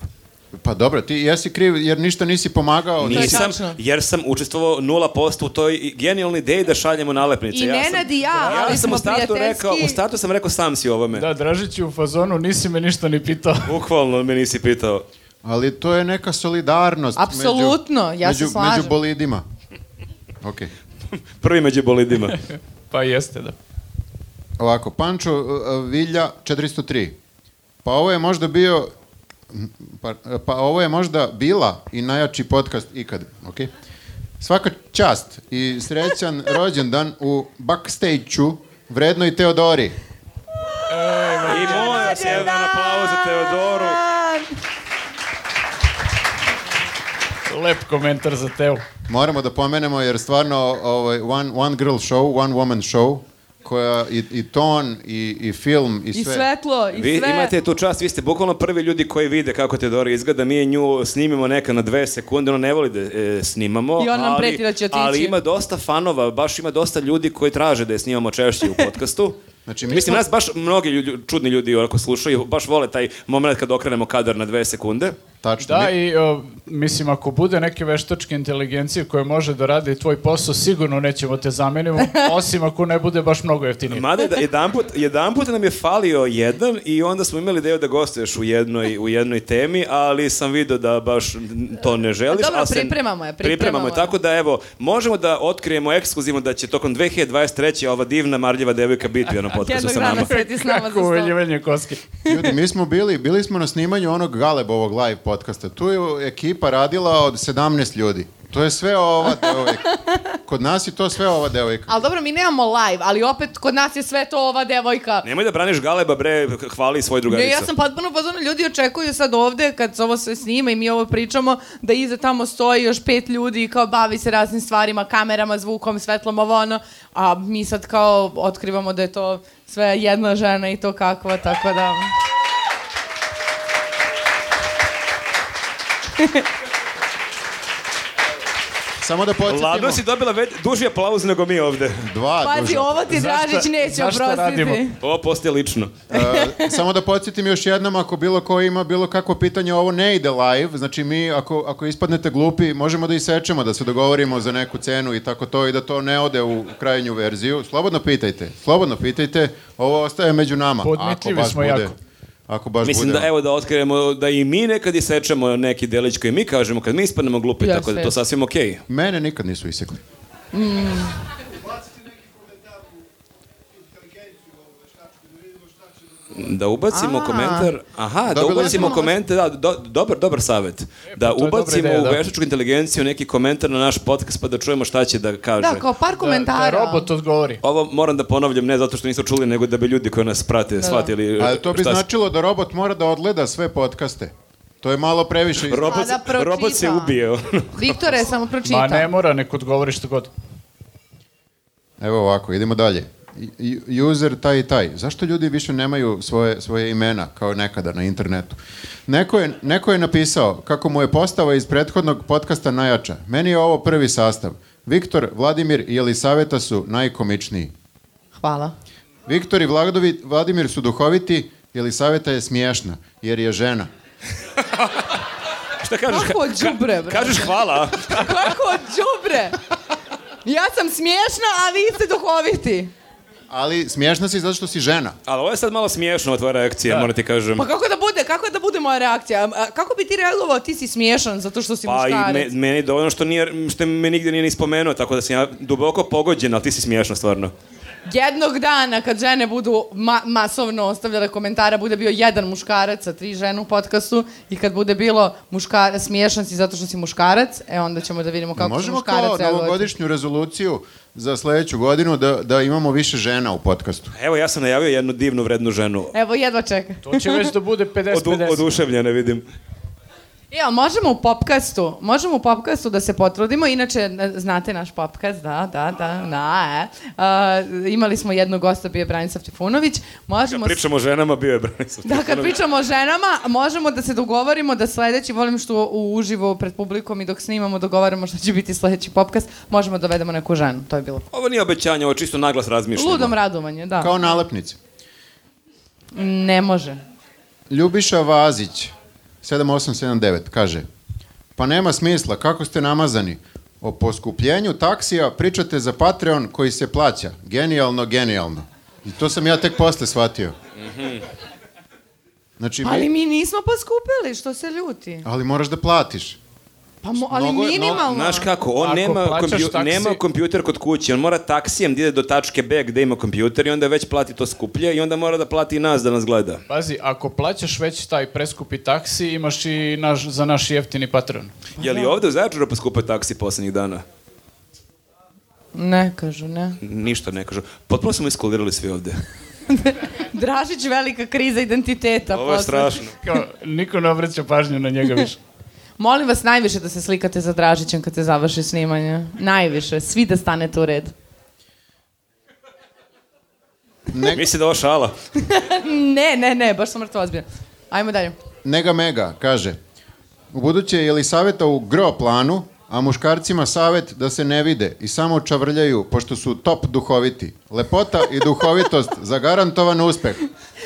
S4: Pa dobro, ti jesi kriv jer ništa nisi pomagao.
S3: je
S1: Nisam,
S3: tačno.
S1: jer sam učestvovao 0% u toj i- genijalnoj ideji da šaljemo nalepnice.
S3: I
S1: ja sam-
S3: Nenad i ja, ali
S1: sam
S3: smo
S1: u startu rekao,
S3: prijateljski.
S1: u startu sam rekao sam si ovome.
S2: Da, Dražić je u fazonu, nisi me ništa ni pitao.
S1: Bukvalno me nisi pitao.
S4: Ali to je neka solidarnost.
S3: Apsolutno,
S4: među,
S3: ja se
S4: među,
S3: slažem.
S4: Među bolidima. Ok.
S1: Prvi među bolidima.
S2: Pa jeste, da.
S4: Ovako, Pančo uh, Vilja 403. Pa ovo je možda bio pa, pa ovo je možda bila i najjači podcast ikad, ok? Svaka čast i srećan rođendan u backstage-u vrednoj Teodori.
S1: I moja se jedan
S3: da.
S1: aplauz za Teodoru.
S2: Lep komentar za Teo.
S4: Moramo da pomenemo jer stvarno ovaj, one, one girl show, one woman show koja i, i ton i, i film i sve.
S3: I svetlo, i
S1: Vi
S3: sve.
S1: imate tu čast, vi ste bukvalno prvi ljudi koji vide kako Teodora izgleda. Mi nju snimimo neka na dve sekunde, ona ne voli da e, snimamo.
S3: I on nam
S1: ali-
S3: preti da će otići.
S1: Ali ima dosta fanova, baš ima dosta ljudi koji traže da je snimamo češće u podcastu.
S4: Znači, mi
S1: Mislim,
S4: smo-
S1: nas baš mnogi ljudi, čudni ljudi ako slušaju, baš vole taj moment kad okrenemo kadar na dve sekunde.
S4: Tačno.
S2: Da,
S4: mi-
S2: i o, mislim, ako bude neke veštačke inteligencije koje može da radi tvoj posao, sigurno nećemo te zamenimo, osim ako ne bude baš mnogo jeftinije.
S1: Mada je da- jedanput, jedanput nam je falio jedan i onda smo imali ideju da gostuješ u jednoj, u jednoj temi, ali sam vidio da baš n- to ne želiš.
S3: Dobro,
S1: ali se-
S3: pripremamo je, pripremamo
S1: pripremamo
S3: je.
S1: Tako da evo, možemo da otkrijemo ekskluzivno da će tokom 2023. ova divna marljiva devojka biti u onom podcastu
S3: Jednog
S1: sa
S3: dana
S1: nama.
S3: sedi s nama za
S2: Kako
S3: stol.
S2: uveljivanje koske.
S4: Ljudi, mi smo bili, bili smo na snimanju onog Galebovog live podcasta. Tu je ekipa radila od 17 ljudi. To je sve ova devojka. Kod nas je to sve ova devojka.
S3: Ali dobro, mi nemamo live, ali opet kod nas je sve to ova devojka.
S1: Nemoj da braniš Galeba, bre, hvali svoj drugaricu.
S3: Ne, ja sam potpuno pozorno, ljudi očekuju sad ovde, kad se ovo sve snima i mi ovo pričamo, da iza tamo stoji još pet ljudi i kao bavi se raznim stvarima, kamerama, zvukom, svetlom, ovo ono, a mi sad kao otkrivamo da je to sve jedna žena i to kakva, tako da...
S4: Samo da podsjetimo.
S1: Lado si dobila već duži aplauz nego mi ovde.
S4: Dva
S3: Pazi,
S4: duža.
S3: ovo ti
S2: Zašta-
S3: Dražić neće
S2: zašta radimo?
S3: oprostiti.
S1: Ovo postaje lično.
S4: E, samo da podsjetim još jednom, ako bilo ko ima bilo kakvo pitanje, ovo ne ide live, znači mi ako, ako ispadnete glupi, možemo da isečemo, da se dogovorimo za neku cenu i tako to i da to ne ode u krajnju verziju. Slobodno pitajte, slobodno pitajte, ovo ostaje među nama. Ako
S2: Podmetljivi
S4: baš
S2: smo
S4: bude-
S2: jako.
S4: Ako baš
S1: Mislim
S4: bude.
S1: da evo da otkrijemo da i mi nekad isečemo neki delić koji mi kažemo kad mi ispadnemo glupi,
S3: Jeste,
S1: tako da je to
S3: jeste.
S1: sasvim okej.
S4: Mene nikad nisu isekli.
S1: Da ubacimo
S3: A.
S1: komentar, aha, da
S4: Dobili
S1: ubacimo
S4: smo-
S1: komentar, da, do, dobar, dobar savet. Da
S2: E, to je dobra
S1: ubacimo
S2: ideja,
S1: u
S2: da.
S1: veštačku inteligenciju neki komentar na naš podcast pa da čujemo šta će da kaže.
S3: Da, kao par
S2: Da, da
S3: komentara.
S2: robot odgovori.
S1: Ovo moram da ponavljam, ne zato što nisu čuli, nego da bi ljudi koji nas prate shvatili.
S4: Ali to bi
S1: šta se-
S4: značilo da robot mora da odgleda sve podcaste. To je malo previše. iz-
S1: Robot,
S3: Pa da
S1: robot se
S3: pročita.
S1: ubije.
S3: Viktore, samo
S2: Ma
S3: pročita.
S2: ne mora, nek odgovori što god.
S4: Evo ovako, idemo dalje. I- i- User taj i taj. Zašto ljudi više nemaju svoje, svoje imena kao nekada na internetu? Neko je, neko je napisao kako mu je postava iz prethodnog podcasta najjača. Meni je ovo prvi sastav. Viktor, Vladimir i Elisaveta su najkomičniji.
S3: Hvala.
S4: Viktor i Vladovi- Vladimir su duhoviti, Elisaveta je smiješna, jer je žena.
S1: šta kažeš?
S3: Kako đubre, bre.
S1: Kažeš hvala.
S3: Kako đubre. Ja sam smiješna, a vi ste duhoviti.
S4: Ali smiješna si zato što si žena.
S1: Ali ovo je sad malo smiješno ova tvoja reakcija,
S2: Da.
S1: moram ti kažem.
S3: Pa kako da bude, kako da bude moja reakcija? A Kako bi ti reagovao, ti si smiješan zato što si
S1: Pa i
S3: muškarac?
S1: me, meni je dovoljno što, nije, što me nigde nije ni spomenuo, tako da sam ja duboko pogođen, ali ti si smiješno stvarno.
S3: Jednog dana kad žene budu ma masovno ostavljale komentara, bude bio jedan muškarac sa tri žene u podcastu i kad bude bilo muškara, smiješan si zato što si muškarac, e onda ćemo da vidimo kako će
S4: Možemo
S3: muškarac
S4: kao
S3: reagovati.
S4: novogodišnju rezoluciju za sledeću godinu da, da imamo više žena u podcastu.
S1: Evo, ja sam najavio jednu divnu, vrednu ženu.
S3: Evo, jedva čeka.
S2: To će već da bude 50-50.
S1: Odu, oduševljena vidim.
S3: E, ali možemo u popkastu, možemo u popkastu da se potrudimo, inače, na- znate naš popkast, da, da, da, da, e. A, imali smo jednog gosta, bio je Branislav Trifunović,
S1: Kad
S3: možemo... s-
S1: pričamo o ženama, bio je Branislav.
S3: Da, kad
S1: Stefanović.
S3: pričamo o ženama, možemo da se dogovorimo da sledeći, volim što u uživo pred publikom i dok snimamo dogovaramo šta će biti sledeći popkast, možemo da dovedemo neku ženu, to je bilo.
S1: Ovo nije obećanje, ovo je čisto naglas razmišljamo.
S3: Ludom radovanje, da.
S4: Kao nalepnice.
S3: Ne može.
S4: Ljubiša Vazić, 7879, kaže Pa nema smisla, kako ste namazani? O poskupljenju taksija pričate za Patreon koji se plaća. Genijalno, genijalno. I to sam ja tek posle shvatio. Znači, mi-
S3: Mhm. Ali mi nismo poskupili, što se ljuti?
S4: ali moraš da platiš.
S3: Pa mo, ali
S4: Mnogo je- no-
S3: minimalno.
S1: Znaš kako, on
S2: Ako
S1: nema,
S2: plaćaš
S1: kompju,
S2: taksi-
S1: nema kompjuter kod kuće, on mora taksijem da ide do tačke B gde ima kompjuter i onda već plati to skuplje i onda mora da plati i nas da nas gleda.
S2: Pazi, ako plaćaš već taj preskupi taksi, imaš i naš, za naš jeftini patron.
S1: Je
S3: Da.
S1: li ovde u Zaječaru poskupa taksi poslednjih dana?
S3: Ne, kažu, ne.
S1: Ništa ne kažu. Potpuno smo iskulirali svi ovde.
S3: Dražić velika kriza identiteta.
S1: Ovo je
S3: Da posle.
S1: strašno.
S2: Kao, niko ne obraća pažnju na njega više.
S3: Molim vas najviše da se slikate za Dražićem kad se završi snimanje. Najviše, svi da stanete u red.
S4: Ne-
S1: Misli da je ovo šala.
S3: Ne, ne, ne, baš sam mrtvo ozbiljna. Ajmo dalje.
S4: Nega Mega kaže U buduće je li saveta u gro planu, a muškarcima savet da se ne vide i samo čavrljaju, pošto su top duhoviti. Lepota i duhovitost zagarantovan uspeh.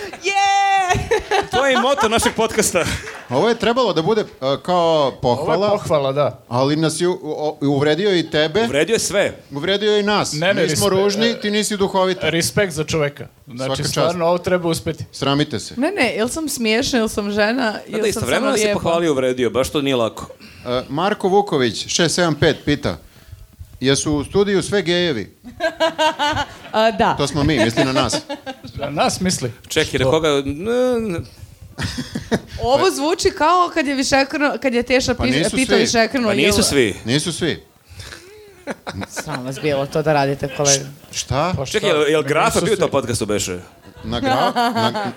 S3: Yeah!
S1: To je i moto našeg podcasta.
S4: Ovo je trebalo da bude e, kao
S2: Ovo je
S4: pohvala,
S2: pohvala, da.
S4: ali nas je u- o- uvredio i tebe,
S1: Uvredio je sve.
S4: uvredio je i nas.
S2: Ne, e, ne,
S4: Mi smo
S2: respe-
S4: ružni, ti nisi duhovita.
S2: Respekt za čoveka. Znači,
S4: Svaka čast.
S2: stvarno, ovo treba uspeti.
S4: Sramite se.
S3: Ne, ne, ili sam smiješna, ili sam žena,
S1: Da,
S3: ili
S1: da
S3: sam
S1: istovremeno
S3: samo
S1: se
S3: lijepa.
S1: pohvalio i uvredio, baš to nije lako.
S4: E, Marko Vuković, 675, pita Jesu u studiju sve gejevi?
S3: A, da.
S4: To smo mi, misli na nas.
S2: Na nas misli.
S1: Čekaj, da na koga... Ne, ne.
S3: Ovo zvuči kao kad je, višekrno, kad je Teša
S4: Pa
S3: pi-
S4: nisu
S3: pitao
S4: svi.
S3: višekrno.
S1: Pa
S2: da?
S1: nisu svi.
S4: Nisu svi.
S3: Sam vas bilo to da radite, kolega.
S4: Šta?
S2: Pa šta?
S1: Čekaj, je li
S2: Ma
S1: Grafa
S2: nisu
S1: bio
S2: svi.
S1: to podcastu beše?
S4: Na gra... Na...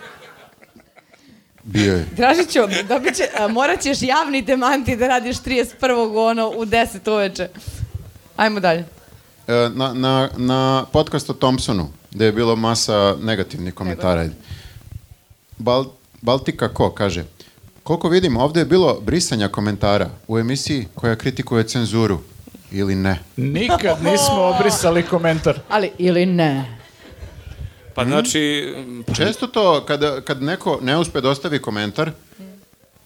S4: Bio je.
S3: Dražiću, dobit će, a, morat ćeš javni demanti da radiš 31. ono u 10 uveče. Ajmo dalje.
S4: E, Na, na, na podcast o Thompsonu, gde je bilo masa negativnih komentara. Bal, Baltika Ko kaže, koliko vidim, ovde je bilo brisanja komentara u emisiji koja kritikuje cenzuru, ili ne?
S2: Nikad nismo obrisali komentar.
S3: Ali, ili ne.
S2: Hmm?
S1: Pa znači... pa-
S4: Često to, kada, kad neko ne uspe da ostavi komentar,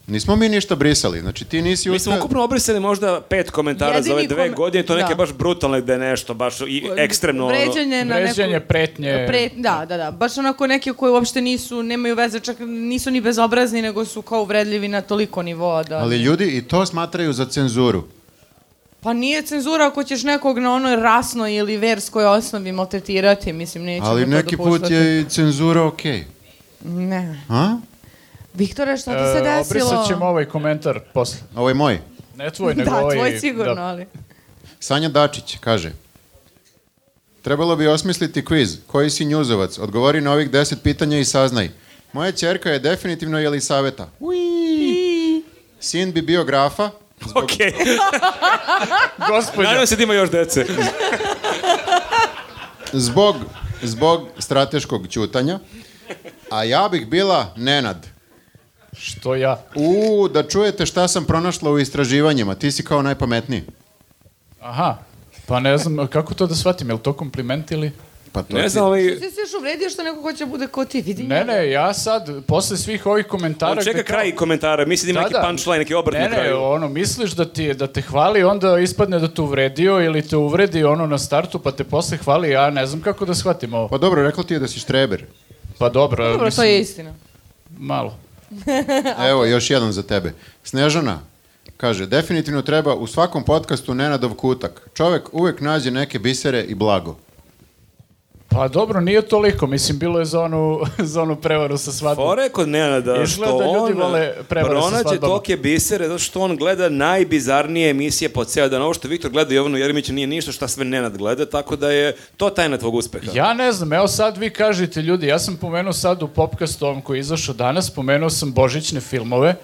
S4: nismo mi ništa brisali. Znači, ti nisi
S1: Mi smo
S4: uspeo...
S1: ukupno obrisali možda pet komentara
S3: Jedini
S1: za ove dve
S3: kom-
S1: godine, to neke
S3: da.
S1: baš brutalne gde je nešto, baš i ekstremno ono.
S3: Vređanje na
S2: Vređanje,
S3: neku...
S2: pretnje.
S3: Pre, da, da, da. Baš onako neke koje uopšte nisu, nemaju veze, čak nisu ni bezobrazni, nego su kao uvredljivi na toliko nivoa. Da.
S4: Ali ljudi i to smatraju za cenzuru.
S3: Pa nije cenzura ako ćeš nekog na onoj rasnoj ili verskoj osnovi maltretirati, mislim, nećemo
S4: Ali
S1: da
S3: to
S4: neki put
S3: dopuštati.
S4: je i cenzura okej.
S3: Ne.
S4: A?
S3: Viktore, šta ti se
S2: E,
S3: desilo?
S2: Obrisat ćemo ovaj komentar posle.
S4: Ovo je moj.
S2: Ne tvoj, nego
S3: Da,
S2: ovaj...
S3: tvoj sigurno,
S2: da.
S3: ali...
S4: Sanja Dačić kaže Trebalo bi osmisliti kviz. Koji si njuzovac? Odgovori na ovih deset pitanja i saznaj. Moja čerka je definitivno Jelisaveta. Uiii. Sin bi bio grafa.
S1: Ok,
S2: Gospodja,
S1: nadam se da ima još dece.
S4: Zbog, zbog strateškog ćutanja. A ja bih bila Nenad.
S2: što ja?
S4: U, da čujete šta sam pronašla u istraživanjima. Ti si kao najpametniji.
S2: Aha, pa ne znam, kako to da shvatim, je li to kompliment ili...
S4: Pa to
S1: Ne
S4: ti-
S1: znam, ovaj...
S3: Ti se još uvredio što neko hoće da bude kao ti, vidi.
S2: Ne, ne, ja sad, posle svih ovih
S1: On
S2: komentara...
S1: čeka
S2: gde kao-
S1: kraj komentara, mislim da ima neki punchline, neki obrt
S2: ne,
S1: na
S2: ne,
S1: kraju.
S2: ono, misliš da, ti, je- da te hvali, onda ispadne da te uvredio ili te uvredi ono na startu, pa te posle hvali, ja ne znam kako da shvatim ovo.
S4: Pa dobro, rekla ti je da si štreber.
S2: Pa dobro,
S3: Dobro, to
S2: mislim,
S3: je istina.
S2: malo.
S4: Evo, još jedan za tebe. Snežana kaže, definitivno treba u svakom podcastu Nenadov kutak. Čovek uvek nađe neke bisere i blago.
S2: Pa dobro, nije toliko, mislim, bilo je za onu, za onu prevaru sa svadbom.
S1: Fora je kod Nenada
S2: Izgleda
S1: što
S2: da ljudi
S1: on
S2: vole prevare sa
S1: pronađe
S2: svadbama.
S1: toke bisere zato što on gleda najbizarnije emisije po ceo dan. Ovo što Viktor gleda Jovanu Jeremića nije ništa šta sve Nenad gleda, tako da je to tajna tvog uspeha.
S2: Ja ne znam, evo sad vi kažete ljudi, ja sam pomenuo sad u popkastu ovom koji je izašao danas, pomenuo sam božićne filmove.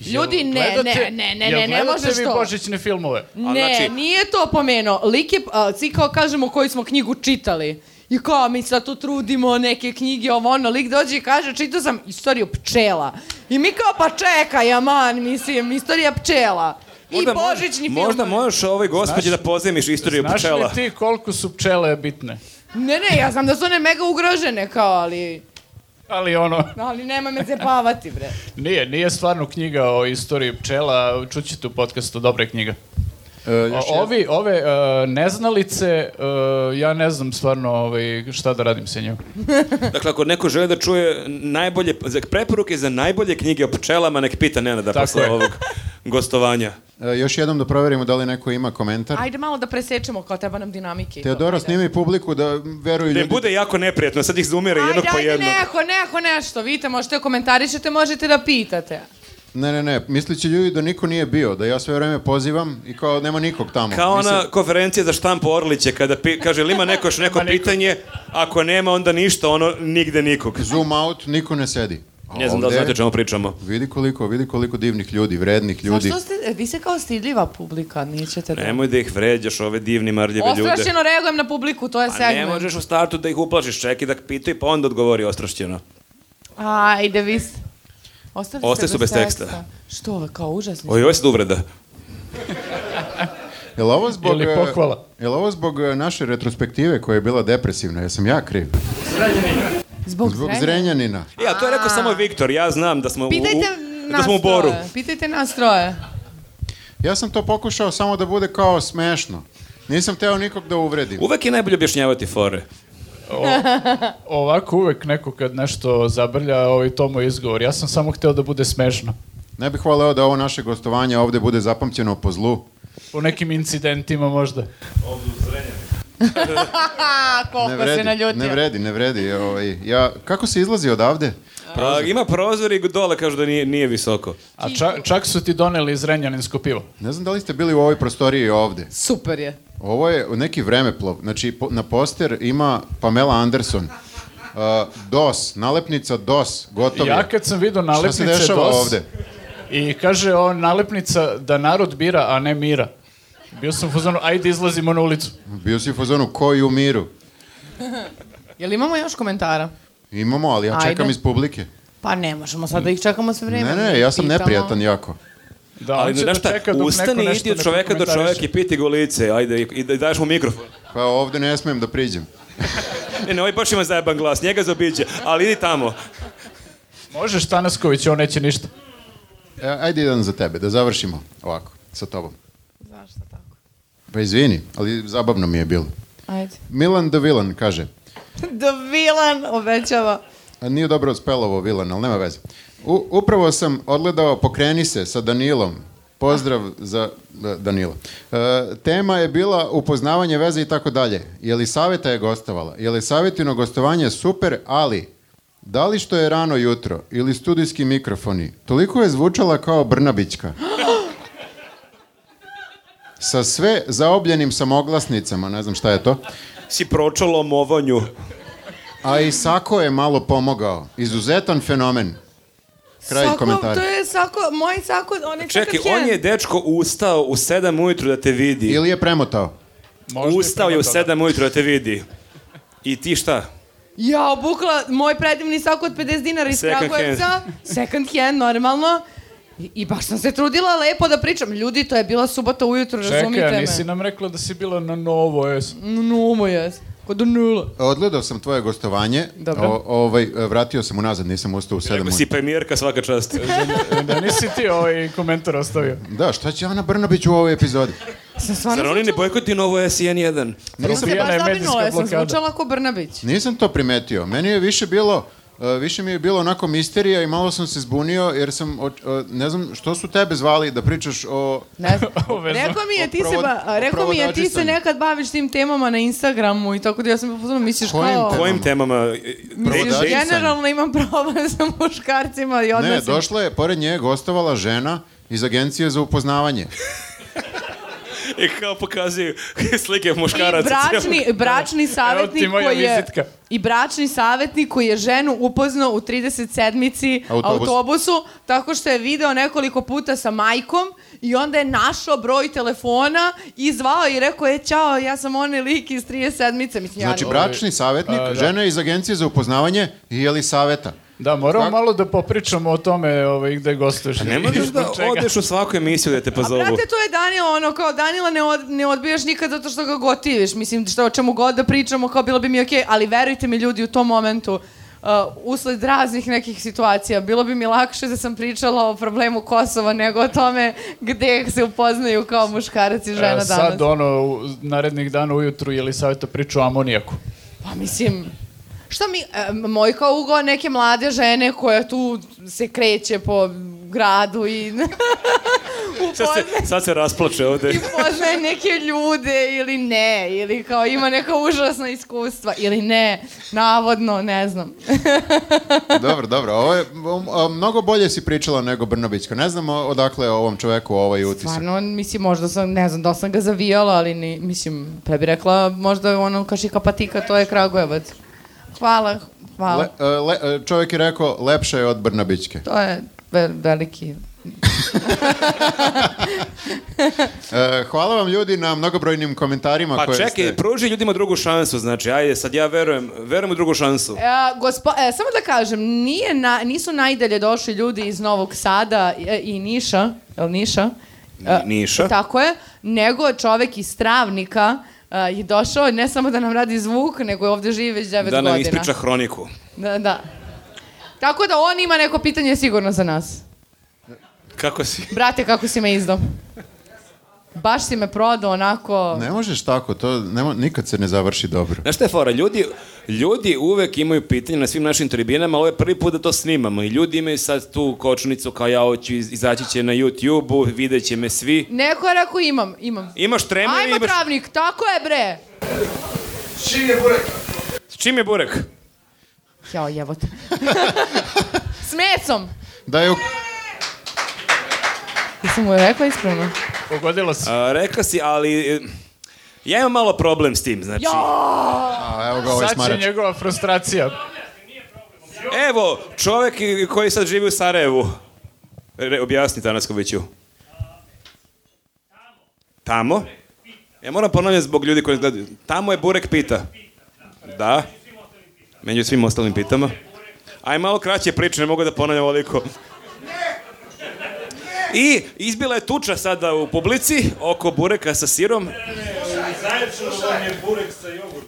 S2: Jel
S3: Ljudi, ne,
S2: gledate-
S3: ne, ne, ne,
S2: jel
S3: ne, ne
S2: gledate
S3: možeš
S2: vi
S3: to.
S2: božićne filmove?
S1: A
S3: ne,
S1: znači-
S3: nije to pomenuo. Lik je a, cikao, kažemo, koju smo knjigu čitali. I kao, mi sad tu trudimo neke knjige, ovo ono, lik dođe i kaže, čitao sam istoriju pčela. I mi kao, pa čekaj, aman, mislim, istorija pčela. I
S1: Možda mo-
S3: božićni film.
S1: Možda možeš ovoj gospođi da pozemiš istoriju
S2: Znaš li
S1: pčela.
S2: ti koliko su pčele bitne?
S3: Ne, ne, ja znam da su one mega ugrožene, kao, ali...
S2: Ali ono,
S3: Ali nema me zepavati, bre.
S2: nije, nije stvarno knjiga o istoriji pčela, čućete u podcastu, dobra je knjiga.
S4: E, još
S2: O, ovi, ove e, neznalice, e, ja ne znam stvarno ovaj, šta da radim sa njom.
S1: Dakle, ako neko želi da čuje najbolje, za preporuke za najbolje knjige o pčelama, nek pita Nenada
S2: Tako
S1: posle
S2: je.
S1: ovog gostovanja.
S4: jedan- e, još jednom da proverimo da li neko ima komentar.
S3: Ajde malo da presečemo, kao treba nam dinamike. i to.
S4: Teodora,
S3: Ajde.
S4: snimi publiku da veruju
S1: Da
S4: ljudi.
S1: im bude jako neprijatno, sad ih zoomira jednog
S3: Ajde,
S1: po
S3: ajde,
S1: jednog.
S3: neko, neko, nešto. Vidite, možete da komentarišete, možete da pitate.
S4: Ne, ne, ne, mislit će ljudi da niko nije bio, da ja sve vreme pozivam i kao nema nikog tamo.
S1: Kao
S4: Mislim-
S1: ona konferencija za štampu Orliće, kada pi, kaže, ili ima neko još neko pitanje, ako nema, onda ništa, ono, nigde nikog.
S4: Zoom out, niko ne sedi. A
S1: Ne znam da li
S4: ovde-
S1: znate o čemu pričamo.
S4: Vidi koliko, vidi koliko divnih ljudi, vrednih ljudi.
S3: Zašto ste, e, vi ste kao stidljiva publika, nećete da...
S1: Nemoj da ih vređaš, ove divni, marljive ljude.
S3: Ostrašćeno reagujem na publiku, to je
S1: A
S3: segment.
S1: ne možeš u startu da ih uplašiš, čekaj da pitaju, pa onda odgovori ostrašćeno.
S3: Ajde, vi ste... Ostali, ste
S1: Ostali su bez teksta.
S3: Što, kao užasni?
S1: Oj, ovo je sad uvreda.
S4: Jel ovo zbog...
S2: Ili
S4: e,
S2: pohvala.
S4: Jel ovo zog e, naše retrospektive koja je bila depresivna? Jesam ja kriv?
S3: Zbog,
S4: Zbog
S3: zrenja?
S4: Zrenjanina.
S1: Ja, E, to je rekao samo Viktor, ja znam da smo, u,
S3: Pitajte
S1: u,
S3: nas
S1: da smo u boru.
S3: troje, Pitajte nas troje.
S4: Ja sam to pokušao samo da bude kao smešno. Nisam teo nikog da uvredim.
S1: Uvek je najbolje objašnjavati fore.
S2: Ovako uvek neko kad nešto zabrlja, ovaj, to mu je izgovor. Ja sam samo hteo da bude smešno.
S4: Ne bih voleo da ovo naše gostovanje ovde bude zapamćeno po zlu.
S2: U nekim incidentima možda.
S3: A,
S4: Ne
S3: koliko se
S4: vredi,
S3: naljutio.
S4: ne vredi, ne vredi. Ovaj, ja, kako se izlazi odavde?
S1: A, Pa, ima prozor i dole kažu da nije, nije visoko.
S2: A ča, čak su ti doneli zrenjaninsko pivo.
S4: Ne znam da li ste bili u ovoj prostoriji ovde.
S3: Super je.
S4: Ovo je neki vremeplov. Znači, po- na poster ima Pamela Anderson. Uh, DOS, nalepnica DOS, gotovo.
S2: Ja kad sam vidio
S4: Šta se
S2: nalepnice
S4: dešava
S2: DOS
S4: ovde?
S2: i kaže on nalepnica da narod bira, a ne mira. Bio sam u fazonu, ajde izlazimo na ulicu.
S4: Bio si u fazonu koji u miru.
S3: Jel imamo još komentara?
S4: Imamo, ali ja čekam
S3: Ajde.
S4: iz publike.
S3: Pa ne možemo sad da ih čekamo sve vreme.
S4: Ne,
S3: da
S4: ne,
S3: ih
S4: ja sam
S3: pitamo.
S4: neprijatan jako.
S2: Da,
S1: Ali
S2: on će
S1: znaš
S2: da
S1: šta,
S2: čeka dok neko
S1: ustani i
S2: nešto
S1: idi od
S2: ne
S1: čoveka do
S2: prokomentariše.
S1: čoveka i piti ga u lice, ajde, i, i da- daješ mu mikrofon.
S4: Pa ovde ne smem da priđem.
S1: Ne, ne, ovaj baš ima zajeban glas, njega zaobiđe, ali idi tamo.
S2: Možeš Tanasković, on neće ništa.
S4: E, ajde jedan za tebe, da završimo ovako, sa tobom.
S3: Zašto tako?
S4: Pa izvini, ali zabavno mi je bilo.
S3: Ajde.
S4: Milan the Villain kaže,
S3: Da Vilan obećava.
S4: a nije dobro spelo ovo Villain, ali nema veze. U, upravo sam odgledao Pokreni se sa Danilom. Pozdrav za da, Danila. E, tema je bila upoznavanje veze i tako dalje. Jelisaveta je gostovala. Jelisavetino gostovanje je super, ali Da li što je rano jutro ili studijski mikrofoni, toliko je zvučala kao Brnabićka. Sa sve zaobljenim samoglasnicama, ne znam šta je to,
S1: Si pročalo o movanju.
S4: a i Sako je malo pomogao. Izuzetan fenomen. Kraj
S3: Sako,
S4: komentara.
S3: To je sako, moj sako, onaj
S1: Čekaj,
S3: kakav
S1: on je dečko ustao u 7 ujutru da te vidi.
S4: Ili je premotao.
S2: Možda
S1: Ustao je u
S2: prema toga.
S1: 7 ujutru da te vidi. I ti šta?
S3: Ja obukla moj predivni sako od 50 dinara iz
S1: Second hand.
S3: Kragujevca. Second hand, normalno. I, I baš sam se trudila lepo da pričam. Ljudi, to je bila subota ujutru, razumite
S2: Čekaj, a
S3: me.
S2: nisi nam rekla da si bila na novo S.
S3: No, no, moj jes. Kod nula.
S4: Odgledao sam tvoje gostovanje.
S3: Dobro.
S4: O- ovaj, vratio sam unazad, nisam ustao u sedam.
S1: Rekao si premijerka svaka čast.
S2: Da nisi ti ovaj komentar ostavio.
S4: Da, šta će Ana Brnabić u ovoj epizodi?
S3: Sam stvarno
S1: Zar oni ne
S3: zvučala-
S1: bojkoti novo SN1?
S3: Nisam se
S2: Probijena
S3: baš
S2: je
S3: zabrinula,
S2: medijska
S3: ja sam
S2: blokada.
S3: zvučala ko Brnabić.
S4: Nisam to primetio. Meni je više bilo e, više mi je bilo onako misterija i malo sam se zbunio jer sam, o- o- ne znam, što su tebe zvali da pričaš o...
S3: Ne znam.
S2: Ovo je
S3: Rekao mi je ti se,
S4: Upravo-
S3: ba, a, rekao mi je ti se
S4: upravo
S3: nekad baviš tim temama na Instagramu i tako da ja sam pozvano misliš
S4: Kojim
S3: kao...
S4: temama?
S1: Kojim temama? e, da
S3: Misliš,
S4: Prodačica?
S3: generalno imam problem sa muškarcima i
S4: Ne,
S3: odnosima.
S4: došla je, pored nje je gostovala žena iz agencije za upoznavanje.
S1: I e, kao pokazuju slike
S3: I
S1: muškaraca.
S3: bračni, bračni
S4: Da.
S3: savjetnik
S2: moja
S3: koji je...
S2: vizitka.
S3: I bračni savjetnik koji je ženu upoznao u 37.
S4: Autobus.
S3: autobusu, tako što je video nekoliko puta sa majkom i onda je našao broj telefona i zvao i rekao je, čao, ja sam onaj lik iz 37. Mislim,
S4: Znači,
S3: ja,
S4: bračni savjetnik,
S2: A, da.
S4: žena iz agencije za upoznavanje i je li saveta?
S2: Da, moramo malo da popričamo o tome ovaj, gde gostuješ.
S1: Ne možeš da odeš u svaku emisiju da te
S3: A
S1: pozovu.
S3: Pa brate, to je Danila, ono, kao Danila ne, od, ne odbijaš nikad zato što ga gotiviš. Mislim, što o čemu god da pričamo, kao bilo bi mi okej, ali verujte mi ljudi u tom momentu, uh, usled raznih nekih situacija, bilo bi mi lakše da sam pričala o problemu Kosova nego o tome gde se upoznaju kao muškarac i žena
S2: E,
S3: danas.
S2: sad ono, u- narednih dana ujutru je li savjeta priča o amonijaku.
S3: Pa mislim, šta mi, e, moj kao ugo neke mlade žene koja tu se kreće po gradu i
S1: Sad
S3: upoznaje
S1: se, sad se rasplače ovde.
S3: i poznaje neke ljude ili ne, ili kao ima neka užasna iskustva ili ne, navodno, ne znam.
S4: Dobro, dobro, ovo je, um, a, mnogo bolje si pričala nego Brnabićka. Ne znam o- odakle je ovom čoveku ovaj utisak.
S3: Stvarno, mislim, možda sam, ne znam, da sam ga zavijala, ali ni, mislim, pre bi rekla, možda je ono kašika patika, to je Kragujevac. Hvala, hvala.
S4: Le, e, le, e, čovjek je rekao, lepša je od Brnabićke.
S3: To je ve- veliki...
S4: E, hvala vam ljudi na mnogobrojnim komentarima
S1: Pa
S4: koje
S1: čekaj,
S4: ste...
S1: pruži ljudima drugu šansu, znači, ajde, sad ja verujem, verujem u drugu šansu.
S3: E, gospo, e, samo da kažem, nije na, nisu najdalje došli ljudi iz Novog Sada e, i Niša, je li Niša? E,
S1: Ni- Niša.
S3: Tako je, nego čovek iz Travnika e, je došao ne samo da nam radi zvuk, nego je ovde živi već 9
S1: da
S3: godina.
S1: nam ispriča hroniku.
S3: Da, da. Tako da on ima neko pitanje sigurno za nas.
S1: Kako si?
S3: Brate, kako si me izdao? Baš si me prodao onako...
S4: Ne možeš tako, to ne mo- nikad se ne završi dobro.
S1: Znaš šta je fora? Ljudi, ljudi uvek imaju pitanje na svim našim tribinama, ovo je prvi put da to snimamo i ljudi imaju sad tu kočnicu kao ja hoću, iz- izaći će na YouTube-u, vidjet će me svi.
S3: Neko je rekao imam, imam.
S1: Imaš tremu i
S3: Ajmo
S1: imaš...
S3: Travnik, tako je bre!
S1: S čim je burek?
S3: Jao, jevo te. S mecom!
S4: Da je u-
S3: Jesam mu rekla ispravno?
S2: Pogodila si.
S1: A, reka si, ali... e, Ja imam malo problem s tim, znači...
S4: A, evo ga ovaj
S2: Sad će
S4: smarač.
S2: njegova frustracija.
S1: Evo, čovek i- koji sad živi u Sarajevu. Re, objasni Tanaskoviću. Tamo? Ja moram ponavljati zbog ljudi koji nas gledaju. Tamo je Burek pita. Da. Među svim ostalim pitama. Aj, malo kraće priče, ne mogu da ponavljam ovoliko. I izbila je tuča sada u publici oko bureka sa sirom.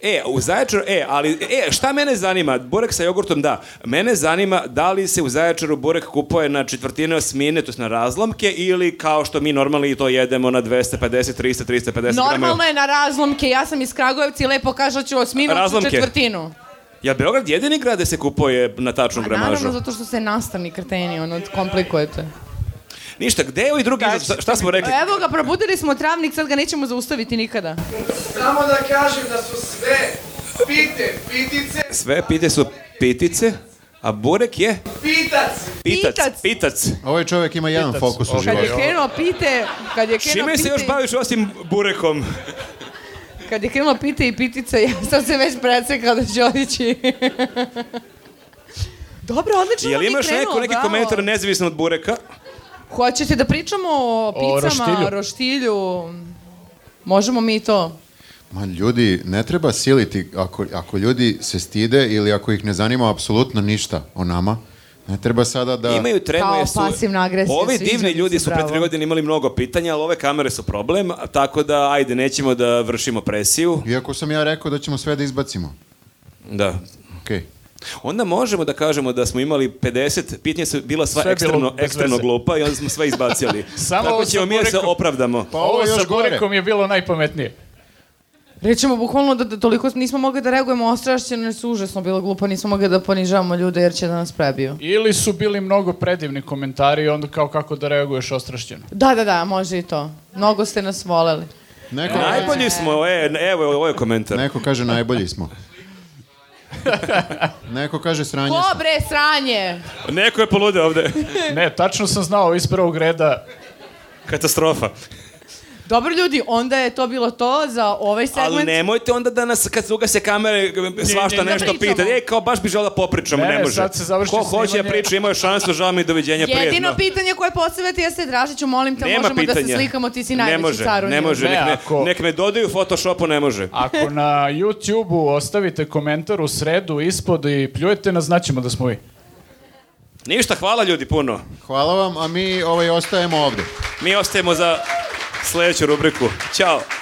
S1: E, u Zaječaru, e, ali, e, šta mene zanima, burek sa jogurtom, da, mene zanima da li se u Zaječaru burek kupuje na četvrtine osmine, to jest na razlomke, ili kao što mi normalni to jedemo na 250, 300, 350 grama.
S3: Normalno je na razlomke, ja sam iz Kragujevca i lepo kažu da ću osminu ću
S1: Razlomke.
S3: četvrtinu.
S1: Ja, Beograd jedini grad gde se kupuje na tačnu
S3: A
S1: gramažu.
S3: Pa naravno zato što se nastavni kreteni, ono, komplikujete.
S1: Ništa, gde je ovi drugi, izraz? šta smo rekli?
S3: Pa Evo ga, probudili smo travnik, sad ga nećemo zaustaviti nikada.
S5: Samo da kažem da su sve pite, pitice,
S3: E.
S1: Sve pite su pitice, A burek je? Pitac. Pitac.
S3: Pitac.
S1: Pitac.
S4: Ovaj čovjek ima jedan fokus u
S3: Kad je
S4: životu.
S3: krenuo pite, kad je krenuo
S1: Čime se
S3: pite,
S1: još baviš osim burekom?
S3: kad je krenuo pite i pitica, ja sam se već presekla da će otići. Dobro, odlično
S1: Jel
S3: vam je
S1: imaš
S3: krenulo,
S1: neko, neki
S3: bravo.
S1: komentar nezavisno od bureka?
S3: Hoćete da pričamo o picama,
S2: roštilju.
S3: o roštilju? Možemo mi i to.
S4: Ma ljudi, ne treba siliti ako, ako ljudi se stide ili ako ih ne zanima apsolutno ništa o nama. Ne treba sada da...
S1: Imaju tremu
S3: Kao
S1: jer su...
S3: pasivna agresija,
S1: Ovi
S3: sviđa
S1: divni
S3: mi se,
S1: ljudi su pre
S3: bravo.
S1: tri godine imali mnogo pitanja, ali ove kamere su problem, a tako da ajde, nećemo da vršimo presiju.
S4: Iako sam ja rekao da ćemo sve da izbacimo.
S1: Da.
S4: Okej.
S1: Onda možemo da kažemo da smo imali 50, pitanja su bila sva
S2: Sve je bilo
S1: ekstremno,
S2: bez veze.
S1: ekstremno glupa i onda smo sve izbacili.
S2: Samo
S1: tako
S2: ovo
S1: ćemo
S2: sa
S1: mi da se
S2: burekom.
S1: opravdamo.
S4: Pa ovo je
S2: sa
S4: još gore.
S2: Burekom je bilo najpametnije.
S3: Rećemo bukvalno da, da toliko nismo mogli da reagujemo ostrašćeno jer su užasno bilo glupo, nismo mogli da ponižavamo ljude jer će da nas prebiju.
S2: Ili su bili mnogo predivni komentari i onda kao kako da reaguješ ostrašćeno.
S3: Da, da, da, može i to. Mnogo ste nas voleli.
S4: Neko,
S1: Najbolji smo, e, evo, ovo je komentar.
S4: neko kaže najbolji smo. Neko kaže sranje
S3: Ko
S4: smo.
S3: bre, sranje!
S1: Neko je polude ovde.
S2: Ne, tačno sam znao iz prvog reda.
S1: Katastrofa.
S3: Dobro ljudi, onda je to bilo to za ovaj segment.
S1: Ali nemojte onda da nas, kad se ugase kamere, svašta
S2: ne,
S1: nešto
S3: da pričamo.
S1: pita. E, kao baš bi želeo da popričamo,
S2: Ne,
S1: ne,
S2: ne,
S1: može.
S2: sad se završi
S1: Ko hoće da
S2: snimanje.
S1: priča, imao je šansu, žao mi je, doviđenja,
S3: Jedino
S1: prijetno.
S3: pitanje koje postavljate jeste, Dražiću, molim te,
S1: Nema
S3: možemo
S1: pitanja.
S3: da se slikamo, ti si
S1: ne
S3: najveći
S1: može,
S3: car u
S1: Ne
S3: njemu.
S1: može,
S2: Ne,
S1: nek, me,
S2: ako-
S1: nek me dodaju u Photoshopu, ne može.
S2: Ako na YouTube-u ostavite komentar u sredu ispod i pljujete nas, znaćemo da smo vi.
S1: Ništa, hvala ljudi puno.
S4: Hvala vam, a mi ovaj, ostajemo ovdje.
S1: Mi ostajemo za sledeću rubriku. Ćao.